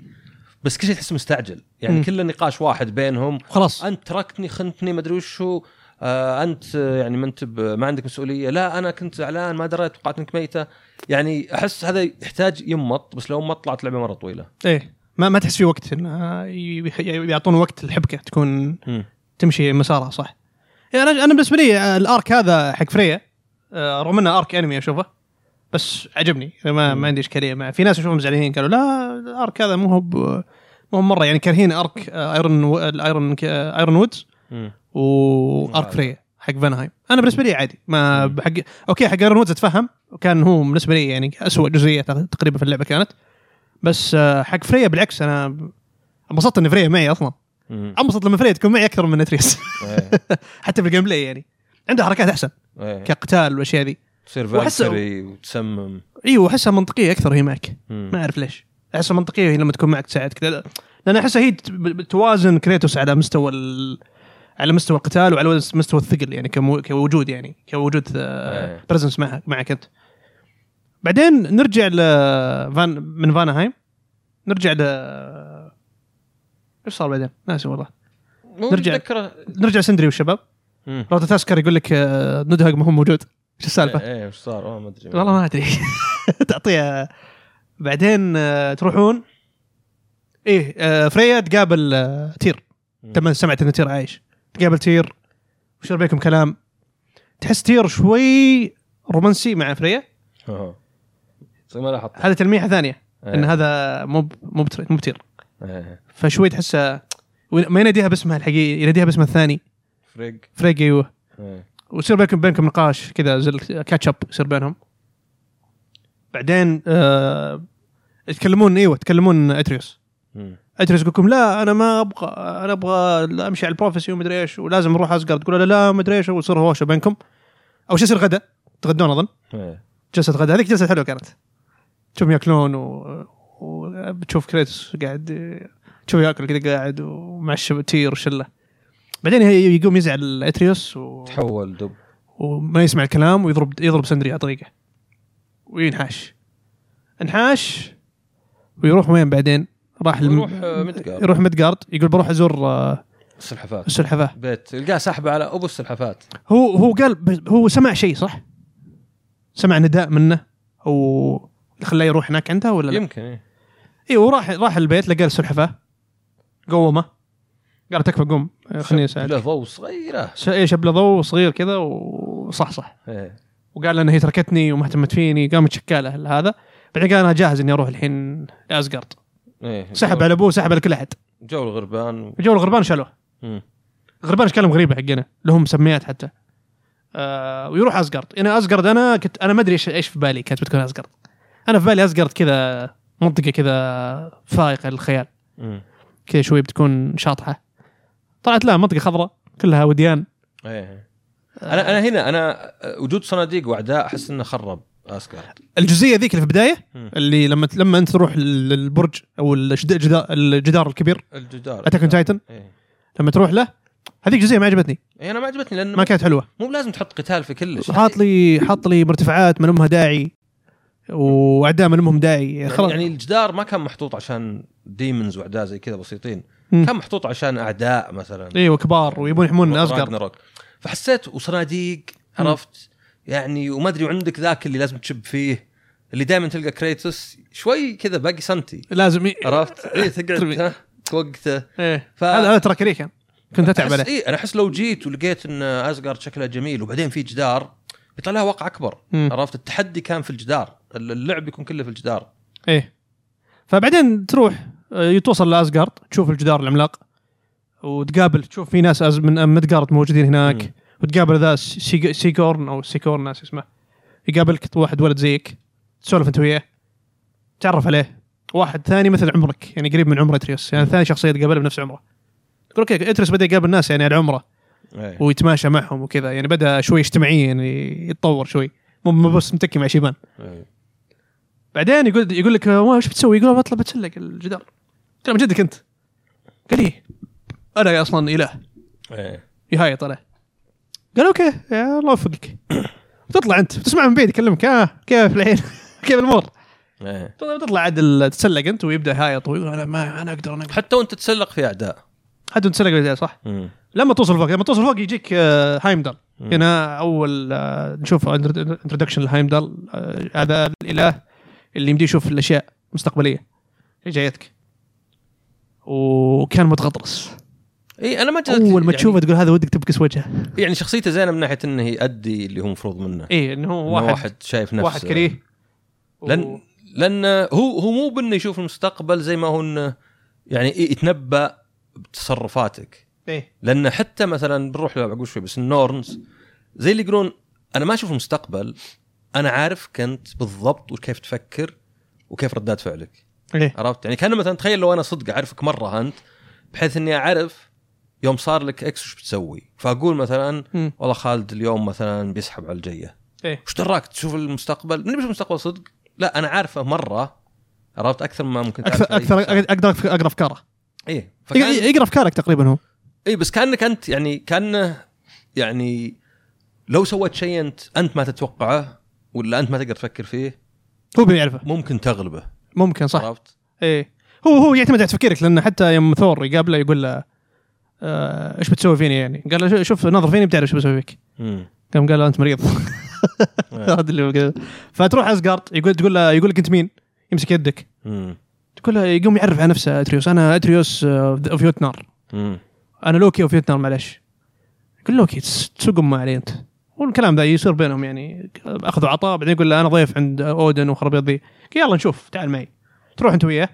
B: بس كل شيء تحس مستعجل يعني
A: مم.
B: كله نقاش واحد بينهم
A: خلاص
B: انت تركتني خنتني ما ادري وشو آه انت آه، يعني ما انت ب- ما عندك مسؤوليه لا انا كنت زعلان ما دريت توقعت انك ميته يعني احس هذا يحتاج يمط بس لو ما طلعت لعبه مره طويله
A: ايه ما ما تحس في وقت انه ي- ي- يعطون وقت الحبكه تكون
B: مم.
A: تمشي مسارها صح يعني انا انا بالنسبه لي آه، الارك هذا حق فريا آه، رغم انه ارك انمي اشوفه بس عجبني ما
B: مم.
A: ما عندي اشكاليه معه في ناس اشوفهم زعلانين قالوا لا الارك هذا مو هو ب- مو هو مره يعني كارهين ارك آه، ايرون و- الايرون آه، ايرون وودز
B: مم.
A: وارك
B: مم.
A: فريا حق فانهايم انا بالنسبه لي عادي ما
B: مم.
A: حق اوكي حق ايرون وودز اتفهم وكان هو بالنسبه لي يعني اسوء جزئيه تق- تقريبا في اللعبه كانت بس آه، حق فريا بالعكس انا انبسطت ان فريا معي اصلا
B: مم.
A: انبسط لما فريا تكون معي اكثر من اتريس
B: إيه،
A: حتى في الجيم بلاي يعني عنده حركات احسن
B: إيه.
A: كقتال والاشياء ذي
B: تصير
A: وأحس-
B: فالكري وتسمم
A: ايوه احسها منطقيه اكثر هي معك
B: مم.
A: ما اعرف ليش احسها منطقيه هي لما تكون معك تساعدك لأ- لان احسها هي ت- ب- توازن كريتوس على مستوى ال... على مستوى القتال وعلى وز- مستوى الثقل يعني كمو... كوجود يعني كوجود
B: إيه.
A: برزنس معك معك انت بعدين نرجع ل فان من فانهايم نرجع ل ايش صار بعدين؟ ناسي والله
B: مو إيه،
A: نرجع.
B: متذكره
A: نرجع سندري والشباب
B: مم.
A: روتا تاسكر يقول لك آه، نودهاج ما هو موجود شو السالفه؟
B: ايه إيه، وش صار والله ما ادري
A: والله ما ادري تعطيها بعدين آه، تروحون ايه آه، فريا تقابل آه، تير
B: مم.
A: تم سمعت ان تير عايش تقابل تير وشرب بيكم كلام تحس تير شوي رومانسي مع فريا
B: أوه. صدق ما لاحظت
A: هذا تلميحه ثانيه
B: إيه،
A: ان هذا مو ب- مو بتر- مو بتير
B: إيه.
A: فشوي تحسه ما يناديها باسمها الحقيقي يناديها باسمها الثاني
B: فريق
A: فريق ايوه
B: إيه.
A: ويصير بينكم بينكم نقاش كذا زي كاتش اب يصير بينهم بعدين آه يتكلمون ايوه يتكلمون اتريوس
B: مم.
A: اتريوس يقول لكم لا انا ما ابغى انا ابغى امشي على البروفيسي ومدري ايش ولازم نروح اسقر تقول له لا مدري ايش ويصير هوشه بينكم او شيء يصير غدا تغدون اظن
B: إيه.
A: جلسه غدا هذيك جلسه حلوه كانت تشوفهم ياكلون و... وتشوف كريتوس قاعد تشوف ياكل كذا قاعد ومع الشبتير وشله بعدين هي- يقوم يزعل اتريوس و...
B: تحول دب
A: وما يسمع الكلام ويضرب يضرب سندري على طريقه وينحاش انحاش ويروح وين بعدين؟ راح الم-
B: يروح، آه، مدقارد.
A: يروح مدقارد يقول بروح ازور آه،
B: السلحفاه
A: السلحفاه
B: بيت تلقاه سحبه على ابو السلحفات
A: هو هو قال ب- هو سمع شيء صح؟ سمع نداء منه او خلاه يروح هناك عندها ولا لا؟
B: يمكن إيه.
A: اي وراح راح البيت لقى السلحفاه قومه قال تكفى قوم آه، خليني اساعدك
B: له ضوء صغيره
A: ش- إيه، شب له ضوء صغير كذا وصحصح
B: إيه.
A: وقال انها هي تركتني وما اهتمت فيني قامت شكاله هذا بعدين قال انا جاهز اني اروح الحين لاسقرد
B: إيه.
A: سحب على ابوه سحب على كل احد
B: جو الغربان و...
A: جو الغربان شالوه
B: مم.
A: الغربان اشكالهم غريبه حقنا لهم مسميات حتى آه ويروح اسقرد انا اسقرد انا كنت انا ما ادري ايش ايش في بالي كانت بتكون اسقرد انا في بالي اسقرد كذا منطقه كذا فائقه للخيال
B: مم.
A: كذا شوي بتكون شاطحه طلعت لا منطقه خضراء كلها وديان
B: إيه.
A: آه.
B: انا انا هنا انا وجود صناديق واعداء احس انه خرب اسكارد
A: الجزئيه ذيك اللي في البدايه
B: مم.
A: اللي لما لما انت تروح للبرج او الجد- الجدار الجدار الكبير
B: الجدار
A: اتاك تايتن
B: إيه.
A: لما تروح له هذيك جزئيه ما عجبتني
B: إيه، انا ما عجبتني لانه
A: ما كانت حلوه
B: مو لازم تحط قتال في كل شيء
A: حاط لي حاط لي مرتفعات من امها داعي واعداء من امهم داعي
B: يعني,
A: خلاص
B: يعني الجدار ما كان محطوط عشان ديمونز واعداء زي كذا بسيطين
A: مم.
B: كان محطوط عشان اعداء مثلا
A: ايوه كبار ويبون يحمون اسقر
B: راجناروك. فحسيت وصناديق عرفت يعني وما ادري وعندك ذاك اللي لازم تشب فيه اللي دائما تلقى كريتوس شوي كذا باقي سنتي
A: لازم ي...
B: عرفت؟ اي تقعد
A: ترمي.
B: ها، توقته
A: ايه
B: ف- إيه.
A: هذا هذا ترى كان كنت اتعب عليه
B: اي انا احس لو جيت ولقيت ان ازقر شكلها جميل وبعدين في جدار بيطلع لها واقع اكبر
A: مم.
B: عرفت التحدي كان في الجدار اللعب يكون كله في الجدار
A: ايه فبعدين تروح آه، يتوصل لاسقارد تشوف الجدار العملاق وتقابل تشوف في ناس أز- من مدقارد موجودين هناك
B: مم.
A: وتقابل ذا سي- سيكورن او سيكورن ناس اسمه يقابلك واحد ولد زيك تسولف انت وياه تعرف عليه واحد ثاني مثل عمرك يعني قريب من عمر اتريوس يعني ثاني شخصيه تقابلها بنفس عمره تقول اوكي اتريوس بدا يقابل ناس يعني على عمره
B: إيه.
A: ويتماشى معهم وكذا يعني بدا شوي اجتماعيا يعني يتطور شوي مو مو بس متكي مع شيبان
B: إيه.
A: بعدين يقول يقول لك وش بتسوي؟ يقول بطلع بتسلق الجدار قال من جدك انت قال ايه انا اصلا اله
B: إيه.
A: يهايط انا قال اوكي يا الله يوفقك تطلع انت تسمع من بعيد يكلمك ها كيف الحين كيف الامور
B: إيه.
A: تطلع عاد ال- تتسلق انت ويبدا يهايط ويقول انا ما انا اقدر انا اقدر
B: حتى وانت تتسلق في اعداء
A: حتى تتسلق بعدين، صح
B: مم.
A: لما توصل فوق لما توصل فوق يجيك آه، هايمدال
B: مم.
A: هنا اول آه، نشوف انترودكشن لهايمدال آه، هذا الاله اللي يمديه يشوف الاشياء المستقبليه اللي جايتك وكان متغطرس
B: اي انا ما جلست-
A: اول ما
B: يعني-
A: تشوفه تقول هذا ودك تبكس وجهه
B: يعني شخصيته زينه من ناحيه انه يؤدي اللي هو مفروض منه
A: ايه انه هو
B: واحد,
A: واحد
B: واحد شايف نفسه
A: واحد كريه
B: لان لان هو هو مو بانه يشوف المستقبل زي ما هو انه يعني إيه يتنبا بتصرفاتك
A: ايه
B: لان حتى مثلا بنروح له بعقول شوي بس النورنز زي اللي يقولون انا ما اشوف المستقبل انا عارفك انت بالضبط وكيف تفكر وكيف ردات فعلك
A: ايه
B: عرفت يعني كان مثلا تخيل لو انا صدق اعرفك مره انت بحيث اني اعرف يوم صار لك اكس وش بتسوي فاقول مثلا
A: مم.
B: والله خالد اليوم مثلا بيسحب على الجيه
A: ايه
B: وش دراك تشوف المستقبل من بيشوف المستقبل صدق لا انا عارفه مره عرفت اكثر ما ممكن تعرف
A: اكثر
B: أي
A: اكثر
B: شخص.
A: اقدر اقرا افكاره
B: ايه فكان
A: يقرا افكارك تقريبا هو
B: اي بس كانك انت يعني كانه يعني لو سويت شيء انت انت ما تتوقعه ولا انت ما تقدر تفكر فيه
A: هو بيعرفه
B: ممكن تغلبه
A: ممكن صح
B: عرفت؟
A: ايه هو هو يعتمد على تفكيرك لانه حتى يوم ثور يقابله يقول له آه، ايش بتسوي فيني يعني؟ قال له شو- شوف نظر فيني بتعرف شو بسوي فيك.
B: مم.
A: قام قال له انت مريض هذا اللي هو كذا. فتروح اسجارد يقول تقول له يقول لك انت مين؟ يمسك يدك
B: مم.
A: تقول له يقوم يعرف على نفسه اتريوس انا اتريوس آه، فيوتنار
B: مم.
A: انا لوكي وفيتنار معلش يقول لوكي تس- تسوقهم ما علي انت والكلام ذا يصير بينهم يعني اخذ وعطاء بعدين يقول له انا ضيف عند اودن وخرابيط ذي قال يلا نشوف تعال معي تروح انت وياه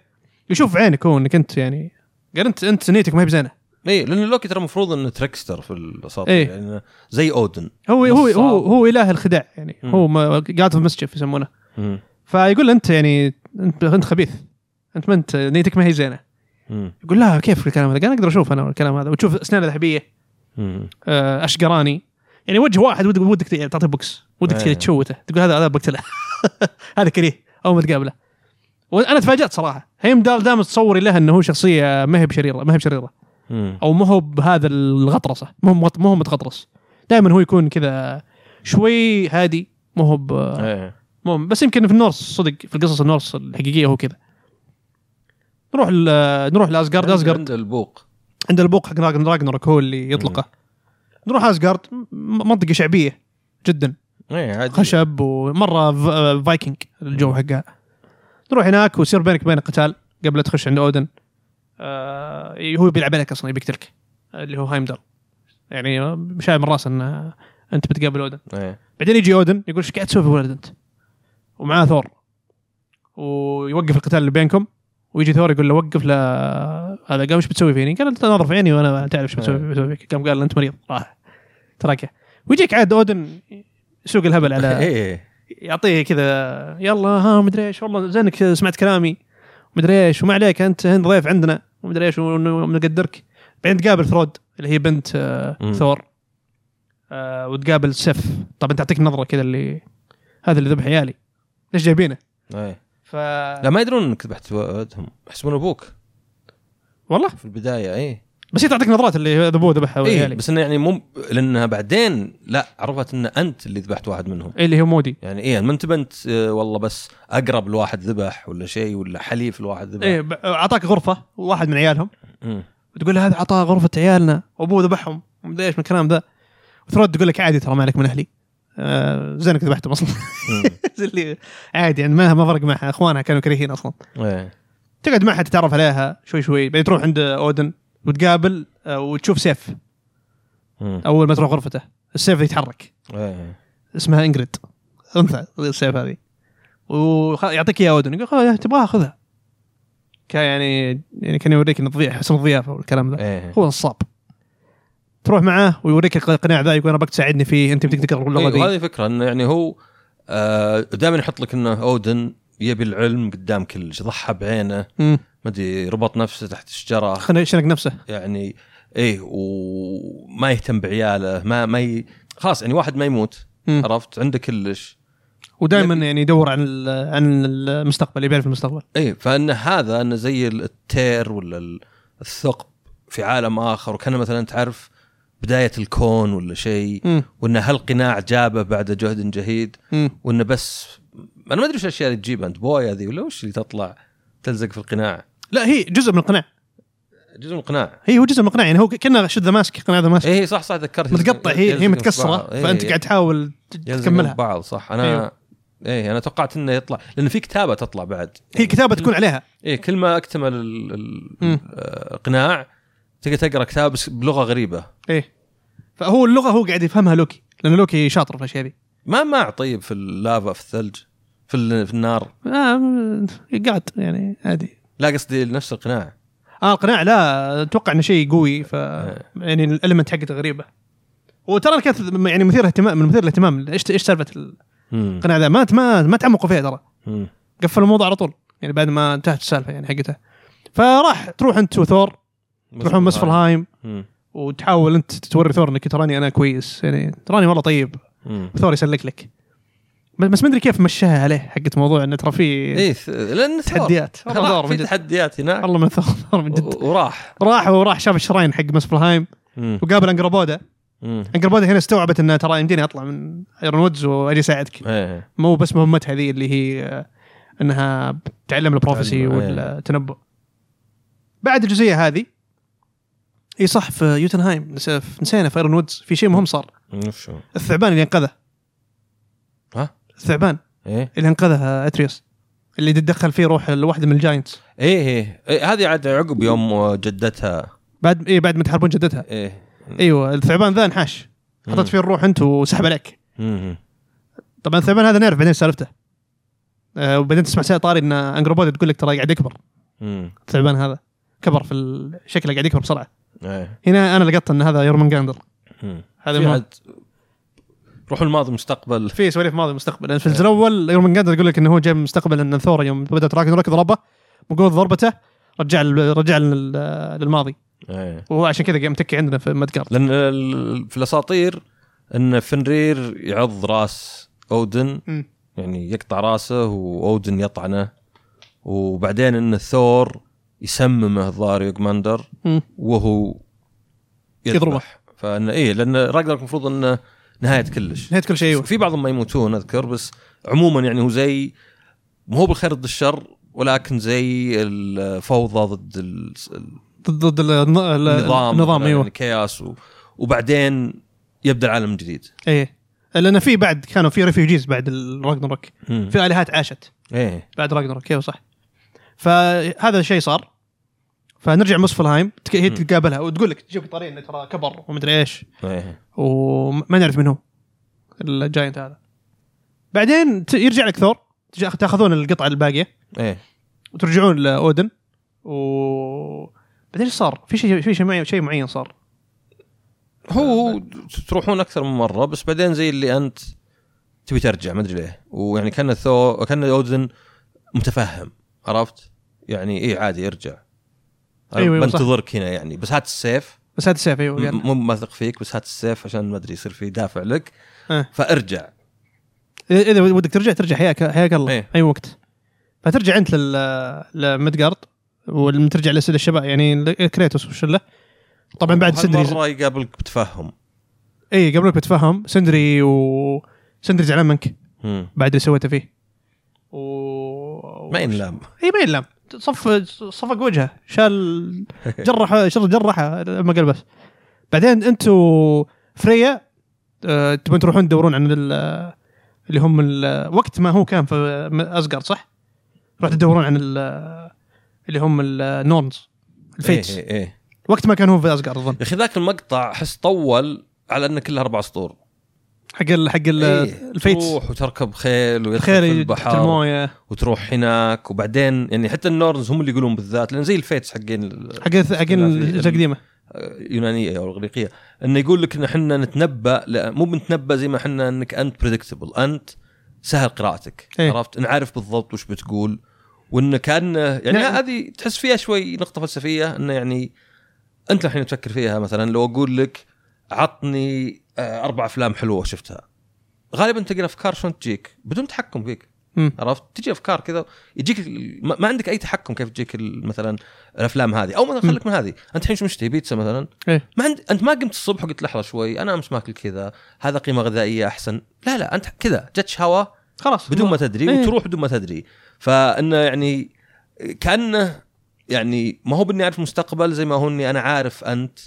A: يشوف عينك هو انك انت يعني قال انت انت نيتك ما هي بزينه
B: اي لان لوكي ترى المفروض انه تريكستر في الاساطير
A: إيه.
B: إيه؟ يعني زي اودن
A: هو هو
B: نصاب.
A: هو, هو اله الخداع يعني
B: مم.
A: هو قاعد في مسجف يسمونه
B: مم.
A: فيقول له انت يعني انت انت خبيث انت ما انت نيتك ما هي زينه
B: مم.
A: يقول لا كيف الكلام هذا؟ قال انا اقدر اشوف انا الكلام هذا وتشوف اسنانه ذهبيه
B: مم.
A: آه، اشقراني يعني وجه واحد ودك ودك تعطيه بوكس ودك
B: إيه.
A: تشوته تقول هذا هذا بقتله هذا كريه اول ما تقابله وانا تفاجات صراحه هيم دال دام تصوري له انه هو شخصيه ما هي بشريره ما هي بشريره
B: مم.
A: او ما هو بهذا الغطرسه ما هو مغط- ما هو متغطرس دائما هو يكون كذا شوي هادي ما هو ب-
B: إيه.
A: مهم بس يمكن في النورس صدق في القصص النورس الحقيقيه هو كذا نروح ل- نروح لاسجارد
B: عند-
A: اسجارد
B: عند البوق
A: عند البوق حق راجن راجنروك هو اللي يطلقه نروح اسجارد م- منطقه شعبيه جدا
B: اي عادي
A: خشب ومره ف- فايكنج الجو حقها نروح هناك ويصير بينك وبين قتال قبل لا تخش عند اودن آه هو بيلعب عليك اصلا يبيقتلك اللي هو هايمدر يعني شايل من راسه ان انت بتقابل اودن
B: إيه.
A: بعدين يجي اودن يقول ايش قاعد تسوي في ولد انت؟ ومعاه ثور ويوقف القتال اللي بينكم ويجي ثور يقول له وقف لا هذا قام ايش بتسوي فيني؟ قال انت ناظر في عيني وانا تعرف ايش بتسوي بسوي فيك قام قال له انت مريض راح تركه ويجيك عاد اودن يسوق الهبل على
B: ايه
A: يعطيه كذا يلا ها مدري ايش والله زينك سمعت كلامي مدري ايش وما عليك انت هند ضيف عندنا ومدري ايش ونقدرك بعدين تقابل ثرود اللي هي بنت آه،
B: مم.
A: ثور آه، وتقابل سيف طبعا تعطيك نظره كذا اللي هذا اللي ذبح عيالي ليش جايبينه؟
B: إيه.
A: ف
B: لا ما يدرون انك ذبحت ولدهم يحسبون ابوك
A: والله
B: في البدايه اي
A: بس هي تعطيك نظرات اللي هذا ابوه ذبحها
B: إيه.
A: عيالي
B: بس انه يعني مو لانها بعدين لا عرفت ان انت اللي ذبحت واحد منهم
A: إيه، اللي هو مودي
B: يعني ايه ما انت بنت آه، والله بس اقرب لواحد ذبح ولا شيء ولا حليف لواحد ذبح
A: ايه ب- اعطاك غرفه واحد من عيالهم
B: مم.
A: وتقول له هذا عطاه غرفة عيالنا وابوه ذبحهم ومدري ايش من الكلام ذا وثرود تقول لك عادي ترى مالك من اهلي آه زينك ذبحتهم اصلا
B: مم.
A: زي اللي عادي يعني ما ما فرق معها اخوانها كانوا كريهين اصلا
B: إيه.
A: تقعد معها تتعرف عليها شوي شوي بعدين تروح عند اودن وتقابل آه وتشوف سيف
B: مم.
A: اول ما تروح غرفته السيف ذا يتحرك
B: إيه.
A: اسمها انجريد انثى السيف هذه ويعطيك اياها اودن يقول خلاص تبغاها خذها كان يعني يعني كان يوريك إن الضيافة- حسن الضيافه والكلام ذا
B: إيه.
A: هو نصاب تروح معاه ويوريك القناع ذا يقول انا ابغاك تساعدني فيه انت بدك تقرا
B: إيه،
A: اللغه ذي
B: وهذه فكره انه يعني هو آه دائما يحط لك انه اودن يبي العلم قدام كل شيء ضحى بعينه
A: مم.
B: ما ادري ربط نفسه تحت الشجره
A: خلنا يشنق نفسه
B: يعني ايه وما يهتم بعياله ما ما ي... خلاص يعني واحد ما يموت
A: مم.
B: عرفت عنده كلش
A: ودائما يعني يدور عن ال- عن المستقبل يبيع في المستقبل
B: اي فان إيه، هذا انه زي التير ولا ال- الثقب في عالم اخر وكانه مثلا تعرف بدايه الكون ولا شيء
A: مم.
B: وان هالقناع جابه بعد جهد جهيد
A: مم.
B: وانه بس انا ما ادري وش الاشياء اللي تجيبها انت بويا ذي ولا وش اللي تطلع تلزق في القناع
A: لا هي جزء من القناع
B: جزء من القناع
A: هي هو جزء من القناع يعني هو كنا شد ذا ماسك قناع ذا ماسك
B: اي صح صح ذكرت
A: متقطع هي هي متكسره
B: إيه،
A: فانت قاعد تحاول ت-
B: تكملها
A: تكملها
B: بعض صح انا
A: أيوه.
B: ايه انا توقعت انه يطلع لان في كتابه تطلع بعد
A: هي كتابه تكون عليها
B: ايه كل ما اكتمل ال- ال-
A: مم.
B: آه، قناع تقدر تقرا كتاب بس بلغه غريبه
A: ايه فهو اللغه هو قاعد يفهمها لوكي لان لوكي شاطر في الاشياء ذي
B: ما مع طيب في اللافا في الثلج في, ال- في النار
A: آه م- قاعد يعني عادي
B: لا قصدي نفس القناع
A: اه القناع لا اتوقع انه شيء قوي ف يعني الالمنت حقته غريبه وترى كانت يعني مثير اهتمام من مثير الاهتمام ايش ايش سالفه
B: مم.
A: القناع ذا ما ما ما تعمقوا فيها ترى
B: مم.
A: قفلوا الموضوع على طول يعني بعد ما انتهت السالفه يعني حقتها فراح تروح انت وثور تروحون مسفلهايم
B: مم.
A: وتحاول انت توري ثور انك تراني انا كويس يعني تراني والله طيب
B: مم.
A: ثور يسلك لك بس بس ما ادري كيف مشاها عليه حقت موضوع انه ترى في
B: ايه ث- لان ثور.
A: تحديات. إيه. والله
B: راح
A: ثور
B: في
A: من جد.
B: تحديات هناك
A: والله من ثور ثور من جد
B: و- وراح
A: راح وراح شاف الشراين حق مسفلهايم
B: مم.
A: وقابل انقرابودا
B: مم.
A: انقرابودا هنا استوعبت انه ترى يمديني اطلع من ايرون وودز واجي اساعدك
B: ايه
A: مو بس مهمتها هذه اللي هي آه، انها تعلم البروفيسي
B: تعلم، إيه.
A: والتنبؤ بعد الجزئيه هذه اي صح في يوتنهايم نس- نسينا في ايرون وودز في شيء مهم صار
B: مم. شو
A: الثعبان اللي انقذه
B: ها
A: الثعبان
B: ايه
A: اللي انقذه اتريوس اللي تدخل فيه روح الواحده من الجاينتس
B: ايه ايه إيه، هذه عاد عقب يوم جدتها
A: بعد اي بعد ما تحاربون جدتها
B: ايه
A: ايوه الثعبان ذا انحاش
B: مم.
A: حطيت فيه الروح انت وسحب عليك
B: مم.
A: طبعا الثعبان هذا نعرف بعدين سالفته آه وبعدين تسمع سيد طاري ان انجروبود تقول لك ترى قاعد يكبر
B: مم.
A: الثعبان هذا كبر في ال- شكله قاعد يكبر بسرعه
B: ايه
A: هنا انا لقطت ان هذا يورمنغاندر
B: مم.
A: هذا
B: في
A: المهم.
B: عاد روحوا الماضي مستقبل
A: في سواليف ماضي مستقبل لان في الجزء الاول يورمنغاندر يقول لك انه هو جاي من المستقبل ان ثور يوم بدا تراكن ركض ضربه من قوه ضربته رجع ال- رجع لل- للماضي
B: ايه
A: وهو عشان كذا قام متكي عندنا في مدقارد
B: لان ال- في الاساطير ان فنرير يعض راس اودن
A: مم.
B: يعني يقطع راسه واودن يطعنه وبعدين ان ثور يسممه ظهر يوغماندر
A: مم.
B: وهو
A: يضربه.
B: يذبح فان ايه لان راجنر المفروض انه نهايه كلش
A: نهايه كل شيء ايوه
B: أيوة، في بعضهم ما يموتون اذكر بس عموما يعني هو زي مو بالخير ضد الشر ولكن زي الفوضى ضد ال-
A: ضد ضد ال- الن- ال-
B: النظام
A: النظام ايوه
B: كياس و... وبعدين يبدا العالم جديد
A: ايه لان في بعد كانوا في ريفيوجيز بعد الراجنروك في الهات عاشت
B: ايه
A: بعد راجنروك ايوه صح فهذا الشيء صار فنرجع مسفلهايم تك- هي تقابلها وتقول لك تجيب طاري انه ترى كبر ومدري ايش
B: ايه
A: وما نعرف من هو الجاينت هذا بعدين ت- يرجع لك ثور تج- تاخذون القطعه الباقيه
B: ايه
A: وترجعون لاودن و بعدين ايش صار؟ في شيء في شيء معين شيء معين صار
B: هو هو تروحون اكثر من مره بس بعدين زي اللي انت تبي ترجع ما ادري ليه ويعني كان ثو كان اودن متفهم عرفت؟ يعني ايه عادي ارجع انا
A: أيوة، أيوة، صح.
B: بنتظرك هنا يعني بس هات السيف
A: بس هذا السيف ايوه قال.
B: م- مو ما اثق فيك بس هات السيف عشان ما ادري يصير في دافع لك
A: آه.
B: فارجع
A: اذا ودك ترجع ترجع حياك حياك الله
B: إيه.
A: اي وقت فترجع انت لل لمدقارد ولما ترجع لسيد الشباب يعني ل- كريتوس والشله طبعا بعد سندري
B: مره يقابلك بتفهم
A: اي قبل بتفهم سندري و سندري زعلان منك
B: مم.
A: بعد اللي سويته فيه و
B: ما ينلام
A: اي إيه، ما ينلام صف صفق وجهه شال جرح شر جرحه لما قال بس بعدين انتوا فريا آه، تبون تروحون تدورون عن ال- اللي هم ال- وقت ما هو كان في ازقر صح؟ رحت تدورون عن ال- اللي هم النورنز الفيتس
B: ايه ايه, إيه.
A: وقت ما كان هو في ازقر اظن
B: يا اخي ذاك المقطع احس طول على انه كله اربع سطور
A: حق ال حق ال-
B: إيه،
A: الفيتس
B: تروح وتركب خيل ويدخل
A: الخير
B: في
A: يجي تحت
B: البحر
A: المويه
B: وتروح هناك وبعدين يعني حتى النورنز هم اللي يقولون بالذات لان زي الفيتس حقين ال-
A: حق حق الأجزاء القديمه
B: اليونانيه او الاغريقيه انه يقول لك ان احنا نتنبا لا مو بنتنبا زي ما احنا انك انت بريدكتبل انت سهل قراءتك
A: إيه.
B: عرفت نعرف بالضبط وش بتقول وانه كانه يعني
A: نعم.
B: هذه تحس فيها شوي نقطه فلسفيه انه يعني انت الحين تفكر فيها مثلا لو اقول لك عطني آه، اربع افلام حلوه شفتها غالبا تلقى افكار شلون تجيك بدون تحكم فيك
A: مم.
B: عرفت تجي افكار كذا يجيك ال- ما ما عندك اي تحكم كيف تجيك ال- مثلا الافلام هذه او مثلا خليك من هذه انت الحين شو مشتهي بيتزا مثلا
A: إيه.
B: ما عند... انت ما قمت الصبح وقلت لحظه شوي انا امس ماكل كذا هذا قيمه غذائيه احسن لا لا انت كذا جت شهوه
A: خلاص
B: بدون ما تدري
A: إيه.
B: وتروح بدون ما تدري فانه يعني كانه يعني ما هو باني اعرف مستقبل زي ما هو اني انا عارف انت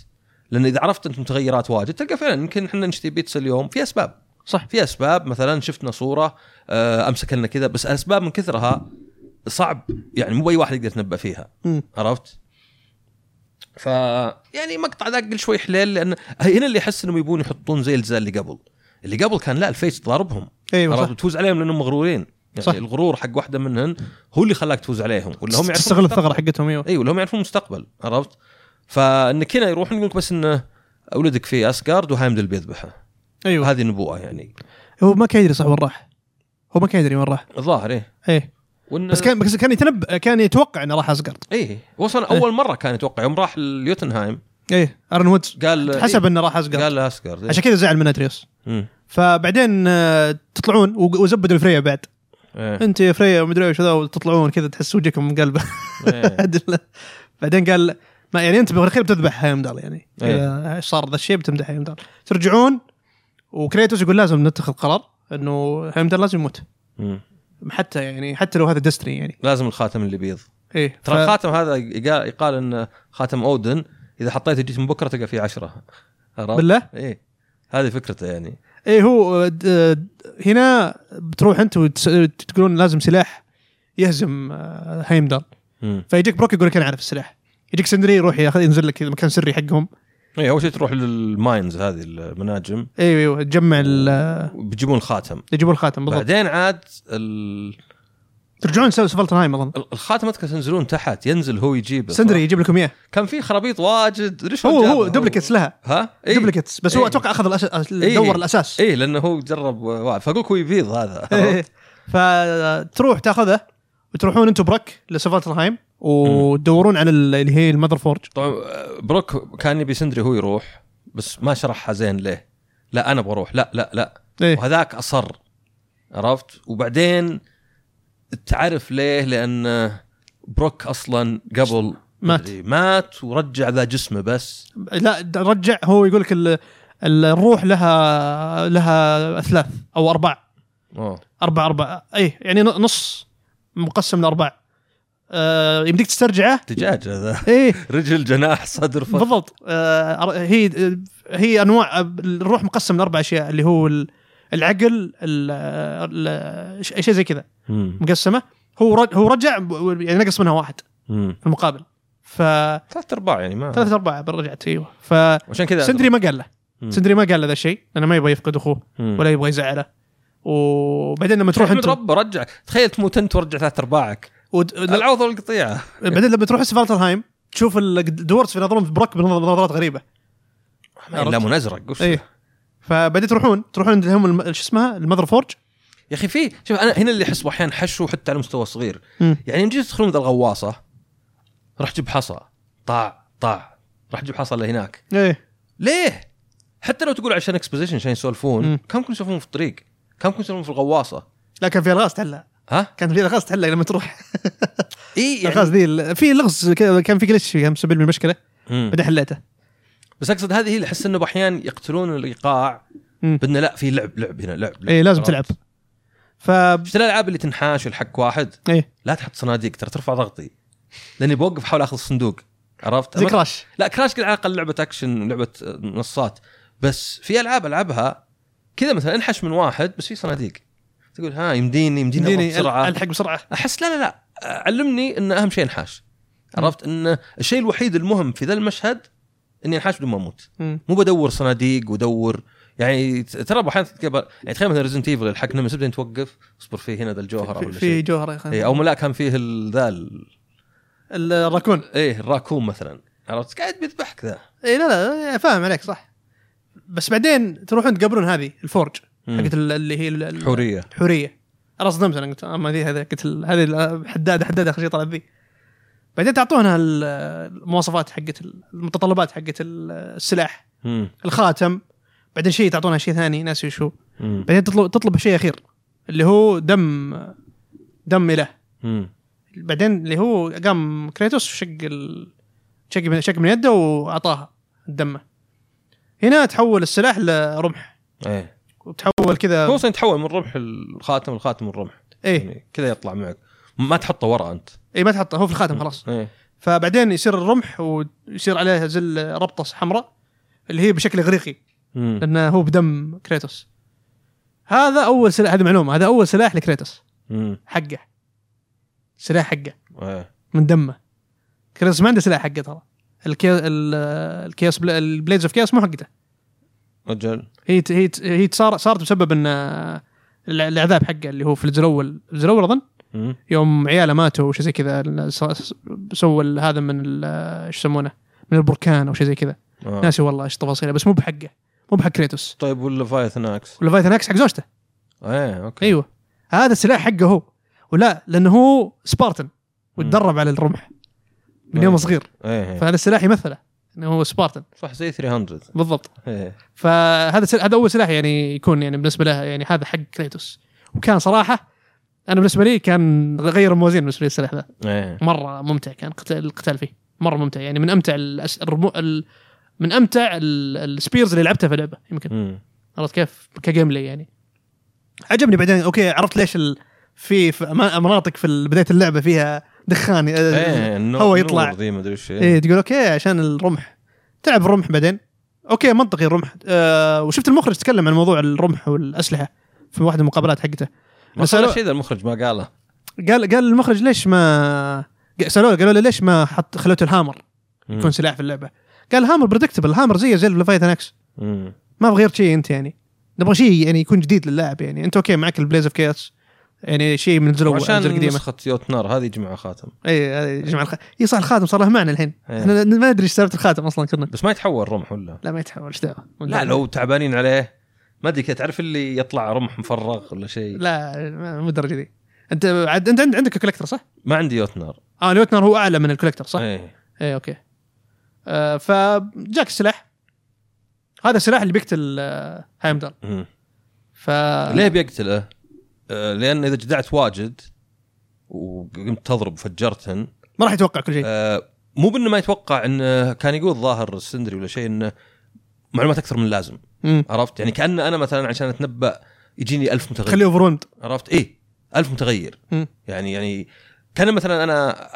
B: لان اذا عرفت انت متغيرات واجد تلقى فعلا يمكن احنا نشتري بيتزا اليوم في اسباب
A: صح
B: في اسباب مثلا شفنا صوره آه، امسك لنا كذا بس الاسباب من كثرها صعب يعني مو اي واحد يقدر يتنبا فيها
A: مم.
B: عرفت؟ ف يعني مقطع ذاك قل شوي حليل لان هنا اللي احس انهم يبون يحطون زي الزال اللي قبل اللي قبل كان لا الفيس ضاربهم
A: ايوه
B: عرفت
A: صح
B: تفوز عليهم لانهم مغرورين يعني
A: صح.
B: صح. الغرور حق واحده منهن هو اللي خلاك تفوز عليهم ولا هم يعرفون
A: تستغل الثغره
B: المستقبل.
A: حقتهم ايوه
B: اي ولا هم يعرفون المستقبل عرفت فانك هنا يروحون يقول لك بس انه ولدك في اسكارد وهايمدل بيذبحه
A: ايوه
B: هذه نبوءه يعني
A: هو ما كان يدري صح وين راح هو ما كان يدري وين راح
B: الظاهر ايه
A: ايه
B: وإن
A: بس كان بس كان يتنبأ كان يتوقع انه راح اسقط
B: ايه وصل
A: إيه.
B: اول مره كان يتوقع يوم راح ليوتنهايم
A: ايه ارن وودز
B: قال
A: حسب انه راح
B: إيه
A: اسقط
B: قال اسكارد إيه.
A: عشان كذا زعل من اتريوس
B: مم.
A: فبعدين آه، تطلعون وق- وزبدوا الفريا بعد
B: إيه.
A: انت يا فريا ومدري ايش ذا وتطلعون كذا تحس وجهكم من قلبه
B: إيه.
A: عدل. بعدين قال ما يعني انت بالاخير بتذبح هيمدال يعني
B: إيه.
A: اذا صار ذا الشيء بتمدح هيمدال ترجعون وكريتوس يقول لازم نتخذ قرار انه هيمدال لازم يموت
B: مم.
A: حتى يعني حتى لو هذا ديستني يعني
B: لازم الخاتم اللي بيض
A: ايه
B: ترى
A: ف-
B: الخاتم هذا يقال, يقال انه خاتم اودن اذا حطيته جيت من بكره تلقى فيه عشرة عرفت؟
A: بالله
B: ايه هذه فكرته يعني
A: ايه هو آه، د- آه، هنا بتروح انت وتقولون لازم سلاح يهزم آه، هيمدال
B: امم
A: فيجيك بروك يقول لك انا عارف السلاح يجيك سندري يروح ياخذ ينزل لك كذا مكان سري حقهم
B: اي اول إيه، شيء تروح للماينز هذه المناجم
A: ايوه ايوه تجمع ال-
B: بيجيبون الخاتم
A: يجيبون الخاتم آه. بالضبط
B: بعدين عاد ال-
A: ترجعون سووا سفلتنهايم اظن
B: ال- الخاتم اذكر تنزلون تحت ينزل هو يجيبه
A: سندري يجيب لكم اياه
B: كان في خرابيط واجد ليش
A: هو
B: جابها؟
A: هو دوبلكتس لها
B: ها؟ إيه؟
A: دوبلكتس بس هو
B: إيه.
A: اتوقع اخذ الأس...
B: إيه.
A: دور الاساس
B: ايه لانه هو جرب واحد فاقول لك هو يبيض هذا
A: إيه. فتروح تاخذه وتروحون انتم برك لسفلتنهايم وتدورون على ال- اللي هي المذر فورج
B: طبعا آه، بروك كان يبي سندري هو يروح بس ما شرحها زين ليه لا انا بروح لا لا لا
A: ايه
B: وهذاك اصر عرفت وبعدين تعرف ليه لان بروك اصلا قبل
A: مات.
B: مدري مات ورجع ذا جسمه بس
A: لا د- رجع هو يقول لك ال... ال- الروح لها لها اثلاث او ارباع
B: أوه.
A: اربع اربع اي يعني ن- نص مقسم لارباع آه يمديك تسترجعه
B: دجاج هذا
A: ايه
B: رجل جناح صدر فخ
A: بالضبط آه هي هي انواع الروح مقسم لاربع اشياء اللي هو ال- العقل ال- ال- ش- شيء زي كذا
B: مم.
A: مقسمه هو رج- هو رجع ب- يعني نقص منها واحد
B: مم.
A: في المقابل ف
B: ثلاث ارباع يعني ما
A: ثلاث ارباع رجعت ايوه فسندري
B: عشان كذا
A: ما قال له
B: مم.
A: سندري ما قال له ذا الشيء لانه ما يبغى يفقد اخوه
B: مم.
A: ولا يبغى يزعله وبعدين لما تروح
B: تروح
A: انت
B: رب رجع تخيل تموت انت ورجع ثلاث ارباعك
A: ود- لا،
B: العوض والقطيعه
A: بعدين لما تروح سفالترهايم تشوف الدورس ينظرون في بروك بنظرات غريبه عرفت؟
B: لا ازرق وش
A: ايه فبعدين تروحون تروحون عند هم الم- شو اسمها المذر فورج
B: يا اخي في شوف انا هنا اللي احسه احيانا حشو حتى على مستوى صغير
A: مم.
B: يعني يوم جيت تدخلون ذا الغواصه راح تجيب حصى طاع طاع راح تجيب حصى لهناك
A: ايه
B: ليه؟ حتى لو تقول عشان اكسبوزيشن عشان
A: مم.
B: يسولفون كم كنتوا تسولفون في الطريق؟ كم كنتوا تسولفون في الغواصه؟
A: لا كان في الغاز تحلها
B: ها؟
A: كان في الغاز تحلها لما تروح
B: يعني- اي
A: الغاز
B: يعني
A: ذي ال- في لغز كذا كان في جلتش في 50% من المشكله
B: مم.
A: بعدين حليته
B: بس اقصد هذه هي اللي احس انه احيانا يقتلون الايقاع
A: مم.
B: بدنا لا في لعب لعب هنا لعب, لعب
A: ايه لازم
B: عرفت؟
A: تلعب ف
B: شفت الالعاب اللي تنحاش والحق واحد
A: ايه
B: لا تحط صناديق ترى ترفع ضغطي لاني بوقف احاول اخذ الصندوق عرفت؟
A: زي
B: أما-
A: كراش
B: لا كراش كل على الاقل لعبه اكشن لعبه آه، منصات بس في العاب العبها كذا مثلا انحش من واحد بس في صناديق تقول ها يمديني يمديني, يمديني
A: اديني
B: بسرعه
A: الحق بسرعه
B: احس لا لا لا علمني ان اهم شيء انحاش عرفت ان الشيء الوحيد المهم في ذا المشهد اني انحاش بدون ما اموت
A: مم.
B: مو بدور صناديق ودور يعني ت- ترى بعض احيانا تتقبل- يعني تخيل مثلا ريزنت ايفل الحق نمس بعدين توقف اصبر فيه هنا ذا الجوهره
A: في-
B: ولا
A: في
B: شيء
A: جوهره يا اخي
B: إيه، او لا كان فيه ال- ذا ال-
A: الراكون
B: ايه الراكون مثلا عرفت قاعد بيذبحك ذا
A: اي إيه، لا لا يعني فاهم عليك صح بس بعدين تروحون تقابلون هذه الفورج
B: مم.
A: حقت ال- اللي هي ال- ال-
B: حوريه
A: الحوريه انا صدمت انا قلت اما ذي هذا قلت ال- هذه ال- حداده حداده اخر شيء طلعت ذي بعدين تعطونها ال- المواصفات حقت ال- المتطلبات حقت ال- السلاح
B: مم.
A: الخاتم بعدين شيء تعطونها شيء ثاني ناسي شو
B: مم.
A: بعدين تطلب تطلب شيء اخير اللي هو دم دم اله
B: مم.
A: بعدين اللي هو قام كريتوس شق ال... شق من شق من يده واعطاها دمه هنا تحول السلاح لرمح
B: ايه
A: وتحول كذا
B: هو اصلا يتحول من رمح الخاتم الخاتم الرمح
A: ايه
B: يعني كذا يطلع معك ما تحطه ورا انت
A: اي إيه، ما تحطه هو في الخاتم خلاص
B: ايه
A: فبعدين يصير الرمح ويصير عليها زل ربطه حمراء اللي هي بشكل اغريقي
B: مم.
A: لانه هو بدم كريتوس هذا اول سلاح هذه معلومه هذا اول سلاح لكريتوس
B: مم.
A: حقه سلاح حقه
B: ايه
A: من دمه كريتوس ما عنده سلاح حقه ترى الكي... ال- الكياس بلا... البليدز اوف كياس مو حقته
B: اجل
A: هي ت... هي ت... هي صار... صارت بسبب ان آه، الع- العذاب حقه اللي هو في الجزء الاول الجزء الاول اظن
B: مم.
A: يوم عياله ماتوا وشي زي كذا ال- س- سووا ال- هذا من ال- ايش يسمونه من البركان او شيء زي كذا
B: آه.
A: ناسي والله ايش تفاصيله بس مو بحقه مو بحق كريتوس
B: طيب والليفايثن اكس
A: والليفايثن اكس حق زوجته
B: ايه اوكي
A: ايوه هذا السلاح حقه هو ولا لانه هو سبارتن وتدرب على الرمح من يوم
B: أيوة.
A: صغير
B: ايه إيه.
A: فهذا السلاح يمثله انه هو سبارتن
B: صح زي 300
A: بالضبط
B: ايه
A: فهذا سل... هذا اول سلاح يعني يكون يعني بالنسبه له يعني هذا حق كريتوس وكان صراحه انا بالنسبه لي كان غير الموازين بالنسبه لي السلاح ذا
B: ايه
A: مره ممتع كان قتال القتال فيه مره ممتع يعني من امتع الأس... الرمو... ال... من امتع ال... السبيرز اللي لعبتها في اللعبه يمكن
B: مم.
A: عرفت كيف كجيم بلاي يعني عجبني بعدين اوكي عرفت ليش ال... في في أما- مناطق في بدايه اللعبه فيها دخان آه،
B: ايه النور
A: هو يطلع
B: النور ذي ما ادري ايش
A: ايه تقول اوكي عشان الرمح تلعب الرمح بعدين اوكي منطقي الرمح آه وشفت المخرج تكلم عن موضوع الرمح والاسلحه في واحده من المقابلات حقته
B: ما
A: سألوه-
B: قال شيء ذا المخرج ما قاله
A: قال قال المخرج ليش ما ق- سالوه قالوا له ليش ما حط خلوت الهامر
B: مم.
A: يكون سلاح في اللعبه قال الهامر بريدكتبل الهامر زيه زي الفايتن اكس
B: مم.
A: ما بغير شيء انت يعني نبغى شيء يعني يكون جديد للاعب يعني انت اوكي معك البليز اوف كيس يعني شيء من الزلو الأجزاء
B: عشان
A: القديمه
B: نسخة يوتنار هذه جمع خاتم
A: اي هذه جمع إيه، الخ... اي صح الخاتم صار له معنى الحين
B: إيه.
A: احنا ما ندري ايش سالفه الخاتم اصلا كنا
B: بس ما يتحول رمح ولا
A: لا ما يتحول ايش دعوه
B: لا لو تعبانين عليه ما ادري كذا تعرف اللي يطلع رمح مفرغ ولا شيء
A: لا ما- مو الدرجه دي انت عاد انت عند- عندك كوليكتر صح؟
B: ما عندي يوتنار
A: اه اليوتنر هو اعلى من الكوليكتر صح؟ اي
B: ايه
A: اوكي آه فجاك السلاح هذا السلاح اللي بيقتل آه هايمدال
B: مم.
A: ف
B: ليه بيقتله؟ آه، لان اذا جدعت واجد وقمت تضرب وفجرتهن
A: ما راح يتوقع كل شيء
B: آه، مو بانه ما يتوقع انه كان يقول ظاهر السندري ولا شيء انه معلومات اكثر من اللازم
A: مم.
B: عرفت يعني كان انا مثلا عشان اتنبا يجيني ألف متغير
A: خليه اوفر
B: عرفت ايه ألف متغير
A: مم.
B: يعني يعني كان مثلا انا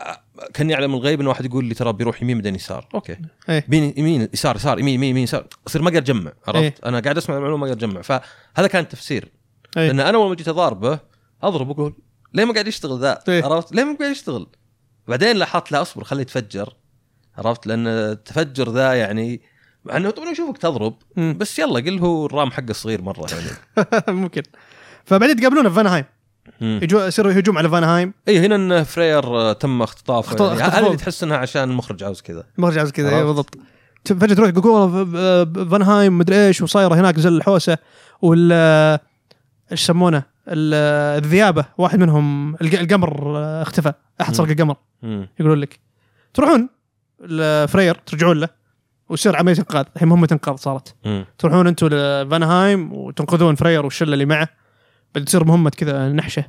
B: كاني اعلم الغيب ان واحد يقول لي ترى بيروح يمين بعدين يسار اوكي
A: إيه.
B: يمين يمين يسار يسار يمين يمين يمين يسار اصير ما اقدر اجمع عرفت
A: إيه.
B: انا قاعد اسمع المعلومه ما اقدر اجمع فهذا كان التفسير
A: إيه.
B: لان انا اول ما جيت اضاربه اضرب واقول ليه ما قاعد يشتغل ذا
A: إيه.
B: عرفت ليه ما قاعد يشتغل بعدين لاحظت لا اصبر خليه يتفجر عرفت لان التفجر ذا يعني مع انه طبعا يشوفك تضرب
A: مم.
B: بس يلا قل هو الرام حقه صغير مره يعني
A: ممكن فبعدين يتقابلون في فانهايم
B: مم.
A: يجو يصير هجوم على فانهايم
B: اي إيه، هنا ان فرير آه، تم اختطافه
A: اخت-
B: يعني هذا
A: اختطفوه.
B: اللي تحس انها عشان المخرج عاوز كذا
A: مرجع زي كذا
B: عرفت.
A: إيه، بالضبط ت- فجاه تروح آه، تقول والله ف- ف- فانهايم مدري ايش وصايره هناك زل الحوسه وال ايش يسمونه ال- الذيابه واحد منهم الق- القمر آه، اختفى احد سرق
B: مم.
A: القمر
B: مم.
A: يقولون لك تروحون لفرير ترجعون له ويصير عمليه انقاذ الحين مهمه انقاذ صارت
B: مم.
A: تروحون انتم لفانهايم وتنقذون فرير والشله اللي معه بعد تصير مهمه كذا نحشه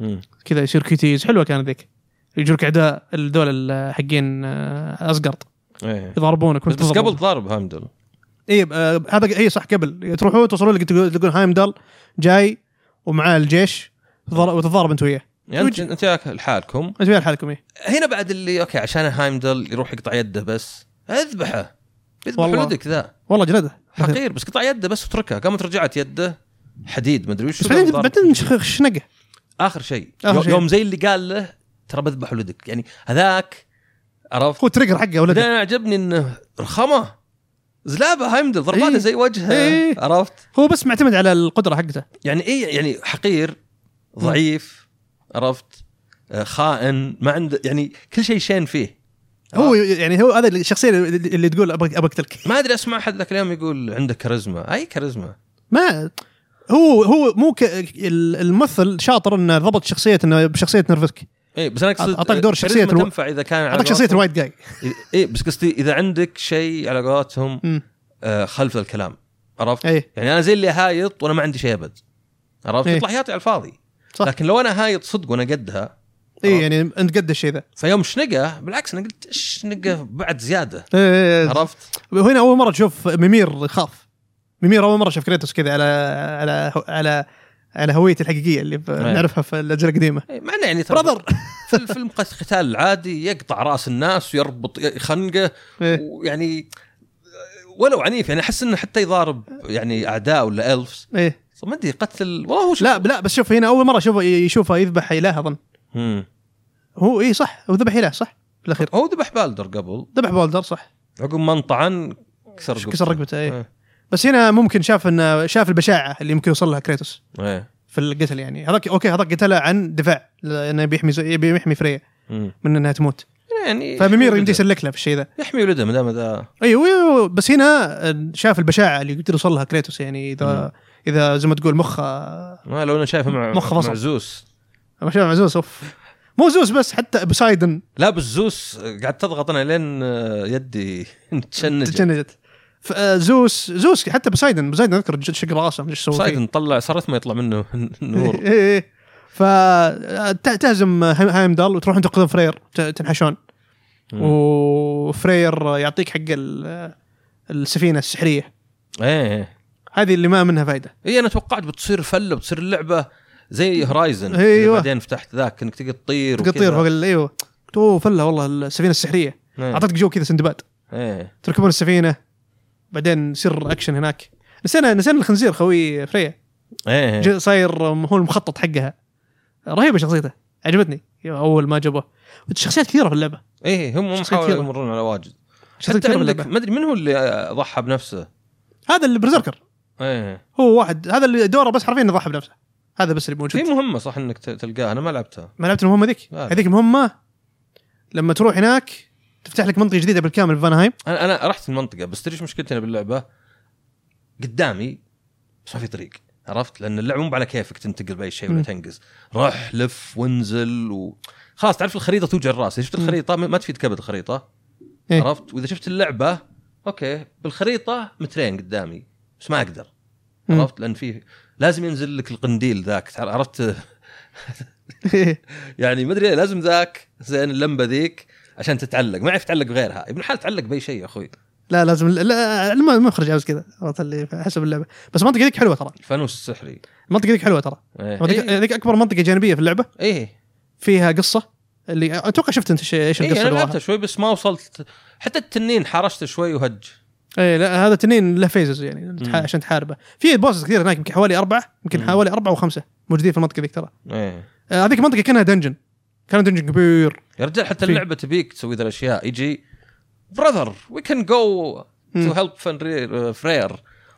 B: مم.
A: كذا يصير كيتيز حلوه كانت ذيك يجوك اعداء الدول ال- حقين آه، اسقرط
B: ايه
A: يضربونك
B: بس
A: وانت تضرب.
B: قبل ضارب هامدل
A: اي آه، هذا اي صح قبل تروحون توصلون لك تقول- تلقون هايمدال جاي ومعاه الجيش تضار- وتتضارب انت وياه
B: يعني انت
A: وجه.
B: انت وياك لحالكم
A: انت وياه لحالكم ايه
B: هنا بعد اللي اوكي عشان هايمدل يروح يقطع يده بس اذبحه اذبح
A: والله.
B: ولدك ذا
A: والله جلده
B: حقير بس قطع يده بس وتركه قامت رجعت يده حديد مدري وش
A: بس بعدين
B: ضارب.
A: بعدين شخ- شنقه
B: اخر شيء
A: آخر
B: يو-
A: شيء.
B: يوم زي اللي قال له ترى بذبح ولدك يعني هذاك عرفت
A: هو تريجر حقه
B: بعدين
A: ولده
B: انا عجبني انه رخامه زلابه هايمدل ضرباته
A: إيه.
B: زي وجهه
A: إيه.
B: عرفت
A: هو بس معتمد على القدره حقته
B: يعني ايه يعني حقير ضعيف عرفت آه، خائن ما عنده يعني كل شيء شين فيه
A: هو يعني هو هذا الشخصيه اللي- اللي تقول ابغى ابغى اقتلك
B: ما ادري اسمع احد ذاك اليوم يقول عنده كاريزما اي كاريزما
A: ما هو هو مو ك... ال- الممثل شاطر انه ضبط شخصيه انه بشخصيه نرفزك
B: اي بس انا اقصد
A: أعطاك دور
B: آه،
A: شخصية
B: كاريزما
A: الو-
B: تنفع اذا كان على
A: اعطاك شخصيه
B: قولتهم- إيه،
A: الوايت جاي
B: اي بس قصدي اذا عندك شيء على قولتهم
A: مم.
B: آه، خلف الكلام عرفت؟
A: اي
B: يعني انا زي اللي هايط وانا ما عندي شيء ابد عرفت؟
A: إيه.
B: يطلع هياطي على الفاضي
A: صح.
B: لكن لو انا هايط صدق وانا قدها
A: اي يعني انت قد الشيء ذا
B: فيوم شنقه بالعكس انا قلت ايش شنقه بعد زياده
A: إي، إي، إي.
B: عرفت؟
A: هنا اول مره تشوف ميمير خاف ميمير اول مره شاف كريتوس كذا على على على على هويته الحقيقيه اللي ب-
B: إيه.
A: نعرفها في الاجزاء القديمه
B: إيه، مع انه يعني ترى
A: براذر
B: في الفيلم القتال العادي يقطع راس الناس ويربط خنقه
A: إيه.
B: ويعني ولو عنيف يعني احس انه حتى يضارب يعني اعداء ولا الفس
A: ايه
B: ما ادري قتل والله هو شو
A: لا لا بس شوف هنا اول مره شوف يشوفه يذبح اله اظن
B: مم.
A: هو اي صح هو ذبح اله صح بالاخير
B: هو ذبح بالدر قبل
A: ذبح بولدر صح
B: عقب ما انطعن كسر رقبته
A: كسر رقبته ايه
B: إيه.
A: بس هنا ممكن شاف انه شاف البشاعه اللي يمكن يوصل لها كريتوس
B: ايه
A: في القتل يعني هذاك اوكي هذاك قتله عن دفاع لانه بيحمي زو- يبي يحمي فريا
B: مم.
A: من انها تموت
B: يعني
A: فميمير
B: يحمي
A: يمدي
B: ولده.
A: يسلك له في الشيء ذا
B: يحمي ولده ما دام ذا
A: ايوه ايوه بس هنا شاف البشاعه اللي يقدر يوصل لها كريتوس يعني
B: نعم.
A: اذا اذا زي ما تقول مخه
B: ما لو انا شايفه مع
A: مخ
B: مع
A: فصل.
B: زوس
A: ما شاف مع زوس اوف مو زوس بس حتى بوسايدن
B: لا بس زوس قاعد تضغط انا لين آه، يدي تشنج
A: تجنجت ف- آه، زوس زوس حتى بوسايدن بوسايدن اذكر جد شق راسه مدري ايش سوى فيه.
B: صايد طلع صارت ما يطلع منه نور
A: إيه، إيه، آه، إيه. فتهزم هايمدال وتروحون تنقذون فرير ت- تنحشون
B: مم.
A: وفرير يعطيك حق ال- السفينه السحريه
B: ايه
A: هذه اللي ما منها فائده
B: اي انا إيه، توقعت بتصير فله بتصير اللعبه زي هورايزن
A: أيوة.
B: اللي بعدين فتحت ذاك انك تقدر تطير
A: تقدر تطير فوق ال- ايوه اوه فله والله السفينه السحريه
B: اعطتك
A: اعطتك جو كذا سندباد
B: ايه
A: تركبون السفينه بعدين يصير اكشن هناك نسينا نسينا الخنزير خوي فريا
B: ايه
A: ج- صاير هو المخطط حقها رهيبه شخصيته عجبتني اول ما جابوه شخصيات كثيره في اللعبه
B: ايه هم هم
A: شخصية
B: حاولوا
A: كثيرة.
B: يمرون على واجد
A: شخصيات
B: حتى
A: كثيره في
B: عندك
A: اللعبه
B: ما ادري من هو اللي آه، ضحى بنفسه
A: هذا اللي برزركر
B: ايه
A: هو واحد هذا اللي دوره بس حرفيا يضحي بنفسه هذا بس اللي
B: في
A: موجود
B: مهمه صح انك ت- تلقاها انا ما لعبتها
A: ما لعبت المهمه ذيك
B: لا.
A: هذيك مهمه لما تروح هناك تفتح لك منطقه جديده بالكامل في فانهايم
B: انا انا رحت المنطقه بس تدري إيش مشكلتنا باللعبه قدامي بس ما في طريق عرفت لان اللعبه مو على كيفك تنتقل باي شيء ولا
A: مم.
B: تنقز رح لف وانزل و... خلاص تعرف الخريطه توجع الراس اذا شفت
A: مم.
B: الخريطه ما ما تفيد كبد الخريطه
A: إيه.
B: عرفت واذا شفت اللعبه اوكي بالخريطه مترين قدامي بس ما اقدر
A: مم.
B: عرفت لان في لازم ينزل لك القنديل ذاك تعرف- عرفت يعني ما ادري لازم ذاك زين اللمبه ذيك عشان تتعلق ما يعرف تعلق بغيرها ابن الحلال تعلق باي شيء يا اخوي
A: لا لازم لا ما ما يخرج عاوز كذا عرفت اللي حسب اللعبه بس المنطقه ذيك حلوه ترى
B: الفانوس السحري
A: المنطقه ذيك حلوه ترى هذيك
B: ايه
A: هذيك اكبر منطقه جانبيه في اللعبه
B: ايه
A: فيها قصه اللي اتوقع شفت انت إيش- ايش
B: إيه
A: القصه
B: انا
A: اللي
B: لعبتها
A: وراها
B: شوي بس ما وصلت حتى التنين حرشته شوي وهج
A: اي إيه، لا هذا تنين له فيزز يعني تح- عشان تحاربه في بوسز كثير هناك يمكن حوالي اربعه يمكن
B: مم.
A: حوالي اربعه وخمسه موجودين في المنطقه ذيك ترى
B: ايه
A: آه، هذيك المنطقه كانها دنجن كان دنجن كبير
B: يا رجال حتى
A: في.
B: اللعبه تبيك تسوي ذا الاشياء يجي براذر وي كان جو تو
A: مم.
B: هيلب uh, فرير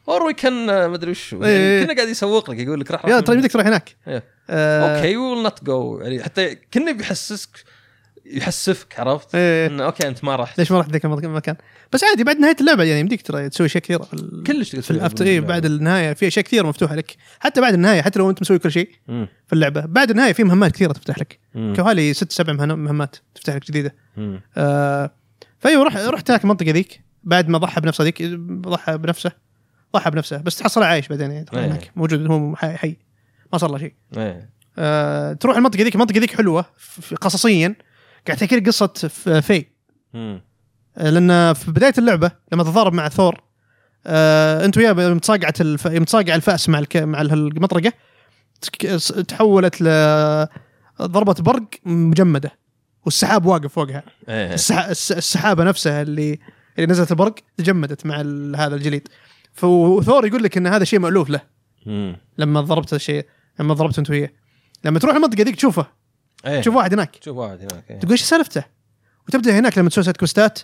B: اور وي كان uh, ما ادري وش
A: إيه.
B: يعني كنا قاعد يسوق لك يقول لك راح
A: يا
B: راح
A: ترى بدك تروح هناك
B: آه. إيه.
A: آه،
B: اوكي ويل نوت جو يعني حتى كنا بيحسسك يحسفك عرفت؟
A: إيه.
B: انه اوكي انت ما رحت
A: ليش ما رحت ذاك المنطقة- المكان بس عادي بعد نهايه اللعبه يعني يمديك ترى تسوي اشياء كثيره في ال-
B: كلش تقدر
A: في الافتر اي بعد النهايه في اشياء كثيره مفتوحه لك حتى بعد النهايه حتى لو انت مسوي كل شيء في اللعبه بعد النهايه في مهمات كثيره تفتح لك حوالي ست سبع مهن- مهمات تفتح لك جديده آه فايوه رح رحت هناك المنطقه ذيك بعد ما ضحى بنفسه ذيك ضحى بنفسه ضحى بنفسه بس تحصل عايش بعدين يعني ترى
B: إيه.
A: هناك موجود هو حي, حي ما صار له شيء
B: ايه
A: آه تروح المنطقه ذيك المنطقه ذيك حلوه ف- ف- قصصيا قاعد تحكي لك قصه ف- في
B: مم.
A: آه، لان في بدايه اللعبه لما تضارب مع ثور آه انت وياه متصاقعه الف... متصاقعه الفاس مع الك... مع المطرقه تك- س- تحولت ل ضربه برق مجمده والسحاب واقف فوقها
B: ايه
A: السح... الس- السحابه نفسها اللي اللي نزلت البرق تجمدت مع ال... هذا الجليد ف- وثور يقول لك ان هذا شيء مالوف له
B: مم.
A: لما ضربت الشيء لما ضربت انت وياه لما تروح المنطقه ذيك تشوفه
B: ايه
A: تشوف واحد هناك
B: شوف واحد هناك إيه.
A: تقول ايش سالفته؟ وتبدا هناك لما تسوي سايد كوستات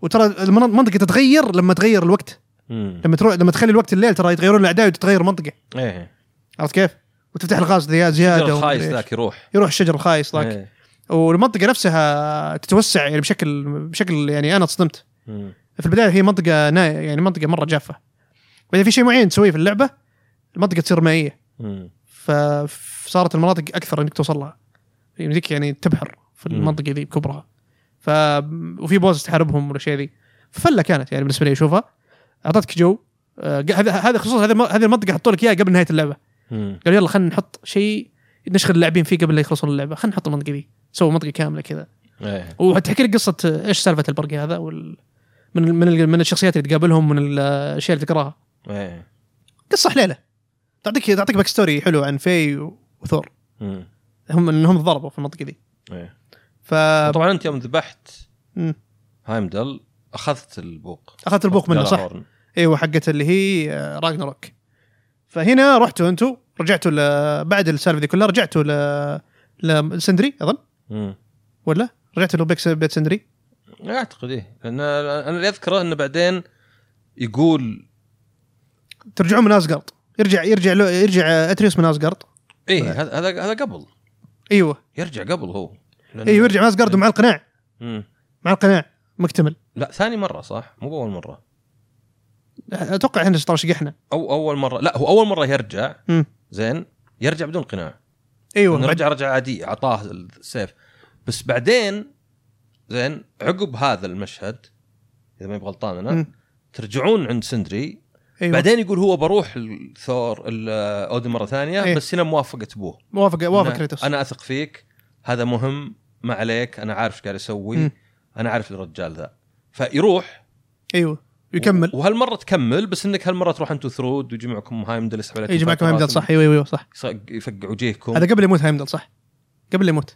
A: وترى المن- المنطقه تتغير لما تغير الوقت
B: مم.
A: لما تروح لما تخلي الوقت الليل ترى يتغيرون الاعداء وتتغير المنطقه
B: ايه
A: عرفت كيف؟ وتفتح الغاز زي- زياده
B: شجر الخايس
A: ومدري إيش.
B: ذاك يروح
A: يروح الشجر الخايس ذاك
B: إيه.
A: والمنطقه نفسها تتوسع يعني بشكل بشكل يعني انا اتصدمت
B: مم.
A: في البدايه هي منطقه ناية يعني منطقه مره جافه بعدين في شيء معين تسويه في اللعبه المنطقه تصير مائيه
B: مم.
A: ف- فصارت المناطق اكثر انك توصل لها يمديك يعني تبحر في
B: مم.
A: المنطقه ذي بكبرها ف وفي بوز تحاربهم والاشياء ذي فله كانت يعني بالنسبه لي اشوفها اعطتك جو آه، هذا هذا خصوصا هذا الم- هذه المنطقه حطوا لك اياها قبل نهايه اللعبه
B: مم.
A: قالوا يلا خلينا نحط شيء نشغل اللاعبين فيه قبل لا يخلصون اللعبه خلينا نحط المنطقه دي سووا منطقه كامله كذا
B: ايه
A: وتحكي لك قصه آه، ايش سالفه البرق هذا وال من ال- من ال- من الشخصيات اللي تقابلهم من ال- آه، الاشياء اللي تقراها
B: ايه
A: قصه حليله تعطيك تعطيك باك ستوري حلو عن في وثور
B: مم.
A: هم انهم تضربوا في المنطقه دي
B: ايه
A: فاخذت
B: طبعا انت يوم ذبحت
A: مم.
B: هايمدل اخذت البوق
A: البوق منه صح؟
B: جالاهورن.
A: ايوه حقت اللي هي راجنروك فهنا رحتوا انتم رجعتوا ل- بعد السالفه دي كلها رجعتوا ل لسندري اظن
B: مم.
A: ولا رجعتوا لبيت بيت سندري
B: اعتقد ايه لان انا اللي اذكره انه بعدين يقول
A: ترجعون من ازغارد يرجع يرجع له يرجع اتريوس من ازغارد طيب.
B: ايه هذا هذا هذا قبل
A: ايوه
B: يرجع قبل هو لأن-
A: ايوه يرجع من ازغارد ومع القناع
B: مم.
A: مع القناع مكتمل
B: لا ثاني مره صح مو باول مره
A: اتوقع احنا ترى شقحنا
B: او اول مره لا هو اول مره يرجع
A: مم.
B: زين يرجع بدون قناع
A: ايوه
B: إنه
A: بعد
B: رجع رجع عادي اعطاه السيف بس بعدين زين عقب هذا المشهد اذا ما غلطان انا
A: مم.
B: ترجعون عند سندري
A: ايوه
B: بعدين يقول هو بروح الثور اودن مره ثانيه
A: إيه.
B: بس هنا موافقه ابوه
A: موافق موافق
B: أنا-
A: كريتوس
B: انا اثق فيك هذا مهم ما عليك انا عارف ايش قاعد اسوي
A: مم.
B: انا عارف الرجال ذا فيروح
A: ايوه يكمل
B: وهالمره تكمل بس انك هالمره تروح انت وثرود ويجي معكم هايمدل يسحب عليكم
A: يجي معكم
B: فترات،
A: هيمدل صح ايوه ايوه صح
B: يصق- يفقع وجيهكم
A: هذا قبل يموت هيمدل صح قبل يموت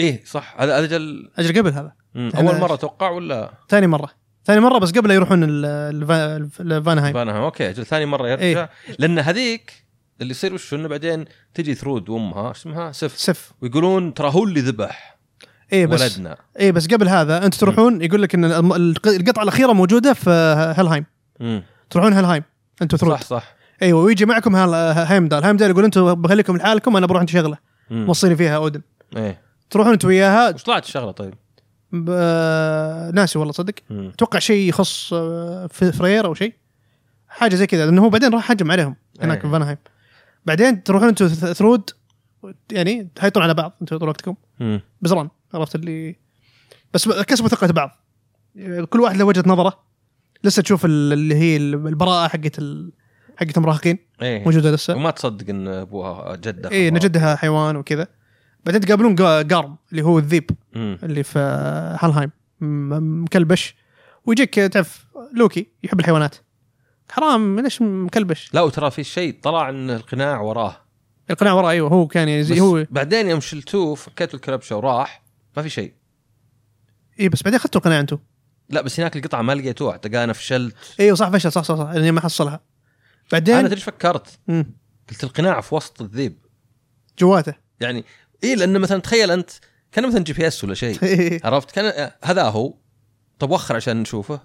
B: ايه صح هذا هذا جل
A: اجل قبل هذا
B: مم.
A: أنا-
B: اول مره اتوقع ولا
A: ثاني مره ثاني مره بس قبل لا يروحون ال- الفا- الف- الفانهايم
B: بانها اوكي اجل ثاني مره يرجع
A: طيب. إيه.
B: إيه؟ لان هذيك اللي يصير وش انه بعدين تجي ثرود وامها إيش اسمها سف
A: سف
B: ويقولون ترى هو اللي ذبح
A: اي إيه بس
B: ولدنا
A: اي بس قبل هذا انتم تروحون يقول لك ان الم- الق- القطعه الاخيره موجوده في هيلهايم
B: مم.
A: تروحون هيلهايم انتم ثرود
B: صح صح
A: ايوه ويجي معكم هال- هايمدال هايمدال يقول انتم بخليكم لحالكم انا بروح عند شغله
B: مم.
A: وصيني فيها اودن
B: ايه
A: تروحون انتم وياها
B: وش طلعت الشغله طيب؟
A: ب- آه، ناسي والله صدق
B: مم.
A: اتوقع شيء يخص آه، في فرير او شيء حاجه زي كذا لانه هو بعدين راح هجم عليهم هناك
B: أيه.
A: في فانهايم بعدين تروحون انتم ث- ثرود يعني تحيطون على بعض انتم طول وقتكم
B: مم.
A: بزران عرفت اللي بس كسبوا ثقه بعض كل واحد له وجهه نظره لسه تشوف ال- اللي هي البراءه حقت ال... حقت المراهقين
B: ايه
A: موجوده لسه
B: وما تصدق ان ابوها جده
A: اي ان جدها حيوان وكذا بعدين تقابلون قا- قارم اللي هو الذيب
B: مم.
A: اللي في هالهايم م- مكلبش ويجيك تعرف لوكي يحب الحيوانات حرام ليش مكلبش
B: لا وترى في شيء طلع ان القناع وراه
A: القناع وراه ايوه هو كان يعني
B: بس
A: زي هو
B: بعدين يوم شلتوه فكيتوا الكلبشه وراح ما في شيء
A: اي إيه، بس بعدين اخذتوا القناع انتم
B: لا بس هناك القطعه ما لقيتوها اعتقد انا فشلت
A: ايوه صح فشل صح صح صح لاني ما حصلها
B: انا
A: بعدين
B: تدري إيش فكرت
A: مم.
B: قلت القناع في وسط الذيب
A: جواته
B: يعني اي لان مثلا تخيل انت كان مثلا جي بي اس ولا شيء
A: إيه.
B: عرفت كان آه، هذا هو طب وخر عشان نشوفه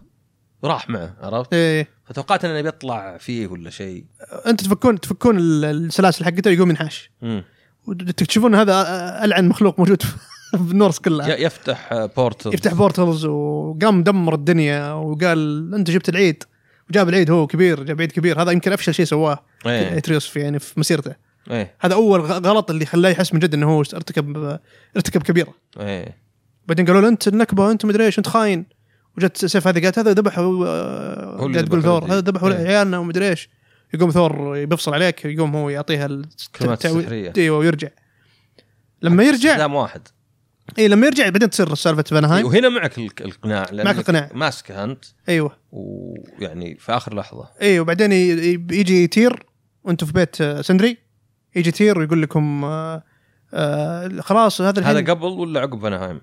B: راح معه عرفت
A: إيه.
B: فتوقعت انه بيطلع فيه ولا شيء
A: انت تفكون تفكون ال- السلاسل حقته يقوم ينحاش
B: مم.
A: وتكتشفون هذا العن مخلوق موجود في النورس كلها
B: ي- يفتح آه، بورتل
A: يفتح بورتلز وقام دمر الدنيا وقال انت جبت العيد وجاب العيد هو كبير جاب عيد كبير هذا يمكن افشل شيء سواه
B: ايه
A: اتريوس في يعني في مسيرته
B: ايه
A: هذا اول غ- غلط اللي خلاه يحس من جد انه هو ارتكب ارتكب كبيره
B: ايه
A: بعدين قالوا له انت النكبه انت مدري ايش انت خاين وجت سيف هذه قالت هذا ذبح هو
B: اللي
A: قاعد تقول
B: ذبح
A: ثور
B: ولدي.
A: هذا ذبح
B: إيه.
A: عيالنا ومدري ايش يقوم ثور بيفصل عليك يقوم هو يعطيها
B: كلمات
A: التعوي-
B: سحرية.
A: ايوه ويرجع لما يرجع
B: استخدام واحد
A: اي لما يرجع بعدين تصير سالفه فانهايم
B: وهنا معك الق- القناع لأنك
A: معك القناع.
B: ماسكه انت
A: ايوه
B: ويعني في اخر لحظه
A: اي إيه، وبعدين ي- ي- يجي تير وانتم في بيت آه، سندري يجي تير ويقول لكم آه آه خلاص هذا الحين
B: هذا قبل ولا عقب فانهايم؟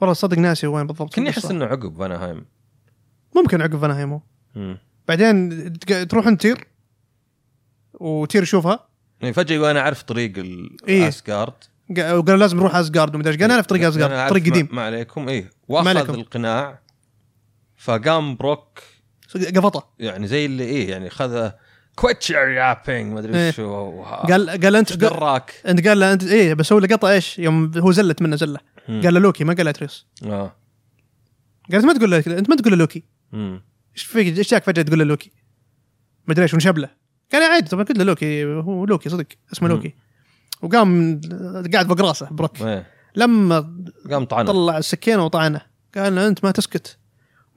A: والله صدق ناسي وين بالضبط
B: كني احس انه عقب فانهايم
A: ممكن عقب فانهايم هو
B: مم.
A: بعدين تق- تروحون تير وتير يشوفها
B: يعني فجاه وانا اعرف طريق
A: إيه.
B: الاسكارد
A: قا- وقال لازم نروح ازجارد ومدري ايش قال انا في طريق ازجارد طريق قديم
B: ما عليكم ايه
A: ما
B: واخذ
A: عليكم.
B: القناع فقام بروك
A: قفطه
B: يعني زي اللي ايه يعني خذه كويت يور يابينج ما ادري
A: إيه.
B: وش هو.
A: قال قال
B: إيش
A: انت قال
B: دراك
A: انت قال له انت ايه بسوي له قطه ايش يوم هو زلت منه زله
B: مم.
A: قال له لوكي ما قال له اتريوس
B: اه
A: قالت ما تقول له انت ما تقول له لوكي
B: مم.
A: ايش فيك ايش جاك فجاه تقول له لوكي مدري ايش ونشبله قال عادي طبعا قلت له لوكي هو لوكي صدق اسمه
B: مم.
A: لوكي وقام قاعد فوق راسه بروك
B: ايه
A: لما
B: قام طعنه
A: طلع السكينه وطعنه قال له انت ما تسكت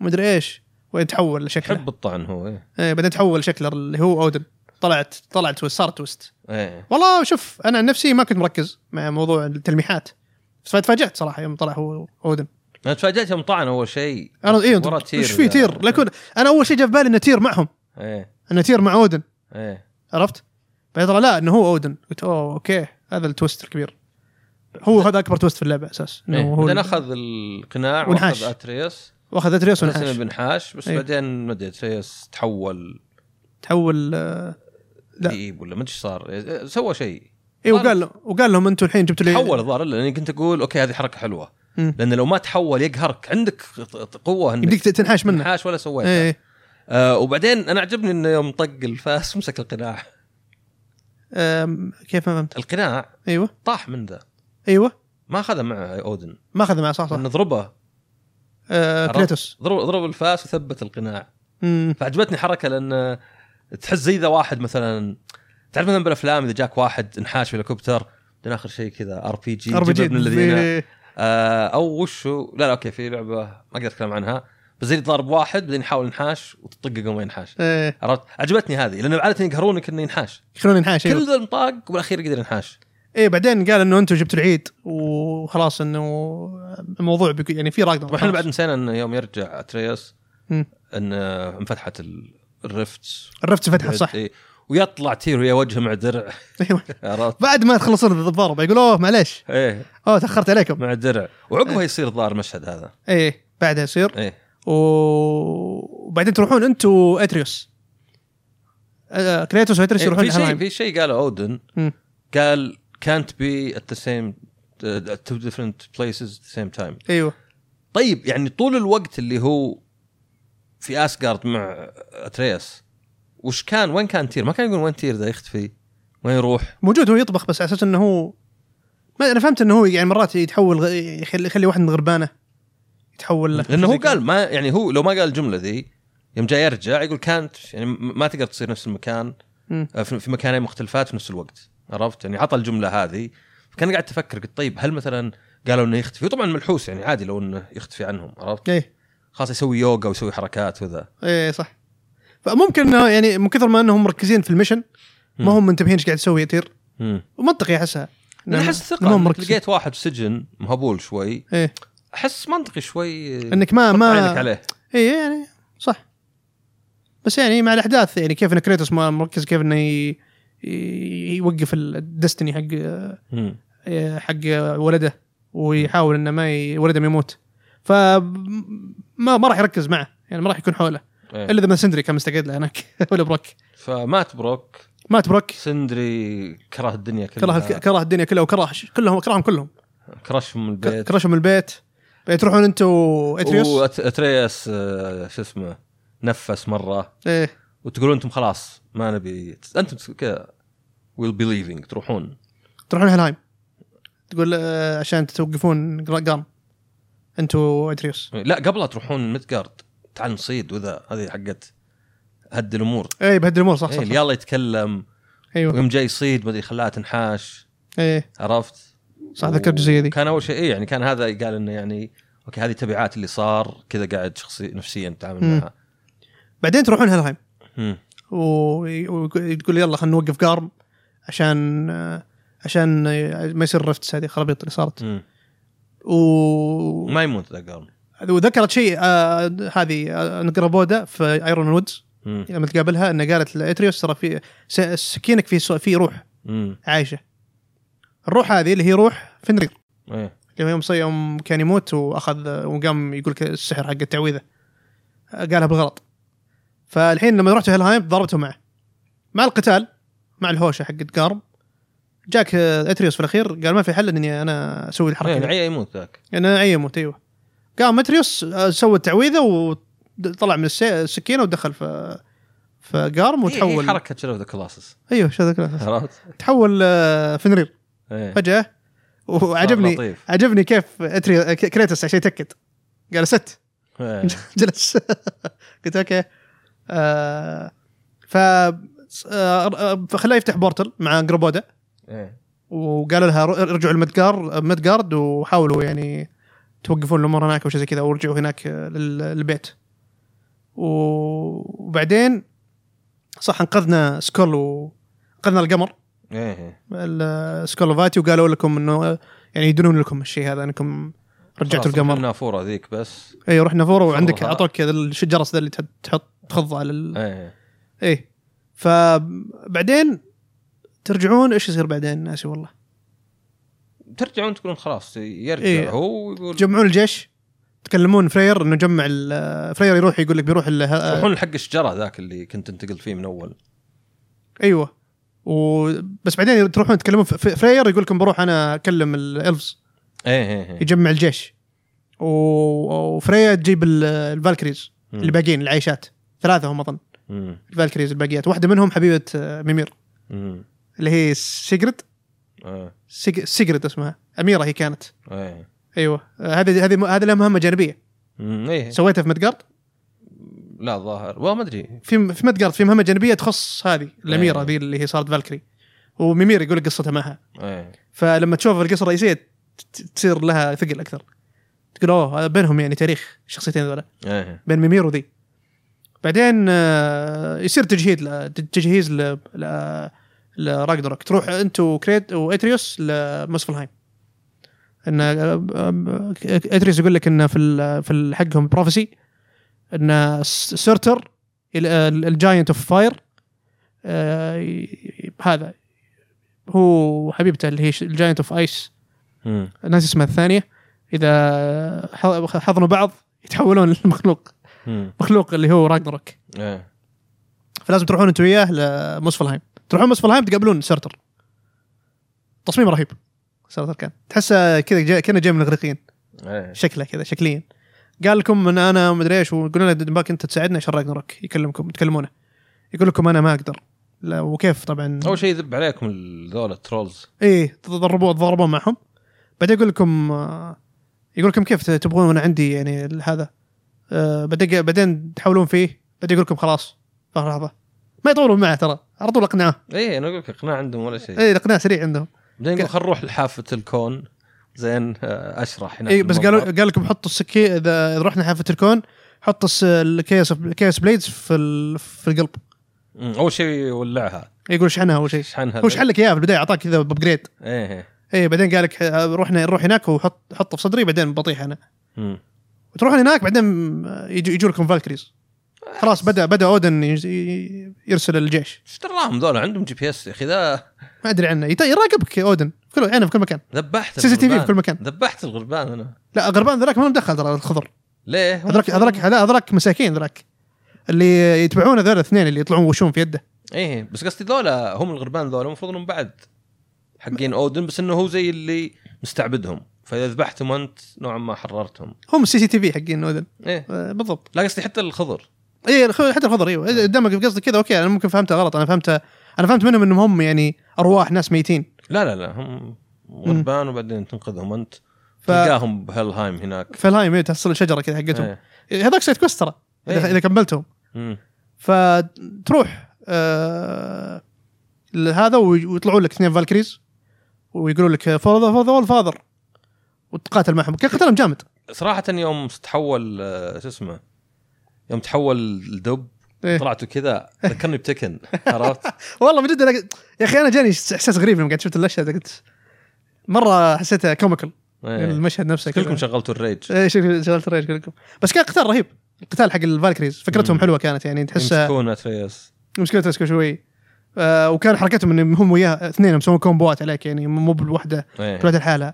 A: ومدري ايش ويتحول لشكله
B: يحب الطعن هو ايه
A: إيه بعدين تحول شكله اللي هو اودن طلعت طلعت تويست صار تويست
B: ايه
A: والله شوف انا عن نفسي ما كنت مركز مع موضوع التلميحات بس تفاجات صراحه يوم طلع هو اودن
B: انا تفاجات يوم طعن اول شيء
A: انا اي
B: ورا يعني.
A: ايش إيه، في تير لكن انا اول شيء جاء في بالي انه تير معهم
B: ايه
A: انه تير مع اودن
B: ايه
A: عرفت؟ بعدين طلع لا انه هو اودن قلت اوه اوكي هذا التويست الكبير هو هذا اكبر تويست في اللعبه اساس انه
B: إيه.
A: هو
B: بعدين
A: ال-
B: اخذ القناع
A: ونحاش.
B: واخذ اتريس
A: واخذ اتريوس
B: ونحاش
A: ونحاش
B: بنحاش بس
A: إيه.
B: بعدين ما ادري اتريس تحول
A: تحول آه، لا.
B: ذئيب ولا ما ادري ايش صار إيه، سوى شيء
A: اي إيه، وقال له وقال لهم انتم الحين جبتوا لي
B: تحول الظاهر لاني كنت اقول اوكي هذه حركه حلوه
A: مم.
B: لان لو ما تحول يقهرك عندك قوه انك
A: يمديك تنحاش منه إيه،
B: تنحاش ولا سويتها
A: اي
B: آه وبعدين انا عجبني انه يوم طق الفاس مسك القناع
A: أم، إيه. كيف ما فهمت
B: القناع
A: ايوه
B: طاح من ذا
A: ايوه
B: ما اخذه معه اودن
A: ما اخذ معه صح صح
B: لانه ضربه
A: آه،
B: عرفت؟
A: كريتوس
B: ضرب ضرب الفاس وثبت القناع
A: مم.
B: فعجبتني حركه لان تحس زي ذا واحد مثلا تعرف مثلا بالافلام اذا جاك واحد انحاش في هليكوبتر بعدين اخر شيء كذا ار بي جي
A: RPG
B: من الذين
A: في-
B: آه او وشو لا لا اوكي في لعبه ما اقدر اتكلم عنها بس زي ضارب واحد بعدين يحاول ينحاش وتطققه وما ينحاش
A: إيه،
B: عرفت عجبتني هذه لانه عاده يقهرونك انه ينحاش
A: يخلون ينحاش
B: كل
A: ايوه
B: ذا المطاق وبالاخير يقدر ينحاش
A: اي إيه، بعدين قال انه انتم جبتوا العيد وخلاص انه الموضوع بيكون يعني في راقدة
B: طبعا احنا بعد نسينا انه يوم يرجع اتريوس
A: مم.
B: ان آه، انفتحت ال- الرفت
A: الرفت فتحت صح
B: إيه. ويطلع تيرو يا وجهه مع درع
A: ايوه
B: عرفت
A: بعد ما تخلصون الضربه يقول اوه معليش
B: ايه
A: اوه تاخرت عليكم
B: مع درع
A: إيه.
B: وعقبها يصير ظاهر المشهد هذا
A: ايه بعدها يصير
B: ايه
A: و- وبعدين تروحون انتم اتريوس آه، كريتوس واتريوس
B: إيه،
A: يروحون
B: في شيء
A: الحمام
B: في شيء قاله اودن
A: مم.
B: قال كانت بي ات ذا سيم تو ديفرنت بليسز ذا سيم تايم
A: ايوه
B: طيب يعني طول الوقت اللي هو في اسجارد مع اترياس وش كان وين كان تير ما كان يقول وين تير ذا يختفي وين يروح
A: موجود هو يطبخ بس على اساس انه هو ما انا فهمت انه هو يعني مرات يتحول غ- يخلي يخلي واحد من غربانه يتحول له
B: لانه هو قال ما يعني هو لو ما قال الجمله ذي يوم جاي يرجع يقول كانت يعني م- ما تقدر تصير نفس المكان
A: مم.
B: آه، في في مكانين مختلفات في نفس الوقت عرفت يعني عطى الجمله هذه فكان قاعد تفكر قلت طيب هل مثلا قالوا انه يختفي طبعا ملحوس يعني عادي لو انه يختفي عنهم عرفت
A: ايه
B: خاص يسوي يوغا ويسوي حركات وذا
A: ايه صح فممكن انه يعني من كثر ما انهم مركزين في المشن ما هم منتبهين ايش قاعد يسوي يطير
B: مم.
A: ومنطقي احسها
B: انا
A: إنه-
B: احس
A: نعم. إنهم
B: ثقه إنك
A: مركزين.
B: لقيت واحد في سجن مهبول شوي
A: ايه
B: احس منطقي شوي
A: انك ما
B: ما
A: ما
B: عينك عليه
A: اي يعني صح بس يعني مع الاحداث يعني كيف ان كريتوس ما مركز كيف انه ي- ي- يوقف الدستني حق
B: مم.
A: إيه، حق ولده ويحاول انه ما ي... ولده ما يموت ف ما ما راح يركز معه يعني ما راح يكون حوله
B: إيه.
A: الا اذا ما سندري كان مستقعد له هناك ولا بروك
B: فمات بروك
A: مات بروك
B: سندري كره الدنيا
A: كره
B: كلها
A: الك... كره الدنيا كلها وكره كلهم كرههم كلهم
B: كرش من
A: ك-
B: البيت
A: كرشهم من البيت بعدين تروحون انتم اتريوس
B: واترياس آه، شو اسمه نفس مره
A: ايه
B: وتقولون انتم خلاص ما نبي انتم كذا ويل بي ليفينج تروحون
A: تروحون هلهايم تقول آه، عشان توقفون جرام انتم اتريوس
B: لا قبلها تروحون ميدجارد تعال نصيد وذا هذه حقت هد الامور
A: ايه بهدل الامور صح
B: إيه،
A: صح,
B: اللي
A: صح.
B: يلا يتكلم
A: ايوه
B: ويوم جاي يصيد ما ادري خلاها تنحاش
A: ايه
B: عرفت
A: صح ذكرت الجزئيه ذي
B: كان اول شيء إيه يعني كان هذا قال انه يعني اوكي هذه تبعات اللي صار كذا قاعد شخصي نفسيا تعامل
A: مم.
B: معها
A: بعدين تروحون هلهايم
B: مم.
A: و- وتقول يلا خلينا نوقف قارم عشان عشان ما يصير رفت هذه خرابيط اللي صارت
B: مم.
A: و...
B: ما يموت ذا قرن
A: وذكرت شيء آه هذه آه، نقرابودا في ايرون وودز
B: مم.
A: لما تقابلها انها قالت لاتريوس ترى في س- سكينك في سو- في روح
B: مم.
A: عايشه الروح هذه اللي هي روح فنرير
B: ايه
A: لما يوم صي- يوم كان يموت واخذ وقام يقول لك السحر حق التعويذه قالها بالغلط فالحين لما رحت هيلهايم ضربته معه مع القتال مع الهوشه حقت قارم جاك آه، اتريوس في الاخير قال ما في حل اني انا اسوي الحركه
B: إيه،
A: دي.
B: نعيه يموت ذاك
A: انا عيموت ايوه قام اتريوس آه، سوى التعويذه وطلع من الس- السكينه ودخل في في قارم
B: وتحول
A: وتحول
B: حركه شير إيه، ذا كلاسس
A: ايوه شو ذاك
B: عرفت؟
A: تحول آه، فنرير
B: إيه.
A: فجاه وعجبني
B: لطيف.
A: عجبني كيف اتري كريتوس عشان يتاكد قال ست
B: إيه.
A: جلس قلت اوكي آه ف آه، فخلاه يفتح بورتل مع جروبودا
B: إيه.
A: وقالوا لها ر- ارجعوا لمدجار مدجارد وحاولوا يعني توقفون الامور هناك او شيء زي كذا ورجعوا هناك آه، لل- للبيت و- وبعدين صح انقذنا سكول وانقذنا القمر
B: ايه
A: ال- سكول وفاتي وقالوا لكم انه يعني يدنون لكم الشيء هذا انكم رجعتوا
B: خلاص،
A: القمر
B: النافوره ذيك بس
A: اي رحنا فورا إيه، وعندك
B: خذها.
A: اعطوك هذا الشجرس ذا اللي تحط تحط تخض على ال...
B: ايه
A: ايه فبعدين ترجعون ايش يصير بعدين ناسي والله
B: ترجعون تقولون خلاص يرجع
A: إيه.
B: هو ويقول
A: تجمعون الجيش تكلمون فرير انه جمع ال- فرير يروح يقول لك بيروح ال- ه-
B: يروحون حق الشجره ذاك اللي كنت انتقل فيه من اول
A: ايوه و بس بعدين تروحون تكلمون ف- ف- فرير يقول لكم بروح انا اكلم الالفز
B: ايه ايه ايه
A: يجمع الجيش و- وفريا تجيب ال- الفالكريز
B: مم.
A: الباقيين العايشات ثلاثه هم اظن
B: مم.
A: الفالكريز الباقيات واحده منهم حبيبه آه، ميمير
B: مم.
A: اللي هي سيجرد
B: ايه
A: سيج- سيجرد اسمها اميره هي كانت
B: ايه
A: ايوه آه، هذه هذه هذه لها مهمه جانبيه
B: مم. ايه
A: سويتها في مدقرد
B: لا الظاهر والله ما ادري
A: في في مدقرد في مهمه جانبيه تخص هذه الاميره
B: إيه.
A: ذي اللي هي صارت فالكري وميمير يقول لك قصتها معها
B: ايه
A: فلما تشوف القصه الرئيسيه ت- ت- تصير لها ثقل اكثر تقول اوه هذا بينهم يعني تاريخ الشخصيتين ذولا
B: ايه
A: بين ميمير وذي بعدين آه، يصير تجهيز ل- تجهيز ل ل- لراجنروك تروح انت وكريد واتريوس لموسفلهايم ان آه، آه، اتريوس يقول لك ان في ال- في حقهم بروفيسي ان س- سيرتر ال- آه، الجاينت اوف فاير آه، ي- ي- هذا هو حبيبته اللي هي ش- الجاينت اوف ايس
B: مم.
A: ناس اسمها الثانيه اذا ح- حضنوا بعض يتحولون لمخلوق
B: مم.
A: مخلوق اللي هو راجنروك
B: ايه
A: فلازم تروحون انتم وياه لموسفلهايم تروحون موسفلهايم تقابلون سيرتر تصميم رهيب سيرتر كان تحسه كذا جا- كانه جاي من الاغريقيين
B: ايه
A: شكله كذا شكليا قال لكم ان انا مدري ايش وقلنا لنا باك انت تساعدنا عشان راجنروك يكلمكم تكلمونه يقول لكم انا ما اقدر لا وكيف طبعا
B: اول شيء يذب عليكم ال- ذول الترولز
A: ايه تضربوا تضربوا معهم بعدين يقول لكم آه، يقول لكم كيف تبغون وانا عندي يعني ال- هذا آه، بعدين بعدين تحاولون فيه بعدين يقول لكم خلاص لحظه لحظة. ما يطولون معه ترى على طول اقنعه
B: ايه انا اقول لك اقناع عندهم ولا شيء
A: اي الاقناع سريع عندهم
B: بعدين يقول خل نروح لحافه الكون زين آه، اشرح هناك
A: اي إيه، بس
B: الموضوع.
A: قالوا قال لكم حطوا السكي اذا إذا رحنا حافه الكون حط الس- الكيس الكيس بليدز في ال- في القلب إيه،
B: مم. اول شيء يولعها
A: يقول شحنها اول شيء
B: شحنها
A: هو شحن لك اياها في البدايه اعطاك كذا بجريد
B: ايه
A: اي بعدين قال لك آه، رحنا نروح هناك وحط حطه في صدري بعدين بطيح انا
B: مم.
A: وتروحون هناك بعدين يجوا يجوا لكم فالكريز خلاص بدا بدا اودن يج- ي- يرسل الجيش
B: ايش دراهم ذولا عندهم جي بي اس يا اخي ذا
A: ما ادري عنه يت- يراقبك اودن في كل عينه في كل مكان
B: ذبحت
A: سي سي تي في
B: الغربان.
A: في كل مكان
B: ذبحت الغربان انا
A: لا غربان ذراك ما لهم دخل ترى الخضر
B: ليه؟ هم
A: هذراك
B: أصلاً-
A: هذراك لا هذراك مساكين ذراك اللي يتبعون هذول الاثنين اللي يطلعون وشون في يده
B: ايه بس قصدي ذولا هم الغربان ذولا المفروض انهم بعد حقين اودن بس انه هو زي اللي مستعبدهم فاذا ذبحتهم انت نوعا ما حررتهم
A: هم السي سي تي في حقين اودن
B: ايه
A: آه، بالضبط
B: لا قصدي حتى الخضر
A: اي الخ- حتى الخضر ايوه إذا قدامك قصدي كذا اوكي انا ممكن فهمتها غلط انا فهمتها انا فهمت منهم انهم هم يعني ارواح ناس ميتين
B: لا لا لا هم غربان وبعدين تنقذهم انت
A: ف-
B: تلقاهم بهلهايم هناك
A: فالهايم إيه، تحصل الشجره كذا حقتهم
B: إيه.
A: هذاك سايد كويست ترى اذا
B: إيه.
A: إذا كملتهم
B: مم.
A: فتروح آه لهذا وي- ويطلعوا لك اثنين فالكريز ويقولوا لك فور ذا فور ذا اول فاذر وتقاتل معهم كان قتالهم جامد
B: صراحة يوم تحول آه، شو اسمه يوم تحول الدب
A: إيه.
B: طلعته كذا ذكرني بتكن عرفت؟
A: والله من جد أنا قلت- يا اخي انا جاني احساس غريب لما قعدت شفت الاشياء ذا، قلت مره حسيتها كوميكال
B: إيه.
A: المشهد نفسه
B: كلكم شغلتوا الريج
A: اي شغلت الريج كلكم بس كان قتال رهيب القتال حق الفالكريز فكرتهم
B: مم.
A: حلوه كانت يعني تحسها
B: يمسكون اتريس
A: مشكلة تسكو شوي آه وكان حركتهم انهم هم وياه اثنين مسوين كومبوات عليك يعني مو بالوحده كل
B: ايه
A: واحده لحالها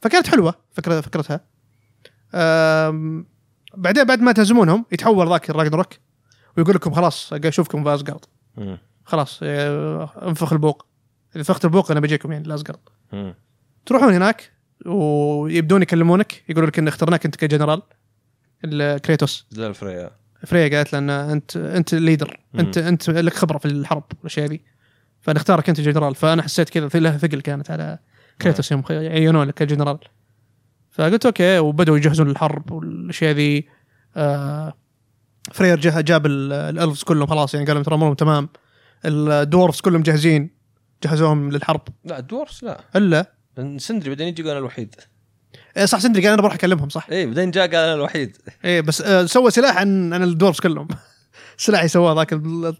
A: فكانت حلوه فكره فكرتها آم، بعدين بعد ما تهزمونهم يتحول ذاك الراجنروك ويقول لكم خلاص اشوفكم في ازقرد
B: مم.
A: خلاص آه، انفخ البوق اذا فخت البوق انا بجيكم يعني لازقرد
B: مم.
A: تروحون هناك ويبدون يكلمونك يقولوا لك ان اخترناك انت كجنرال ال- كريتوس
B: ذا الفريا
A: فريا قالت له ان انت انت الليدر
B: مم.
A: انت انت لك خبره في الحرب والاشياء ذي فنختارك انت جنرال فانا حسيت كذا في- لها ثقل كانت على كريتوس يوم خ- عينوه لك كجنرال فقلت اوكي وبداوا يجهزون للحرب والاشياء ذي آه فرير جه- جاب ال- الالفز كلهم خلاص يعني قالوا ترى امورهم تمام الدورفز كلهم جاهزين جهزوهم للحرب
B: لا الدورس لا
A: الا
B: لأن سندري بعدين يجي يقول انا الوحيد
A: إيه صح سندري قال انا بروح اكلمهم صح
B: اي بعدين جاء قال انا الوحيد
A: ايه بس آه، سوى سلاح عن عن الدورفز كلهم سلاحي سواه ذاك ال-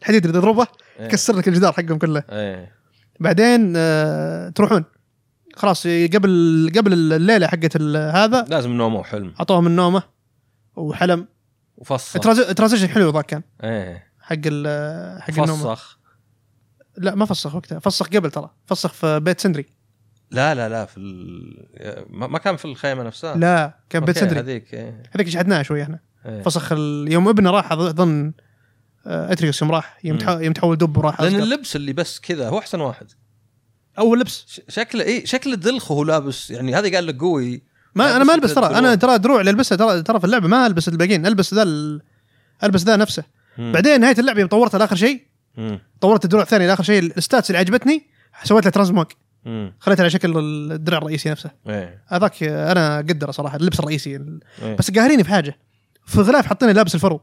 A: الحديد اللي تضربه
B: إيه.
A: كسر لك الجدار حقهم كله
B: ايه
A: بعدين آه، تروحون خلاص قبل قبل الليله حقت ال- هذا
B: لازم نومه وحلم
A: اعطوهم النومه وحلم
B: وفصخ
A: الترانز- الترانزيشن حلو ذاك كان
B: ايه
A: حق ال- حق النومه
B: فصخ
A: لا ما فسخ وقتها فسخ قبل ترى فسخ في بيت سندري
B: لا لا لا في ال... ما ما كان في الخيمه نفسها
A: لا كان بيت
B: آه. أوكي،
A: سندري
B: هذيك ايه
A: هذيك شحناها شوي احنا
B: إيه.
A: فسخ ال- يوم ابنه راح اظن آه، اتريوس يوم راح يوم
B: مم.
A: تح- يوم تحول دب وراح
B: لان
A: أصغر.
B: اللبس اللي بس كذا هو احسن واحد
A: اول لبس
B: ش- شكله اي شكله دلخ وهو لابس يعني هذا قال لك قوي
A: ما
B: لا،
A: انا
B: بس
A: ما البس ترى
B: بالدروع.
A: انا ترى دروع اللي البسها ترى ترى في اللعبه ما البس الباقيين البس ذا ال- البس ذا نفسه
B: مم.
A: بعدين نهايه اللعبه يوم طورتها لاخر شيء
B: مم.
A: طورت الدروع الثانيه لاخر شيء الستاتس اللي عجبتني سويت له ترانزموج
B: مم.
A: خليتها على شكل الدرع الرئيسي نفسه
B: ايه
A: هذاك آه، انا قدره صراحه اللبس الرئيسي
B: إيه.
A: بس قاهريني في حاجه في غلاف حاطيني لابس الفرو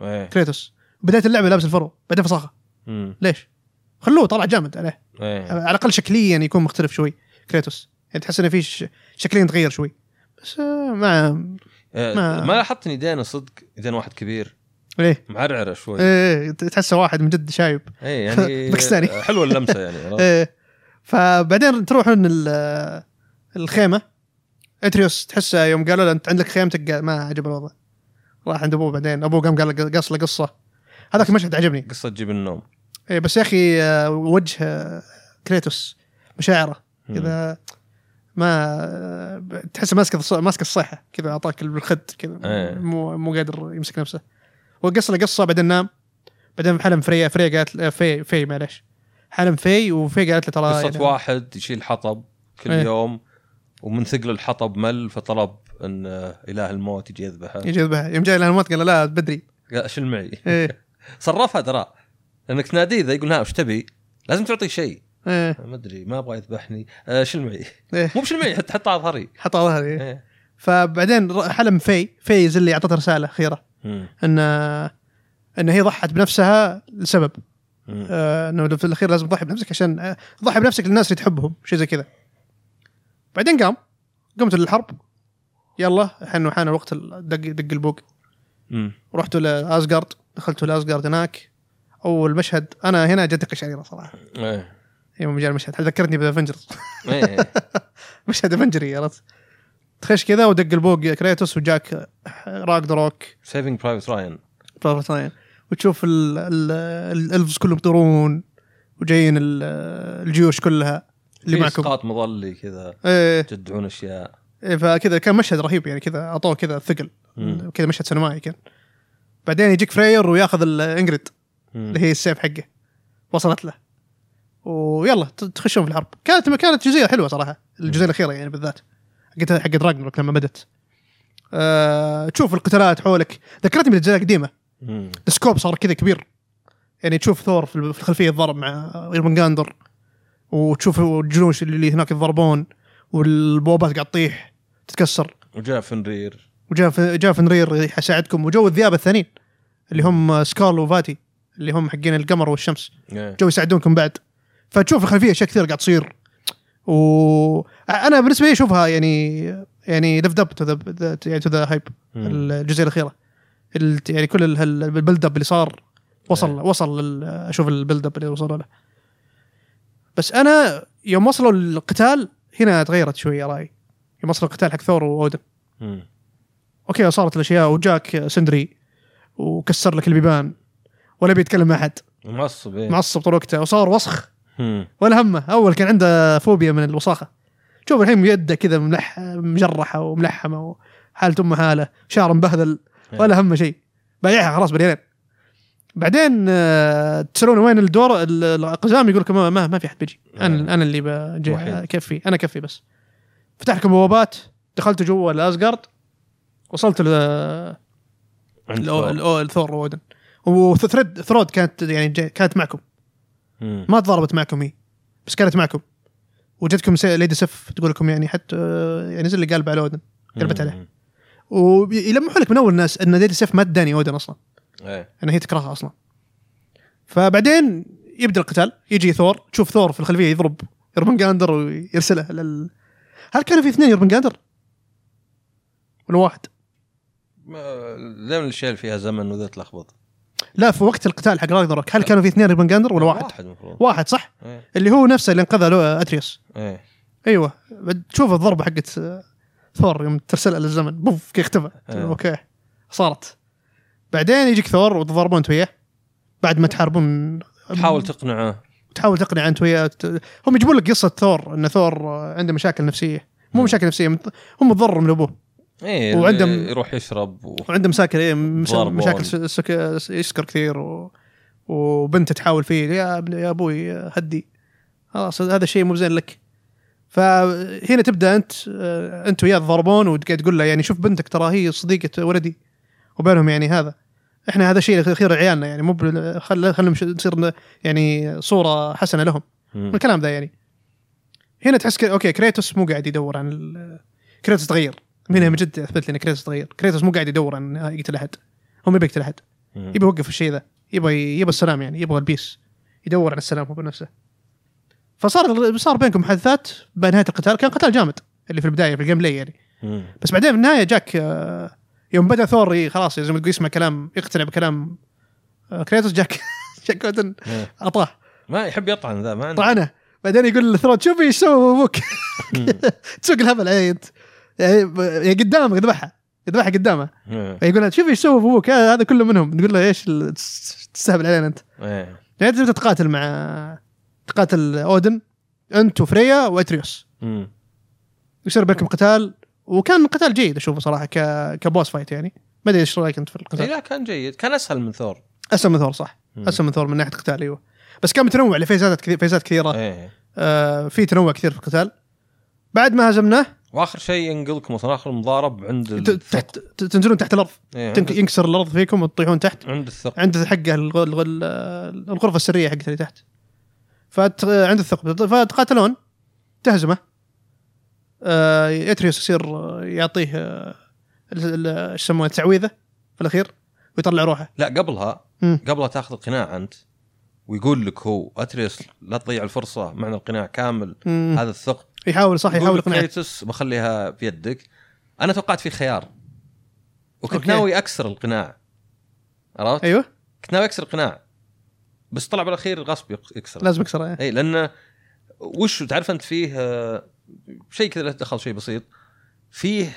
B: ايه
A: كريتوس بدايه اللعبه لابس الفرو بعدين فصاخه
B: مم.
A: ليش؟ خلوه طلع جامد عليه
B: ايه
A: على الاقل شكليا يكون مختلف شوي كريتوس يعني تحس انه في ش- شكليا تغير شوي بس آه، ما
B: إيه،
A: ما-
B: ما لاحظت ان ايدينه صدق ايدين واحد كبير
A: ايه
B: معرعره شوي
A: ايه تحسه واحد من جد شايب
B: اي يعني
A: باكستاني.
B: حلوه اللمسه يعني
A: ايه فبعدين تروحون ال- الخيمه اتريوس تحسه يوم قالوا له انت عندك خيمتك قال- ما عجب الوضع راح عند ابوه بعدين ابوه قام قال له قص له قصه هذاك المشهد عجبني
B: قصه تجيب النوم
A: ايه بس يا اخي آه، وجه آه، كريتوس مشاعره
B: مم.
A: كذا ما آه، تحسه ماسك الص- ماسك الصيحه كذا اعطاك بالخد كذا
B: إيه.
A: مو مو قادر يمسك نفسه وقص له قصه بعدين نام بعدين حلم فريا فريا قالت له- في في معلش حلم في وفي قالت له ترى
B: قصه
A: يعني-
B: واحد يشيل حطب كل
A: إيه.
B: يوم ومن ثقل الحطب مل فطلب ان آه، اله الموت يجي يذبحه
A: يجي يذبحها يوم جاي لها الموت قال له لا بدري
B: قال شيل معي
A: ايه
B: صرفها ترى لانك تناديه ذا يقول ها وش تبي؟ لازم تعطيه شيء
A: ايه
B: ما ادري ما ابغى يذبحني آه، شيل معي
A: ايه
B: مو بشيل معي حتى حط على ظهري
A: حطها ظهري إيه.
B: إيه.
A: فبعدين ر- حلم في في زي اللي اعطته رساله اخيره
B: مم.
A: ان ان هي ضحت بنفسها لسبب
B: مم.
A: آه، انه في الاخير لازم تضحي بنفسك عشان آه، تضحي بنفسك للناس اللي تحبهم شيء زي كذا بعدين قام قمت للحرب يلا حين وحان الوقت ال- دق دق البوق
B: مم.
A: رحتوا لاسجارد دخلتوا لاسجارد هناك اول مشهد انا هنا جت قشعريره صراحه
B: إيه.
A: يوم جاء المشهد ذكرتني بافنجرز
B: إيه.
A: مشهد افنجري عرفت تخش كذا ودق البوق كريتوس وجاك راك دروك
B: سيفنج برايفت راين
A: بلاتفورم ثانية وتشوف ال- ال- الالفز كلهم يطيرون وجايين ال- الجيوش كلها اللي معكم
B: اسقاط إيه، مظلي كذا
A: ايه
B: يجدعون اشياء
A: إيه، فكذا كان مشهد رهيب يعني كذا اعطوه كذا ثقل
B: مم.
A: كذا مشهد سينمائي كان بعدين يجيك فرير وياخذ الانجريد
B: مم.
A: اللي هي السيف حقه وصلت له ويلا ت- تخشون في الحرب كانت كانت جزئيه حلوه صراحه الجزئيه الاخيره يعني بالذات حقت حقت راجنروك لما بدت أه تشوف القتالات حولك ذكرتني بالأجزاء القديمه
B: مم.
A: السكوب صار كذا كبير يعني تشوف ثور في في الخلفيه يتضارب مع ايرمنجاندر وتشوف الجيوش اللي هناك يتضربون والبوابات قاعد تطيح تتكسر
B: وجاء فنرير
A: وجاء في جاء فنرير يساعدكم وجو الذئاب الثانيين اللي هم سكال وفاتي اللي هم حقين القمر والشمس
B: إيه.
A: جو يساعدونكم بعد فتشوف الخلفيه اشياء كثير قاعد تصير و انا بالنسبه لي اشوفها يعني يعني لفت اب تو ذا يعني تو ذا هايب
B: مم.
A: الجزئيه الاخيره ال- يعني كل ال- هال- البيلد اب اللي صار وصل وصل لل- اشوف البيلد اب اللي وصلوا له بس انا يوم وصلوا للقتال هنا تغيرت شويه رايي يوم وصلوا القتال حق ثور واودن
B: مم.
A: اوكي صارت الاشياء وجاك سندري وكسر لك البيبان ولا بيتكلم مع احد
B: معصب إيه.
A: معصب طول وقته وصار وسخ
B: مم.
A: ولا همه اول كان عنده فوبيا من الوساخه شوف الحين يده كذا ملح مجرحه وملحمه وحالة امه حاله شعر مبهذل
B: إيه.
A: ولا همه شيء بايعها خلاص بريالين بعدين آه، تسالون وين الدور ال- القزام يقول لكم ما, ما ما في احد بيجي
B: إيه.
A: انا انا اللي بجي
B: وحيد.
A: كفي انا كفي بس فتح لكم بوابات دخلت جوا الاسجارد وصلت ل-
B: عند
A: ل-
B: ثور.
A: ل- لثور وودن وثريد ثرود كانت يعني جا- كانت معكم
B: مم.
A: ما تضاربت معكم هي بس كانت معكم وجدكم سي- ليدي سف تقول لكم يعني حتى آه، يعني زي اللي قال على اودن قلبت عليه
B: مم.
A: ويلمحوا لك من اول الناس ان ليدي سف ما تداني اودن اصلا
B: إيه.
A: ان يعني هي تكرهها اصلا فبعدين يبدا القتال يجي ثور تشوف ثور في الخلفيه يضرب يربنجاندر ويرسله لل هل كانوا في اثنين يربنجاندر؟ من واحد
B: ما- دائما الاشياء اللي فيها زمن وذا تلخبط
A: لا في وقت القتال حق راجنروك هل كانوا في اثنين ريبن جاندر ولا واحد؟
B: واحد المفروض
A: واحد صح؟
B: ايه
A: اللي هو نفسه اللي انقذه لو- اتريوس
B: ايه
A: ايوه بعد تشوف الضربه حقت آه، ثور يوم ترسلها للزمن بوف كي اختفى
B: إيه.
A: اوكي صارت بعدين يجيك ثور وتضاربون انت وياه بعد ما تحاربون
B: تحاول تقنعه
A: تحاول تقنع انت وياه ت- هم يجيبون لك قصه ثور ان ثور آه، عنده مشاكل نفسيه مو مشاكل نفسيه مت- هم متضرر من ابوه
B: ايه
A: وعندهم-
B: يروح يشرب و...
A: وعنده مساكل ايه مس-
B: ضربون.
A: مشاكل س- سك- س- يسكر كثير و... وبنته تحاول فيه يا ابن يا ابوي هدي خلاص هذا الشيء مو زين لك فهنا تبدا انت آه، انت وياه تضربون وتقعد تقول له يعني شوف بنتك ترى هي صديقه ولدي وبينهم يعني هذا احنا هذا شيء خير عيالنا يعني مو بال- خل خلينا نصير ن- يعني صوره حسنه لهم
B: مم.
A: من الكلام ذا يعني هنا تحس ك- اوكي كريتوس مو قاعد يدور عن ال- كريتوس تغير من هنا من جد اثبت لنا كريتوس تغير كريتوس مو قاعد يدور عن يقتل احد هو ما يبي يقتل احد
B: مم.
A: يبي يوقف الشيء ذا يبي يبي السلام يعني يبغى البيس يدور على السلام هو بنفسه فصار صار بينكم محادثات بنهايه القتال كان قتال جامد اللي في البدايه في الجيم بلاي يعني
B: مم.
A: بس بعدين في النهايه جاك آه، يوم بدا ثور ي- خلاص زي ما تقول يسمع كلام يقتنع بكلام آه، كريتوس جاك جاك أودن
B: إيه.
A: اعطاه
B: ما يحب يطعن ذا ما عنده
A: طعنه بعدين يقول لثرون شوفي ايش سوى ابوك تسوق الهبل علي انت يعني ب- يعني قدامك يذبحها يذبحها قدامه
B: إيه.
A: فيقول لها شوفي ايش سوى ابوك هذا هذا كله منهم تقول له ايش ال- تس- تستهبل علينا انت
B: ايه
A: يعني تبدا تقاتل مع تقاتل اودن انت وفريا واتريوس
B: مم.
A: يصير بينكم قتال وكان قتال جيد اشوفه صراحه ك... كبوس فايت يعني ما ادري ايش رايك انت في
B: إيه،
A: القتال
B: لا كان جيد كان اسهل من ثور
A: اسهل من ثور صح
B: مم.
A: اسهل من ثور من ناحيه قتال ايوه بس كان متنوع لفيزات كثير فيزات كثيره
B: ايه
A: آه، في تنوع كثير في القتال بعد ما هزمناه
B: واخر شيء ينقلكم اصلا اخر مضارب عند
A: ت-
B: ال-
A: تحت ت- تنزلون تحت الارض
B: إيه،
A: تنك-
B: عند,
A: ينكسر الارض فيكم وتطيحون تحت
B: عند الثقب
A: عند حقه الغ- الغ- ال- الغرفه السريه حقته اللي تحت فت... عند الثقب فتقاتلون تهزمه آه، اتريوس يصير آه، يعطيه آه، ال- ال- ايش يسمونه تعويذه في الاخير ويطلع روحه
B: لا قبلها
A: مم.
B: قبلها تاخذ القناع انت ويقول لك هو اتريس لا تضيع الفرصه معنى القناع كامل
A: مم.
B: هذا الثقب
A: يحاول صح
B: يقول
A: يحاول
B: لك
A: يقنعك
B: كريتوس بخليها بيدك انا توقعت في خيار وكنت
A: أوكي.
B: ناوي اكسر القناع عرفت؟
A: ايوه
B: كنت ناوي اكسر القناع بس طلع بالاخير غصب يق- يكسر
A: لازم يكسره إيه.
B: اي لانه وش تعرف انت فيه آه، شيء كذا له دخل شيء بسيط فيه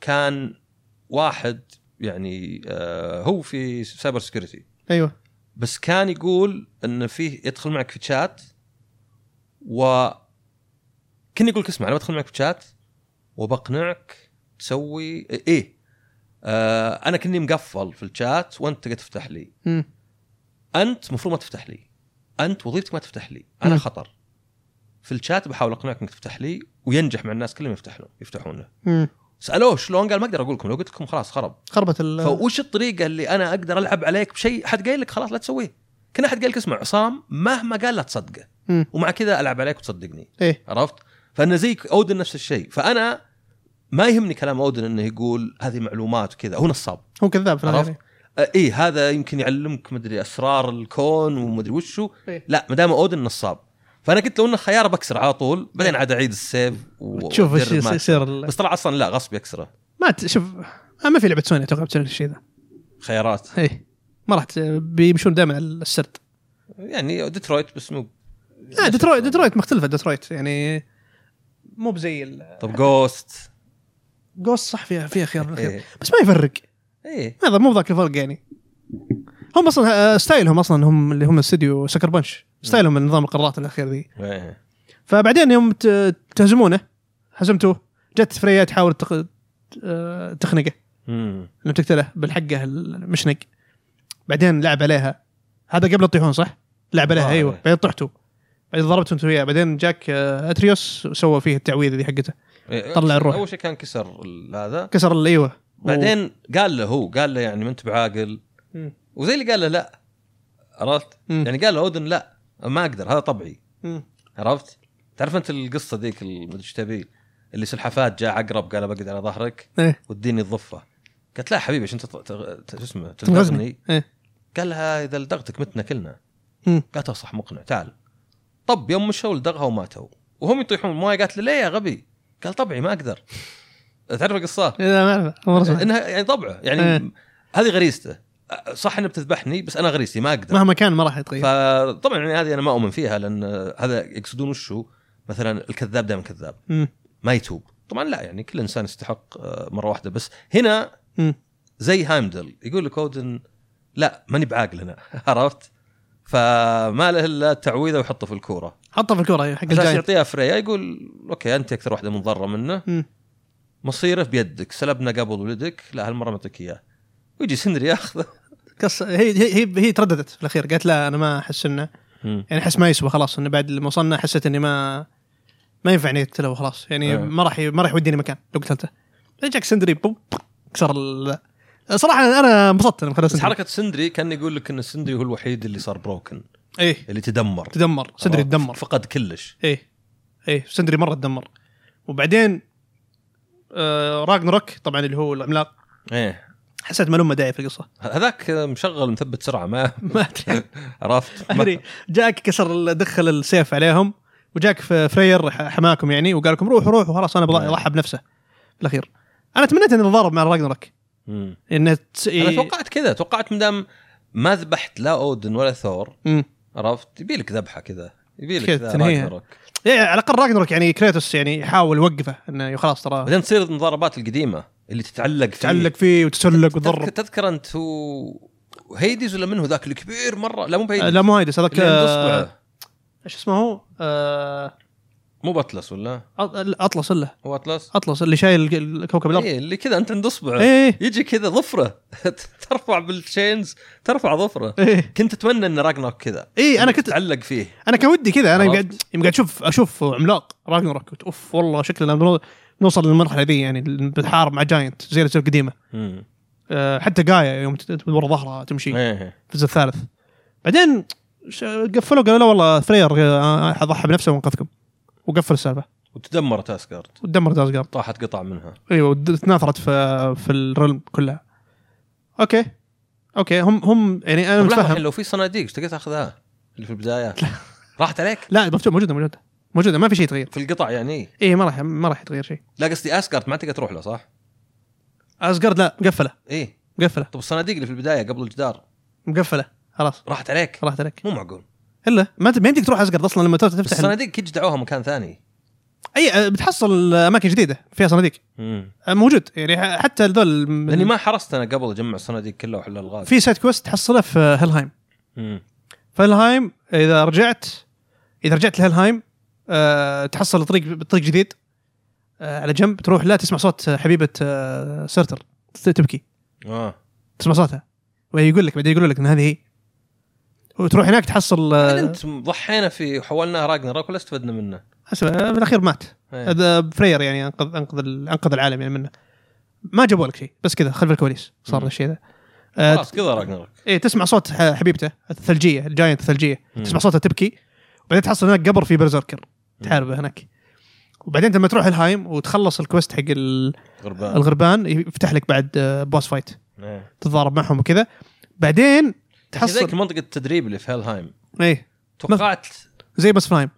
B: كان واحد يعني آه، هو في سايبر سكيورتي
A: ايوه
B: بس كان يقول ان فيه يدخل معك في تشات و كان يقول لك اسمع انا بدخل معك في تشات وبقنعك تسوي ايه آه انا كني مقفل في الشات وانت تقدر تفتح لي
A: مم.
B: انت المفروض ما تفتح لي انت وظيفتك ما تفتح لي انا
A: مم.
B: خطر في الشات بحاول اقنعك انك تفتح لي وينجح مع الناس كلهم يفتح لهم يفتحونه
A: مم.
B: سالوه شلون قال ما اقدر اقول لكم لو قلت لكم خلاص خرب
A: خربت ال
B: فوش الطريقه اللي انا اقدر العب عليك بشيء حد قايل لك خلاص لا تسويه كان احد قال لك اسمع عصام مهما قال لا تصدقه
A: مم.
B: ومع كذا العب عليك وتصدقني
A: ايه
B: عرفت فانا زيك اودن نفس الشيء فانا ما يهمني كلام اودن انه يقول هذه معلومات وكذا هو نصاب
A: هو كذاب في
B: عرفت؟
A: النهايه
B: آه، ايه هذا يمكن يعلمك مدري اسرار الكون ومدري وشو
A: إيه.
B: لا ما دام اودن نصاب فانا قلت لو انه خيار بكسر على طول بعدين عاد اعيد السيف و-
A: تشوف ايش
B: وأدرب ما أكسر.
A: يصير ال-
B: بس طلع اصلا لا غصب يكسره
A: ما ت- شوف آه، ما في لعبه سوني اتوقع بتسوي الشيء ذا
B: خيارات
A: ايه ما راح ت- بيمشون دائما على السرد
B: يعني ديترويت بس مو
A: لا ديترويت ديترويت مختلفه ديترويت يعني مو بزي ال-
B: طب جوست
A: جوست صح فيها فيها خيار
B: إيه.
A: بالأخير بس ما يفرق
B: ايه
A: هذا مو ذاك الفرق يعني هم اصلا آه، ستايلهم اصلا هم اللي هم استديو سكر بنش ستايلهم من نظام القرارات الاخير ذي
B: إيه.
A: فبعدين يوم ت- تهزمونه هزمتوه جت فريا تحاول تخ... آه، تخنقه
B: مم.
A: لما تقتله بالحقه المشنق بعدين لعب عليها هذا قبل الطيحون صح؟ لعب عليها
B: آه،
A: ايوه
B: إيه.
A: بعدين طحتوا بعدين ضربته انت وياه بعدين جاك آه، اتريوس وسوى فيه التعويذه ذي حقته
B: إيه.
A: طلع الروح.
B: اول شيء كان كسر ال- هذا
A: كسر ال- ايوه
B: بعدين قال له هو قال له يعني ما انت بعاقل
A: مم.
B: وزي اللي قال له لا عرفت؟
A: مم.
B: يعني قال له اودن لا ما اقدر هذا طبعي
A: مم.
B: عرفت؟ تعرف انت القصه ذيك ال- مدري ايش تبي اللي سلحفات جاء عقرب قال بقعد على ظهرك
A: ايه
B: واديني الضفه قالت لا حبيبي عشان تط- تغ- ت- شو اسمه
A: تنغزني
B: تلدغني
A: ايه
B: قال لها اذا لدغتك متنا كلنا
A: مم.
B: قالت له صح مقنع تعال طب يوم مشوا لدغها وماتوا وهم يطيحون المويه قالت له ليه يا غبي؟ قال طبعي ما اقدر تعرف القصار
A: لا ما اعرف مرة سمعت.
B: انها يعني طبعه
A: إيه.
B: يعني هذه غريزته صح انها بتذبحني بس انا غريزتي ما اقدر
A: مهما كان ما راح يتغير
B: فطبعا يعني هذه انا ما اؤمن فيها لان هذا يقصدون وشو مثلا الكذاب دائما كذاب
A: مم.
B: ما يتوب طبعا لا يعني كل انسان يستحق آه، مره واحده بس هنا
A: مم.
B: زي هايمدل يقول لك اودن لا ماني بعاقل هنا عرفت فما له الا تعويذه ويحطه في الكوره
A: حطه في الكرة حق
B: اساس
A: الجاي
B: يعطيها فريا يقول اوكي انت اكثر واحده منضره منه
A: مم.
B: مصيره بيدك سلبنا قبل ولدك لا هالمره نعطيك اياه ويجي سندري ياخذه
A: قص هي هي هي, هي ترددت في الاخير قالت لا انا ما احس انه
B: مم.
A: يعني احس ما يسوى خلاص انه بعد لما وصلنا حسيت اني ما ما ينفع اني اقتله وخلاص يعني
B: إيه.
A: ما راح ي- ما راح يوديني مكان لو قتلته بعدين جاك سندري بوم كسر ال... صراحه انا انبسطت لما خلصت
B: بس حركه سندري كان يقول لك ان سندري هو الوحيد اللي صار بروكن
A: ايه
B: اللي تدمر
A: تدمر سندري
B: عرفت؟
A: تدمر
B: فقد كلش
A: ايه ايه سندري مره تدمر وبعدين آه راجنروك طبعا اللي هو العملاق
B: ايه
A: حسيت ملومه داعي في القصه
B: هذاك مشغل مثبت سرعه ما
A: ما ادري
B: عرفت
A: ما ادري جاك كسر ال- دخل السيف عليهم وجاك ف- فرير ح- حماكم يعني وقال لكم روحوا روحوا خلاص انا بض-
B: إيه.
A: ضحى بنفسه في الاخير انا تمنيت اني اتضارب مع راجنروك إيه،
B: مم.
A: انه تس...
B: انا توقعت كذا توقعت مدام ما ذبحت لا اودن ولا ثور
A: مم.
B: عرفت يبي لك ذبحه كذا يبي لك
A: كذا
B: ذا
A: تنهيها.
B: راجنروك.
A: إيه، على الاقل راجنروك يعني كريتوس يعني يحاول يوقفه انه خلاص ترى
B: بعدين تصير المضاربات القديمه اللي تتعلق فيه.
A: تعلق فيه وتسلق
B: تذكر,
A: وتضرب
B: تذكر انت هو هيديز ولا منه ذاك الكبير مره لا مو
A: آه،
B: بهيديز
A: لا مو هيدس هذاك
B: اللي عنده
A: آه،
B: اصبعه
A: ايش اسمه هو؟ آه،
B: مو باتلس ولا
A: أط- اطلس الا
B: هو اطلس
A: اطلس اللي شايل ال- الكوكب الارض
B: إيه اللي كذا انت عند اصبعه
A: ايه
B: يجي كذا ظفره ترفع بالشينز ترفع ظفره
A: ايه
B: كنت اتمنى ان راجناك كذا
A: ايه انا كنت
B: تعلق فيه
A: انا كان ودي كذا انا
B: عرفت؟
A: قاعد يوم قاعد اشوف اشوف عملاق راجنروك قلت اوف والله شكلنا بنو- نوصل للمرحله دي يعني بنحارب مع جاينت زي الأجزاء القديمه
B: امم
A: أه حتى قايا يوم تت- تت- ورا ظهرها تمشي في
B: ايه
A: الجزء الثالث بعدين ش- قفلوا قالوا لا والله فرير آه، ضحى بنفسه وانقذكم وقفل السالفه
B: وتدمرت اسكارد
A: ودمرت ازقار
B: طاحت قطع منها
A: ايوه ود- تناثرت في في الرلم كلها اوكي اوكي هم هم يعني انا
B: طب لا،
A: متفهم
B: الحين لو في صناديق ايش تقدر تاخذها اللي في البدايات راحت عليك
A: لا مفتوح موجوده موجوده موجوده ما في شيء يتغير
B: في القطع يعني
A: ايه ما راح ما راح يتغير شيء
B: لا قصدي اسكارد ما تقدر تروح له صح؟
A: ازقرد لا مقفله
B: ايه
A: مقفله
B: طب الصناديق اللي في البدايه قبل الجدار
A: مقفله خلاص
B: راحت عليك
A: راحت عليك
B: مو معقول
A: الا ما انت ما يمديك تروح ازقرد اصلا لما تفتح
B: بس
A: ال-
B: الصناديق كي جدعوها مكان ثاني
A: اي آه، بتحصل آه، اماكن جديده فيها صناديق
B: امم
A: آه، موجود يعني ح- حتى هذول من-
B: لاني يعني ما حرصت انا قبل اجمع الصناديق كلها واحل الغاز
A: في سايد كويست تحصله في آه، هيلهايم
B: مم.
A: في هيلهايم اذا رجعت اذا رجعت لهيلهايم آه، تحصل طريق طريق جديد آه، على جنب تروح لا تسمع صوت آه، حبيبه آه، سيرتر ت- تبكي
B: اه
A: آه. تسمع صوتها ويقول لك بعدين يقولوا لك ان هذه هي وتروح هناك تحصل
B: بعدين
A: آه،
B: انت ضحينا في حولناه راجنر ولا استفدنا منه
A: حسب آه، بالاخير مات
B: إيه.
A: هذا فرير يعني انقذ انقذ ال- انقذ العالم يعني منه ما جابوا لك شيء بس كذا خلف الكواليس صار
B: مم.
A: الشيء ذا آه،
B: خلاص كذا راجنر
A: ايه تسمع صوت ح- حبيبته الثلجيه الجاينت الثلجيه
B: مم.
A: تسمع صوتها تبكي وبعدين تحصل هناك قبر في برزيركر تحاربه هناك وبعدين لما تروح الهايم وتخلص الكوست حق ال-
B: غربان
A: الغربان يفتح لك بعد آه، بوس فايت
B: إيه.
A: تتضارب معهم وكذا بعدين
B: ذيك
A: تحصل
B: منطقه التدريب اللي في هيلهايم
A: ايه
B: توقعت
A: زي بس فلايم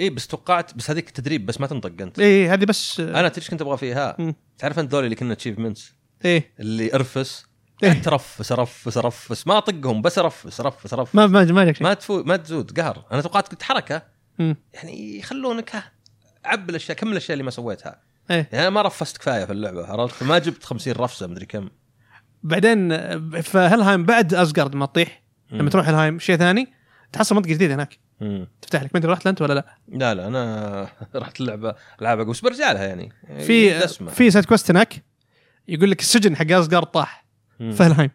B: اي بس توقعت بس هذيك تدريب بس ما تنطق انت
A: ايه هذه بس آه،
B: انا تدري كنت ابغى فيها
A: مم.
B: تعرف انت ذولي اللي كنا اتشيفمنتس
A: ايه
B: اللي ارفس
A: إيه.
B: قعدت ارفس ارفس ارفس ما اطقهم بس ارفس ارفس ارفس
A: ما ما ما جاك شيء
B: ما تفو ما تزود قهر انا توقعت كنت حركه
A: مم.
B: يعني يخلونك ها عب الاشياء كمل الاشياء اللي ما سويتها
A: ايه
B: يعني انا ما رفست كفايه في اللعبه عرفت ما جبت 50 رفسه مدري كم
A: بعدين آه، فهلهايم بعد ازجارد ما تطيح لما
B: مم.
A: تروح الهايم شيء ثاني تحصل منطقه جديده هناك
B: مم.
A: تفتح لك ما ادري رحت لها انت ولا لا
B: لا لا انا رحت اللعبه العاب بس برجع لها يعني
A: في
B: دسمه
A: في سايد كويست هناك يقول لك السجن حق ازجارد طاح
B: مم.
A: في هلهايم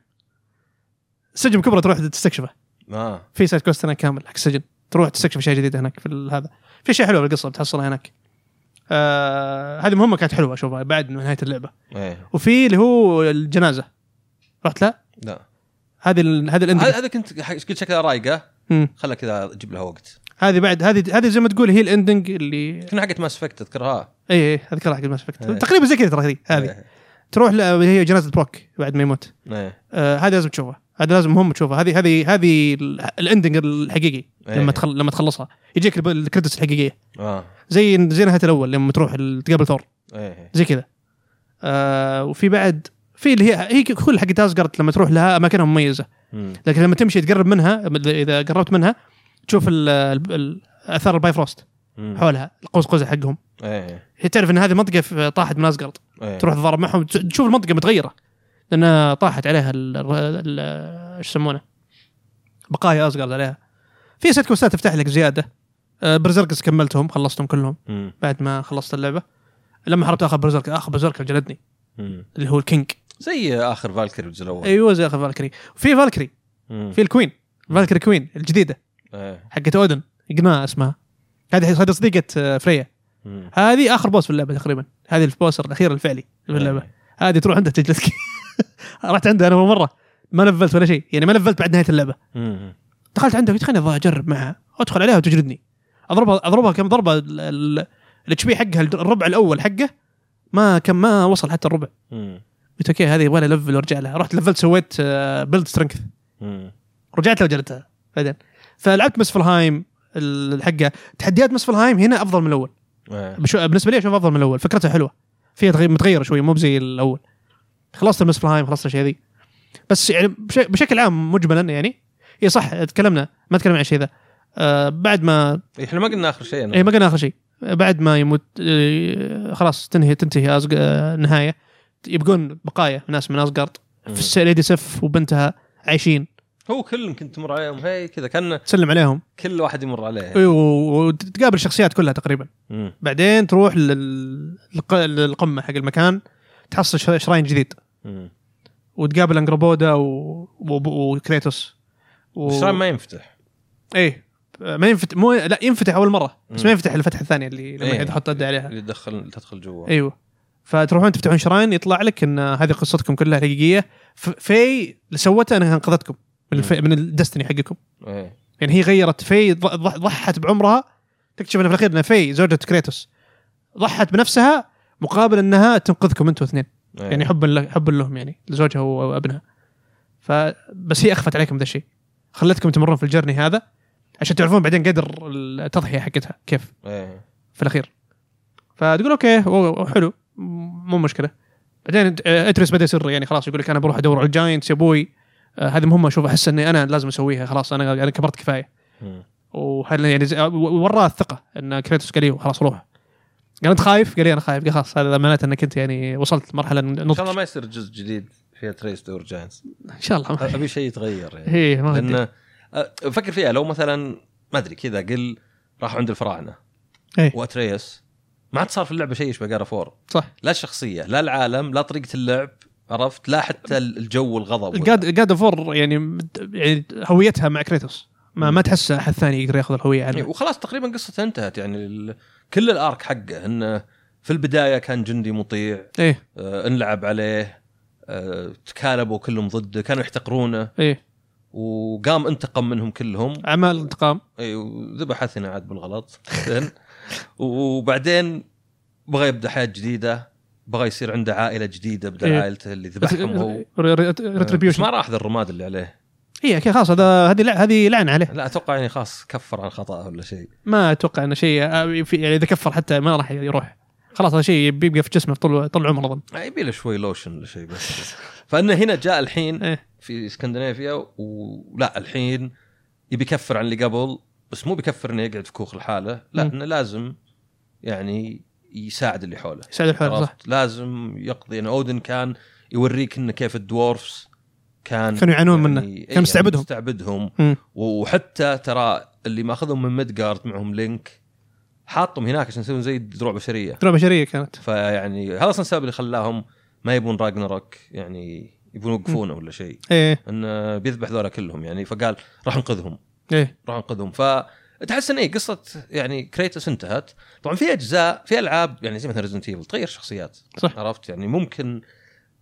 A: سجن كبرى تروح تستكشفه
B: اه
A: في سايد كويست هناك كامل حق السجن تروح تستكشف اشياء جديده هناك في ال- هذا في اشياء حلوه بالقصه بتحصلها هناك آه هذه مهمه كانت حلوه اشوفها بعد من نهايه اللعبه
B: ايه
A: وفي اللي هو الجنازه رحت لها
B: لا
A: هذه ال- هذه
B: هذا
A: الاندنج
B: هذا كنت حق- كنت شكلها رايقه
A: مم.
B: خلها كذا اجيب لها وقت
A: هذه بعد هذه هذه زي ما تقول هي الاندنج اللي
B: كنا حقت ماس افكت اذكرها
A: اي اي اذكرها حق الماس
B: إيه.
A: تقريبا زي كذا ترى هذه هذه
B: ايه
A: تروح ل- اللي هي جنازه بروك بعد ما يموت
B: ايه
A: آه، هذا لازم تشوفه هذا لازم مهم تشوفه هذه هذه هذه ال- الاندنج الحقيقي
B: إيه.
A: لما تخل... لما تخلصها يجيك الب- الكريدتس الحقيقيه
B: اه
A: زي زي نهايه الاول لما تروح ال- تقابل ثور
B: ايه
A: زي كذا آه وفي بعد في اللي هي هي كل حقت اسجارد لما تروح لها اماكنها مميزه
B: مم.
A: لكن لما تمشي تقرب منها اذا قربت منها تشوف ال- ال- ال- اثار البايفروست
B: مم.
A: حولها قوس قزح حقهم
B: ايه
A: هي تعرف ان هذه منطقه في- طاحت من اسجارد
B: ايه
A: إيه. تروح تتضارب معهم تس- تشوف المنطقه متغيره لان طاحت عليها ال- ال- ال- ايش يسمونه بقايا اسجارد عليها في سيت كوستات تفتح لك زياده برزركس كملتهم خلصتهم كلهم
B: مم.
A: بعد ما خلصت اللعبه لما حربت اخر برزرك اخر برزرك جلدني
B: مم.
A: اللي هو الكينج
B: زي اخر فالكري الجزء الاول
A: ايوه زي اخر فالكري وفي فالكري
B: مم.
A: في الكوين فالكري كوين الجديده
B: ايه
A: حقت اودن قناة اسمها هذه هذه صديقه آه، فريا
B: مم. إيه.
A: هذه اخر بوس في اللعبه تقريبا هذه البوسر الاخير الفعلي في
B: إيه.
A: اللعبه هذه تروح عندها تجلسك رحت عندها انا اول مره ما لفلت ولا شيء يعني ما لفلت بعد نهايه اللعبه
B: مم.
A: دخلت عندها قلت خليني أبغى اجرب معها ادخل عليها وتجلدني اضربها اضربها كم ضربه الاتش بي حقها الربع الاول حقه ما كان ما وصل حتى الربع
B: مم.
A: قلت اوكي هذه يبغى لها لفل وارجع لها رحت لفلت سويت بيلد سترينث
B: مم.
A: رجعت لها وجلدتها بعدين فلعبت مسفلهايم الحقه تحديات مسفلهايم هنا افضل من الاول
B: ايه
A: بشو- بالنسبه لي اشوف افضل من الاول فكرتها حلوه فيها تغيير متغيره شوي مو بزي الاول خلصت المسفلهايم خلصت الاشياء ذي بس يعني بش- بشكل عام مجملا يعني هي صح تكلمنا ما تكلمنا عن الشيء ذا آه بعد ما
B: احنا ما قلنا اخر شيء
A: اي إيه، ما قلنا اخر شيء بعد ما يموت آه خلاص تنهي تنتهي أزق... آه نهايه يبقون بقايا ناس من اسقرط في الس- ليدي سف وبنتها عايشين
B: هو كلهم كنت تمر عليهم هي كذا كان
A: تسلم عليهم
B: كل واحد يمر عليه
A: و- و- وتقابل الشخصيات كلها تقريبا
B: مم.
A: بعدين تروح لل- للق- للقمه حق المكان تحصل ش- شراين جديد
B: مم.
A: وتقابل انجروبودا و... و... وكريتوس و...
B: الشرايين ما ينفتح
A: ايه ما ينفتح مو لا ينفتح اول مره بس
B: مم.
A: ما ينفتح الفتحه الثانيه اللي لما
B: إيه.
A: إيه. تحط يد عليها
B: اللي تدخل تدخل جوا
A: ايوه فتروحون تفتحون شراين يطلع لك ان هذه قصتكم كلها حقيقيه ف- في اللي سوتها انها انقذتكم من الف... من الدستني حقكم
B: ايه
A: يعني هي غيرت في ض- ض- ضحت بعمرها تكتشف انه في الاخير ان في زوجة كريتوس ضحت بنفسها مقابل انها تنقذكم انتم اثنين
B: إيه.
A: يعني حبا له حبا لهم يعني لزوجها و- وابنها فبس هي اخفت عليكم ذا الشيء خلتكم تمرون في الجرني هذا عشان تعرفون بعدين قدر التضحيه حقتها كيف
B: ايه
A: في الاخير فتقول اوكي و- و- حلو م- مو مشكله بعدين آه، اترس بدا يصير يعني خلاص يقول لك انا بروح ادور على الجاينتس يا ابوي آه، هذه مهمه اشوف احس اني انا لازم اسويها خلاص انا انا كبرت كفايه
B: مم.
A: وهل يعني زي- و- وراه الثقه ان كريتوس قال لي خلاص روح قال انت خايف؟ قال لي انا خايف قال خلاص هذا معناته انك انت يعني وصلت مرحله
B: ان
A: نضج
B: شاء الله ما يصير جزء جديد فيها تريس دور جاينتس
A: ان شاء الله ما-
B: ابي شيء يتغير يعني
A: هي إيه، ما ودي.
B: لان أ- فكر فيها لو مثلا ما ادري كذا قل راح عند الفراعنه
A: إيه.
B: واتريس ما عاد صار في اللعبه شيء يشبه جار فور
A: صح
B: لا الشخصيه لا العالم لا طريقه اللعب عرفت لا حتى ال- الجو الغضب ولا-
A: جاد جاد فور يعني مد- يعني هويتها مع كريتوس ما ما تحس احد ثاني يقدر ياخذ الهويه
B: يعني
A: عنه
B: وخلاص تقريبا قصته انتهت يعني ال... كل الارك حقه انه في البدايه كان جندي مطيع
A: ايه
B: آه انلعب عليه آه تكالبوا كلهم ضده كانوا يحتقرونه
A: ايه
B: وقام انتقم منهم كلهم
A: اعمال انتقام
B: اي وذبح اثنى عاد بالغلط زين وبعدين بغى يبدا حياه جديده بغى يصير عنده عائله جديده بدل
A: إيه.
B: عائلته اللي ذبحهم هو بس
A: ريتريبيوشن
B: ما راح ذا الرماد اللي عليه
A: اي اكيد إيه، خلاص هذا هذه لع- هذه لعنه عليه
B: لا اتوقع يعني خلاص كفر عن خطاه ولا شيء
A: ما اتوقع انه شيء آه، في- يعني اذا كفر حتى ما راح يروح خلاص هذا شيء بيبقى في جسمه طول طول عمره اظن
B: يبي له شوي لوشن ولا شيء بس فانه هنا جاء الحين
A: إيه.
B: في اسكندنافيا ولا الحين يبي يكفر عن اللي قبل بس مو بيكفر انه يقعد في كوخ لحاله لا
A: مم.
B: انه لازم يعني يساعد اللي حوله
A: يساعد الحوار صح
B: عرفت؟ لازم يقضي يعني اودن كان يوريك انه كيف الدورفز كان
A: كانوا يعانون منه.
B: إيه،
A: كان مستعبدهم.
B: مستعبدهم
A: مم.
B: و- وحتى ترى اللي ماخذهم من ميدجارد معهم لينك حاطهم هناك عشان يسوون زي دروع بشريه
A: ترى بشريه كانت
B: فيعني هذا اصلا السبب اللي خلاهم ما يبون راجنروك يعني يبون يوقفونه ولا شيء
A: ايه
B: انه بيذبح ذولا كلهم يعني فقال راح انقذهم
A: ايه
B: راح انقذهم فتحس ان اي قصه يعني كريتوس انتهت طبعا في اجزاء في العاب يعني زي مثلا ريزنت ايفل تغير شخصيات
A: صح.
B: عرفت يعني ممكن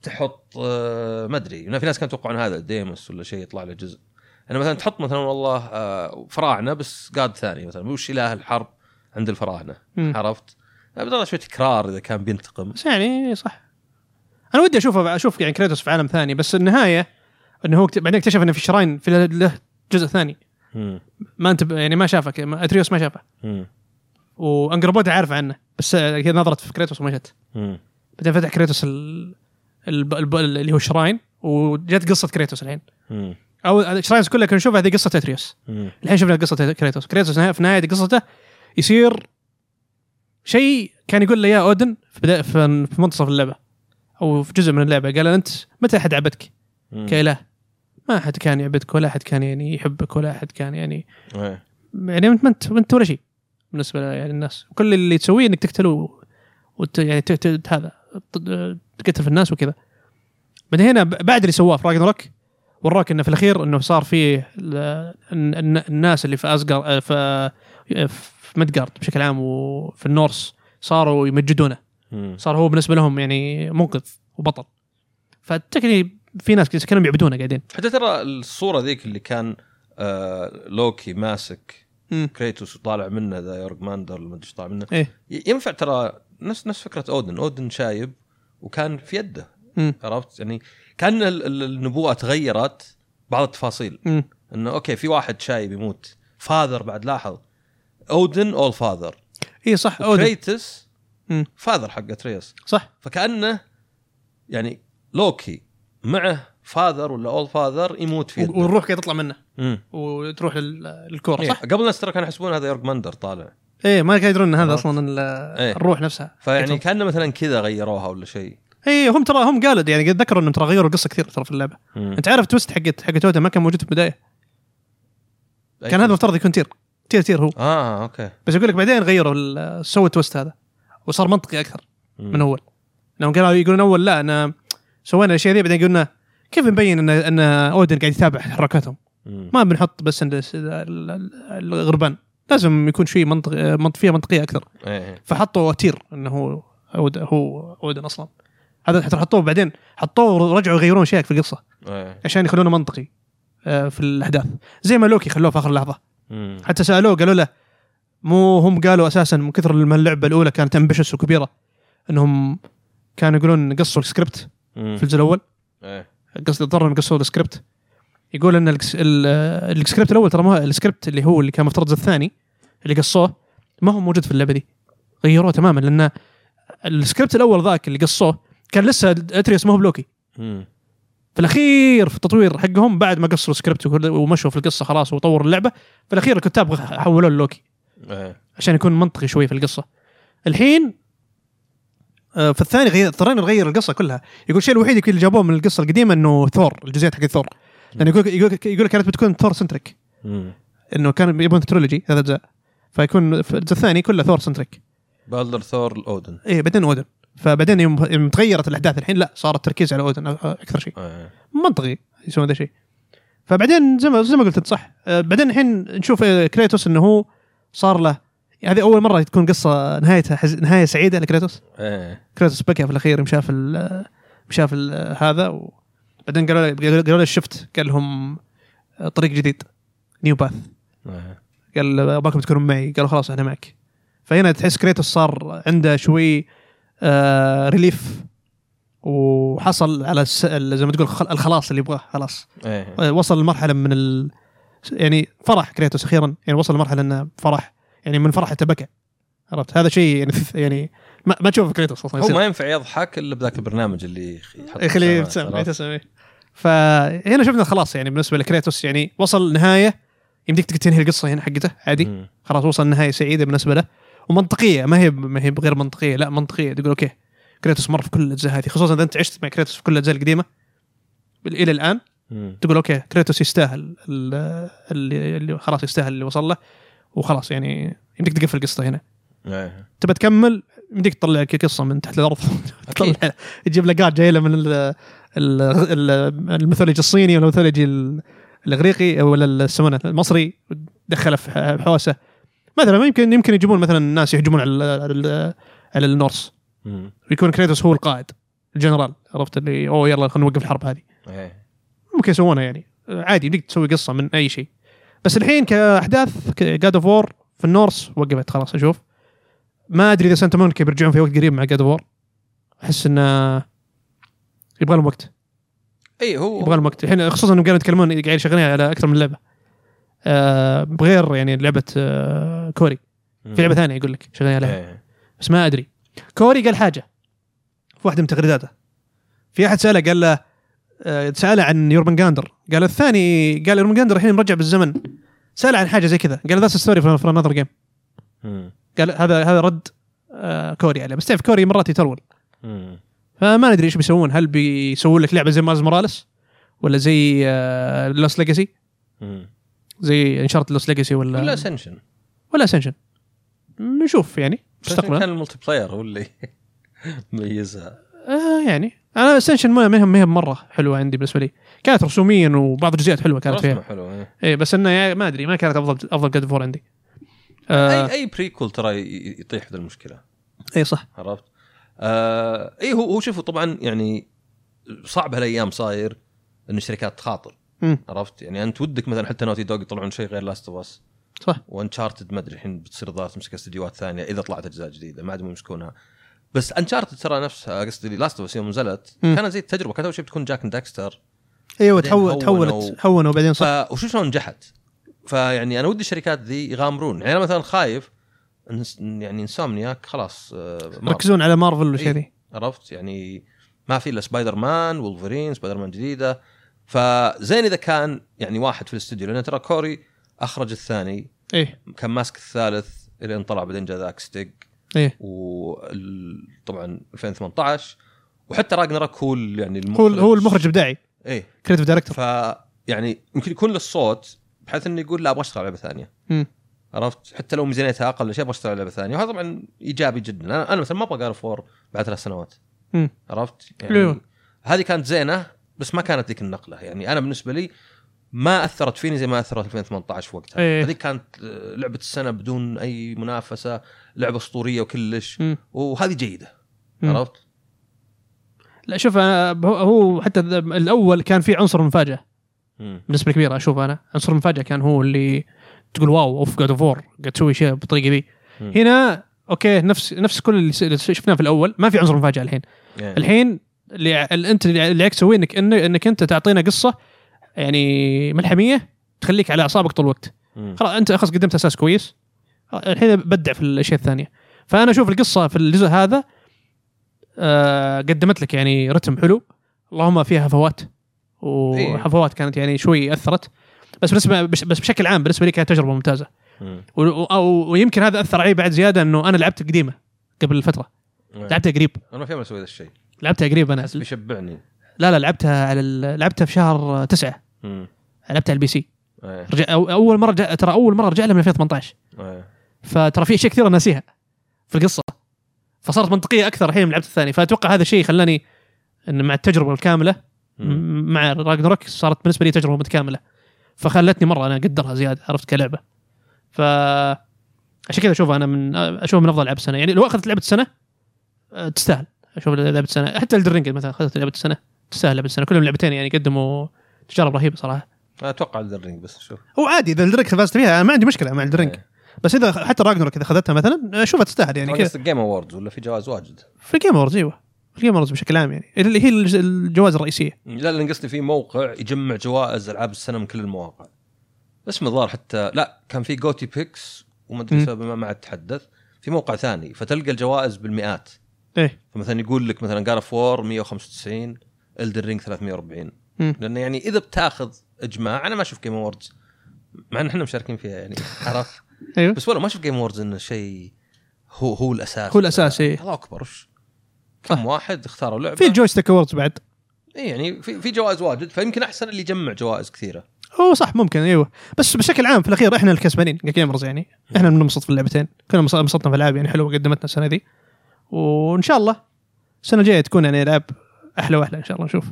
B: تحط آه، ما ادري يعني في ناس كانوا يتوقعون هذا ديموس ولا شيء يطلع له جزء يعني مثلا تحط مثلا والله آه، فراعنه بس قاد ثاني مثلا وش اله الحرب عند الفراعنه
A: مم.
B: عرفت؟ بدل شوي تكرار اذا كان بينتقم
A: بس يعني صح انا ودي اشوفه اشوف يعني كريتوس في عالم ثاني بس النهايه انه هو اكت- بعدين اكتشف انه في شراين في له- له جزء ثاني
B: مم.
A: ما انت يعني ما شافك ما- اتريوس ما شافه
B: مم.
A: وانجربودا عارفه عنه بس آه، هي نظرت في كريتوس ومشت
B: مم.
A: بعدين فتح كريتوس ال... ال... ال... اللي هو شراين وجت قصه كريتوس الحين
B: مم.
A: او شراينز كلها كنا نشوفها هذه قصه تتريوس
B: مم.
A: الحين شفنا قصه كريتوس كريتوس نها- في نهايه قصته يصير شيء كان يقول له يا اودن في, بدا... في في منتصف اللعبه او في جزء من اللعبه قال له انت متى احد عبدك
B: مم.
A: كاله ما احد كان يعبدك ولا احد كان يعني يحبك ولا احد كان يعني
B: إيه.
A: يعني انت ما انت ما انت ولا شيء بالنسبه ل- يعني الناس كل اللي تسويه انك تقتله وت يعني ت- ت- هذا ت- تقتل في الناس وكذا بعدين هنا ب- بعد اللي سواه في راجنروك وراك انه في الاخير انه صار فيه ال- الن- الن- الناس اللي في ازجر في آه، في مدجارد بشكل عام وفي النورس صاروا يمجدونه
B: مم.
A: صار هو بالنسبه لهم يعني منقذ وبطل فتكني في ناس كانوا يعبدونه قاعدين
B: حتى ترى الصوره ذيك اللي كان آه لوكي ماسك كريتوس وطالع منه ذا يورج ماندر ما ادري إيش طالع منه
A: ايه
B: ي- ينفع ترى نفس نفس فكره اودن اودن شايب وكان في يده
A: مم.
B: عرفت يعني كان ال- ال- النبوءه تغيرت بعض التفاصيل
A: مم.
B: انه اوكي في واحد شايب يموت فاذر بعد لاحظ اودن اول فاذر
A: ايه صح اودن
B: كريتس
A: مم.
B: فاذر حق اتريس
A: صح
B: فكانه يعني لوكي معه فاذر ولا اول فاذر يموت في يده
A: والروح قاعده تطلع منه
B: مم.
A: وتروح لل- للكوره
B: إيه،
A: صح؟
B: قبل الناس ترى كانوا يحسبون هذا يورج ماندر طالع
A: ايه ما كانوا يدرون ان هذا
B: عرفت.
A: اصلا ال-
B: إيه.
A: الروح نفسها
B: فيعني كانه مثلا كذا غيروها ولا شيء
A: ايه هم ترى هم قالوا يعني قد ذكروا انهم ترى غيروا القصه كثير ترى في اللعبه
B: مم.
A: انت عارف تويست حقت حقت توتا ما كان موجود في البدايه
B: أي
A: كان هذا
B: شيء.
A: المفترض يكون تير تير تير هو
B: اه اوكي
A: بس اقول لك بعدين غيروا ال- سووا التويست هذا وصار منطقي اكثر
B: مم.
A: من اول لانهم كانوا يقولون اول لا انا سوينا الاشياء ذي بعدين قلنا كيف نبين ان ان اودن قاعد يتابع حركاتهم
B: مم.
A: ما بنحط بس إن ال- ال- الغربان لازم يكون شيء منطق منط- فيها منطقيه اكثر
B: ايه
A: فحطوا تير انه هو أود هو اودن اصلا هذا حتى حطوه بعدين حطوه ورجعوا يغيرون شيء في القصه
B: ايه
A: عشان يخلونه منطقي آه، في الاحداث زي ما لوكي خلوه في اخر لحظه
B: مم.
A: حتى سالوه قالوا له مو هم قالوا اساسا من كثر ما اللعبه الاولى كانت امبشس وكبيره انهم كانوا يقولون قصوا السكريبت
B: مم.
A: في الجزء الاول
B: ايه
A: قصدي اضطروا إنهم يقصوا السكريبت يقول ان الكس- ال- آه، السكريبت الاول ترى ما هو- السكريبت اللي هو اللي كان مفترض الثاني اللي قصوه ما هو موجود في اللعبه دي غيروه تماما لان السكريبت الاول ذاك اللي قصوه كان لسه اتريوس ما هو بلوكي
B: مم.
A: في الاخير في التطوير حقهم بعد ما قصروا السكريبت وكل- ومشوا في القصه خلاص وطوروا اللعبه في الاخير الكتاب غ- حولوه لوكي
B: ايه
A: عشان يكون منطقي شوي في القصه الحين آه، في الثاني غير اضطرينا نغير القصه كلها يقول الشيء الوحيد يمكن اللي جابوه من القصه القديمه انه ثور الجزئيات حق ثور لانه يقول يقول يقول كانت بتكون ثور سنتريك
B: مم.
A: انه كانوا يبون ترولوجي ثلاث اجزاء فيكون في الجزء الثاني كله ثور سنتريك
B: بالدر ثور الاودن
A: ايه بعدين اودن فبعدين يوم يوم تغيرت الاحداث الحين لا صار التركيز على اودن أ- اكثر شيء
B: ايه
A: منطقي يسوون ذا الشيء فبعدين زي ما زي ما قلت انت صح آه، بعدين الحين نشوف آه، كريتوس انه هو صار له يعني هذه اول مره تكون قصه نهايتها حز... نهايه سعيده لكريتوس
B: ايه
A: كريتوس بكى في الاخير يوم شاف ال- آه، يوم شاف ال- آه، هذا و... بعدين قالوا له قالوا قالوا له شفت قال لهم آه، طريق جديد نيو باث
B: إيه.
A: قال ابغاكم تكونون معي قالوا خلاص احنا معك فهنا تحس كريتوس صار عنده شوي آه ريليف وحصل على الس... ال- زي ما تقول خل- الخلاص اللي يبغاه خلاص
B: ايه
A: آه، وصل لمرحله من ال... يعني فرح كريتوس اخيرا يعني وصل لمرحله انه فرح يعني من فرح حتى بكى عرفت هذا شيء يعني يعني ما, ما تشوف كريتوس اصلا
B: هو
A: يصير.
B: ما ينفع يضحك الا بذاك البرنامج اللي يخ- يحط
A: يخليه
B: ابتسامات،
A: يبتسم
B: عرفت؟
A: يبتسم إيه. فهنا شفنا خلاص يعني بالنسبه لكريتوس يعني وصل نهايه يمديك تنهي القصه هنا حقته عادي
B: مم.
A: خلاص وصل نهاية سعيدة بالنسبة له ومنطقية ما هي ما هي غير منطقية لا منطقية تقول اوكي كريتوس مر في كل الأجزاء هذه خصوصا إذا أنت عشت مع كريتوس في كل الأجزاء القديمة إلى الآن
B: مم.
A: تقول اوكي كريتوس يستاهل ال- اللي, اللي خلاص يستاهل اللي وصل له وخلاص يعني يمديك تقفل القصة هنا
B: ايه
A: تبى تكمل يمديك تطلع لك قصة من تحت الأرض
B: أكيد.
A: تطلع تجيب لقات جاية له من ال- ال- ال- الميثولوجي الصيني والميثولوجي ال- الاغريقي ولا ال- يسمونه المصري دخله في ح- حوسه مثلا ما يمكن يمكن يجيبون مثلا الناس يهجمون على ال- على, ال- على النورس
B: مم.
A: ويكون كريتوس هو القائد الجنرال عرفت اللي اوه يلا خلينا نوقف الحرب هذه
B: ايه
A: ممكن يسوونها يعني عادي يمديك تسوي قصه من اي شيء بس الحين كاحداث جاد اوف وور في النورس وقفت خلاص اشوف ما ادري اذا سانتا مونيكا بيرجعون في وقت قريب مع جاد اوف وور احس انه يبغى لهم وقت
B: اي إيه، هو
A: يبغى لهم وقت الحين خصوصا انهم قاعدين يتكلمون قاعدين شغالين على اكثر من لعبه آه بغير يعني لعبه آه كوري
B: مم.
A: في لعبه ثانيه يقول لك شغالين عليها
B: إيه.
A: بس ما ادري كوري قال حاجه في واحده من تغريداته في احد ساله قال له آه، ساله عن يورمنجاندر قال الثاني قال يورمنجاندر الحين مرجع بالزمن ساله عن حاجه زي كذا قال ذاتس ستوري فور انذر جيم
B: مم.
A: قال هذا هذا رد آه، كوري عليه بس تعرف كوري مرات يترول
B: مم.
A: فما ندري ايش بيسوون هل بيسوون لك لعبه زي ماز موراليس ولا زي لوس ليجاسي
B: مم.
A: زي انشرت لوس ليجاسي ولا
B: ولا اسنشن
A: ولا اسنشن نشوف يعني
B: كان
A: مستقبلا
B: الملتي بلاير هو اللي ميزها
A: آه يعني انا اسنشن ما مهم مهم مره حلوه عندي بالنسبه لي كانت رسوميا وبعض الجزئيات حلوه كانت
B: رسمه
A: فيها
B: حلو إيه.
A: اي بس انه يعني ما ادري ما كانت افضل افضل جاد فور عندي آه
B: اي اي بريكول ترى ي- يطيح في المشكله
A: اي صح
B: عرفت؟ آه اي هو هو شوفوا طبعا يعني صعب هالايام صاير ان الشركات تخاطر
A: مم.
B: عرفت؟ يعني انت ودك مثلا حتى نوتي دوغ يطلعون شيء غير لاست اوف اس
A: صح
B: وانشارتد ما ادري الحين بتصير الظاهر تمسك استديوهات ثانيه اذا طلعت اجزاء جديده ما عاد يمسكونها بس انشارتد ترى نفسها قصدي لاست اوف اس يوم نزلت
A: مم.
B: كانت زي التجربه كانت اول شيء بتكون جاك اند داكستر
A: ايوه
B: بعدين
A: تحول
B: هونوا-
A: تحولت هونوا وبعدين صح
B: ف... وشو شلون نجحت فيعني انا ودي الشركات ذي يغامرون يعني انا مثلا خايف إنس- يعني انسومنياك خلاص آه، ماضي.
A: ركزون على مارفل والاشياء
B: إيه.
A: ذي
B: عرفت يعني ما في الا سبايدر مان وولفرين سبايدر مان جديده فزين اذا كان يعني واحد في الاستوديو لان ترى كوري اخرج الثاني
A: ايه
B: كان ماسك الثالث الين طلع بعدين جا ذاك ستيج
A: ايه
B: وطبعا 2018 وحتى راجنرك هو ال- يعني
A: هو هو المخرج ابداعي
B: ايه
A: كريتيف دايركتور
B: ف يعني يمكن يكون له الصوت بحيث انه يقول لا ابغى اشتغل على لعبه ثانيه
A: مم.
B: عرفت حتى لو ميزانيتها اقل شيء ابغى اشتغل على لعبه ثانيه وهذا طبعا ايجابي جدا انا انا مثلا ما ابغى جار فور بعد ثلاث سنوات
A: مم.
B: عرفت
A: حلو.
B: يعني هذه كانت زينه بس ما كانت ذيك النقله يعني انا بالنسبه لي ما اثرت فيني زي ما اثرت 2018 في وقتها
A: إيه.
B: هذيك كانت آه، لعبه السنه بدون اي منافسه لعبه اسطوريه وكلش
A: مم.
B: وهذه جيده
A: مم.
B: عرفت
A: لا شوف أنا هو- هو حتى ذا- الاول كان في عنصر مفاجاه
B: مم.
A: بنسبه كبيره اشوف انا عنصر المفاجاه كان هو اللي تقول واو اوف جاد اوف وور قاعد تسوي شيء بالطريقه ذي
B: مم.
A: هنا اوكي نفس نفس كل اللي س- اللي شفناه في الاول ما في عنصر مفاجاه الحين
B: يعني.
A: الحين اللي ع- اللي انت اللي عليك تسويه انك إن- انك انت تعطينا قصه يعني ملحميه تخليك على اعصابك طول الوقت
B: مم.
A: خلاص انت خلاص قدمت اساس كويس الحين بدع في الاشياء الثانيه فانا اشوف القصه في الجزء هذا آه قدمت لك يعني رتم حلو اللهم فيها هفوات
B: إيه.
A: وهفوات كانت يعني شوي اثرت بس بالنسبه بش بس بشكل عام بالنسبه لي كانت تجربه ممتازه
B: مم.
A: و- و- أو- ويمكن هذا اثر علي بعد زياده انه انا لعبت القديمه قبل فتره لعبتها قريب
B: انا ما في امل اسوي ذا الشيء
A: لعبتها قريب انا
B: بس بيشبعني
A: لا لا لعبتها على ال- لعبتها في شهر تسعة
B: مم.
A: لعبتها على البي سي
B: ايه
A: رجع أو- اول مره رجع ترى اول مره رجع لها من 2018
B: ايه
A: فترى في اشياء كثيره ناسيها في القصه فصارت منطقيه اكثر الحين من لعبت الثاني فاتوقع هذا الشيء خلاني ان مع التجربه الكامله
B: مم.
A: م- مع راجنروك صارت بالنسبه لي تجربه متكامله فخلتني مره انا اقدرها زياده عرفت كلعبه ف عشان كذا اشوفها انا من اشوفها من افضل العاب السنه يعني لو اخذت لعبه السنه أه، تستاهل اشوف لعبه السنه حتى الدرينج مثلا اخذت لعبه السنه تستاهل لعبه السنه كلهم لعبتين يعني قدموا تجارب رهيبه صراحه
B: اتوقع الرينج بس شوف
A: هو عادي اذا الدرينج فازت فيها انا ما عندي مشكله مع الدرينج
B: إيه.
A: بس اذا حتى راجنروك اذا اخذتها مثلا اشوفها تستاهل يعني
B: يعني
A: كذا
B: قصدك جيم اووردز ولا في جوائز واجد
A: في الجيم اورز ايوه في الجيم اورز بشكل عام يعني اللي هي الج- الجوائز الرئيسيه
B: لا لان قصدي في موقع يجمع جوائز العاب السنه من كل المواقع اسم الظاهر حتى لا كان في جوتي بيكس وما ادري
A: مم.
B: سبب ما ما عاد تحدث في موقع ثاني فتلقى الجوائز بالمئات
A: ايه
B: فمثلا يقول لك مثلا جار اوف وور 195 الدن رينج 340
A: مم.
B: لانه يعني اذا بتاخذ اجماع انا ما اشوف جيم اووردز مع ان احنا مشاركين فيها يعني عرفت
A: ايوه
B: بس والله ما اشوف جيم اووردز انه شيء هو هو الاساس
A: هو الأساس، إيه. آه.
B: الله اكبر وش كم واحد اختاروا لعبه
A: في جويستيك اووردز بعد
B: اي يعني في في جوائز واجد فيمكن احسن اللي يجمع جوائز كثيره
A: هو صح ممكن ايوه بس بشكل عام في الاخير احنا الكسبانين كجيمرز يعني
B: إيه.
A: احنا بننبسط في اللعبتين كنا مص- انبسطنا في العاب يعني حلوه قدمتنا السنه دي وان شاء الله السنه الجايه تكون يعني العاب احلى واحلى ان شاء الله نشوف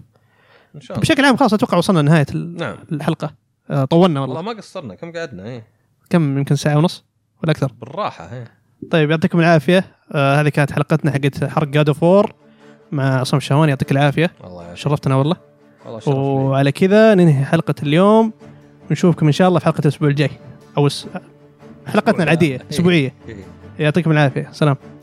B: ان شاء الله
A: بشكل عام خلاص اتوقع وصلنا لنهايه ال-
B: نعم
A: الحلقه آه، طولنا
B: والله
A: والله
B: ما قصرنا كم قعدنا ايه
A: كم يمكن ساعه ونص ولا اكثر
B: بالراحه ايه
A: طيب يعطيكم العافيه آه هذه كانت حلقتنا حقت حرق جاد اوف وور مع عصام الشهواني يعطيك العافيه
B: والله يعافيك
A: شرفتنا والله
B: والله شرف لي.
A: وعلى كذا ننهي حلقه اليوم ونشوفكم ان شاء الله في حلقه الاسبوع الجاي او الس... حلقتنا العاديه
B: إيه.
A: اسبوعيه
B: إيه.
A: يعطيكم العافيه سلام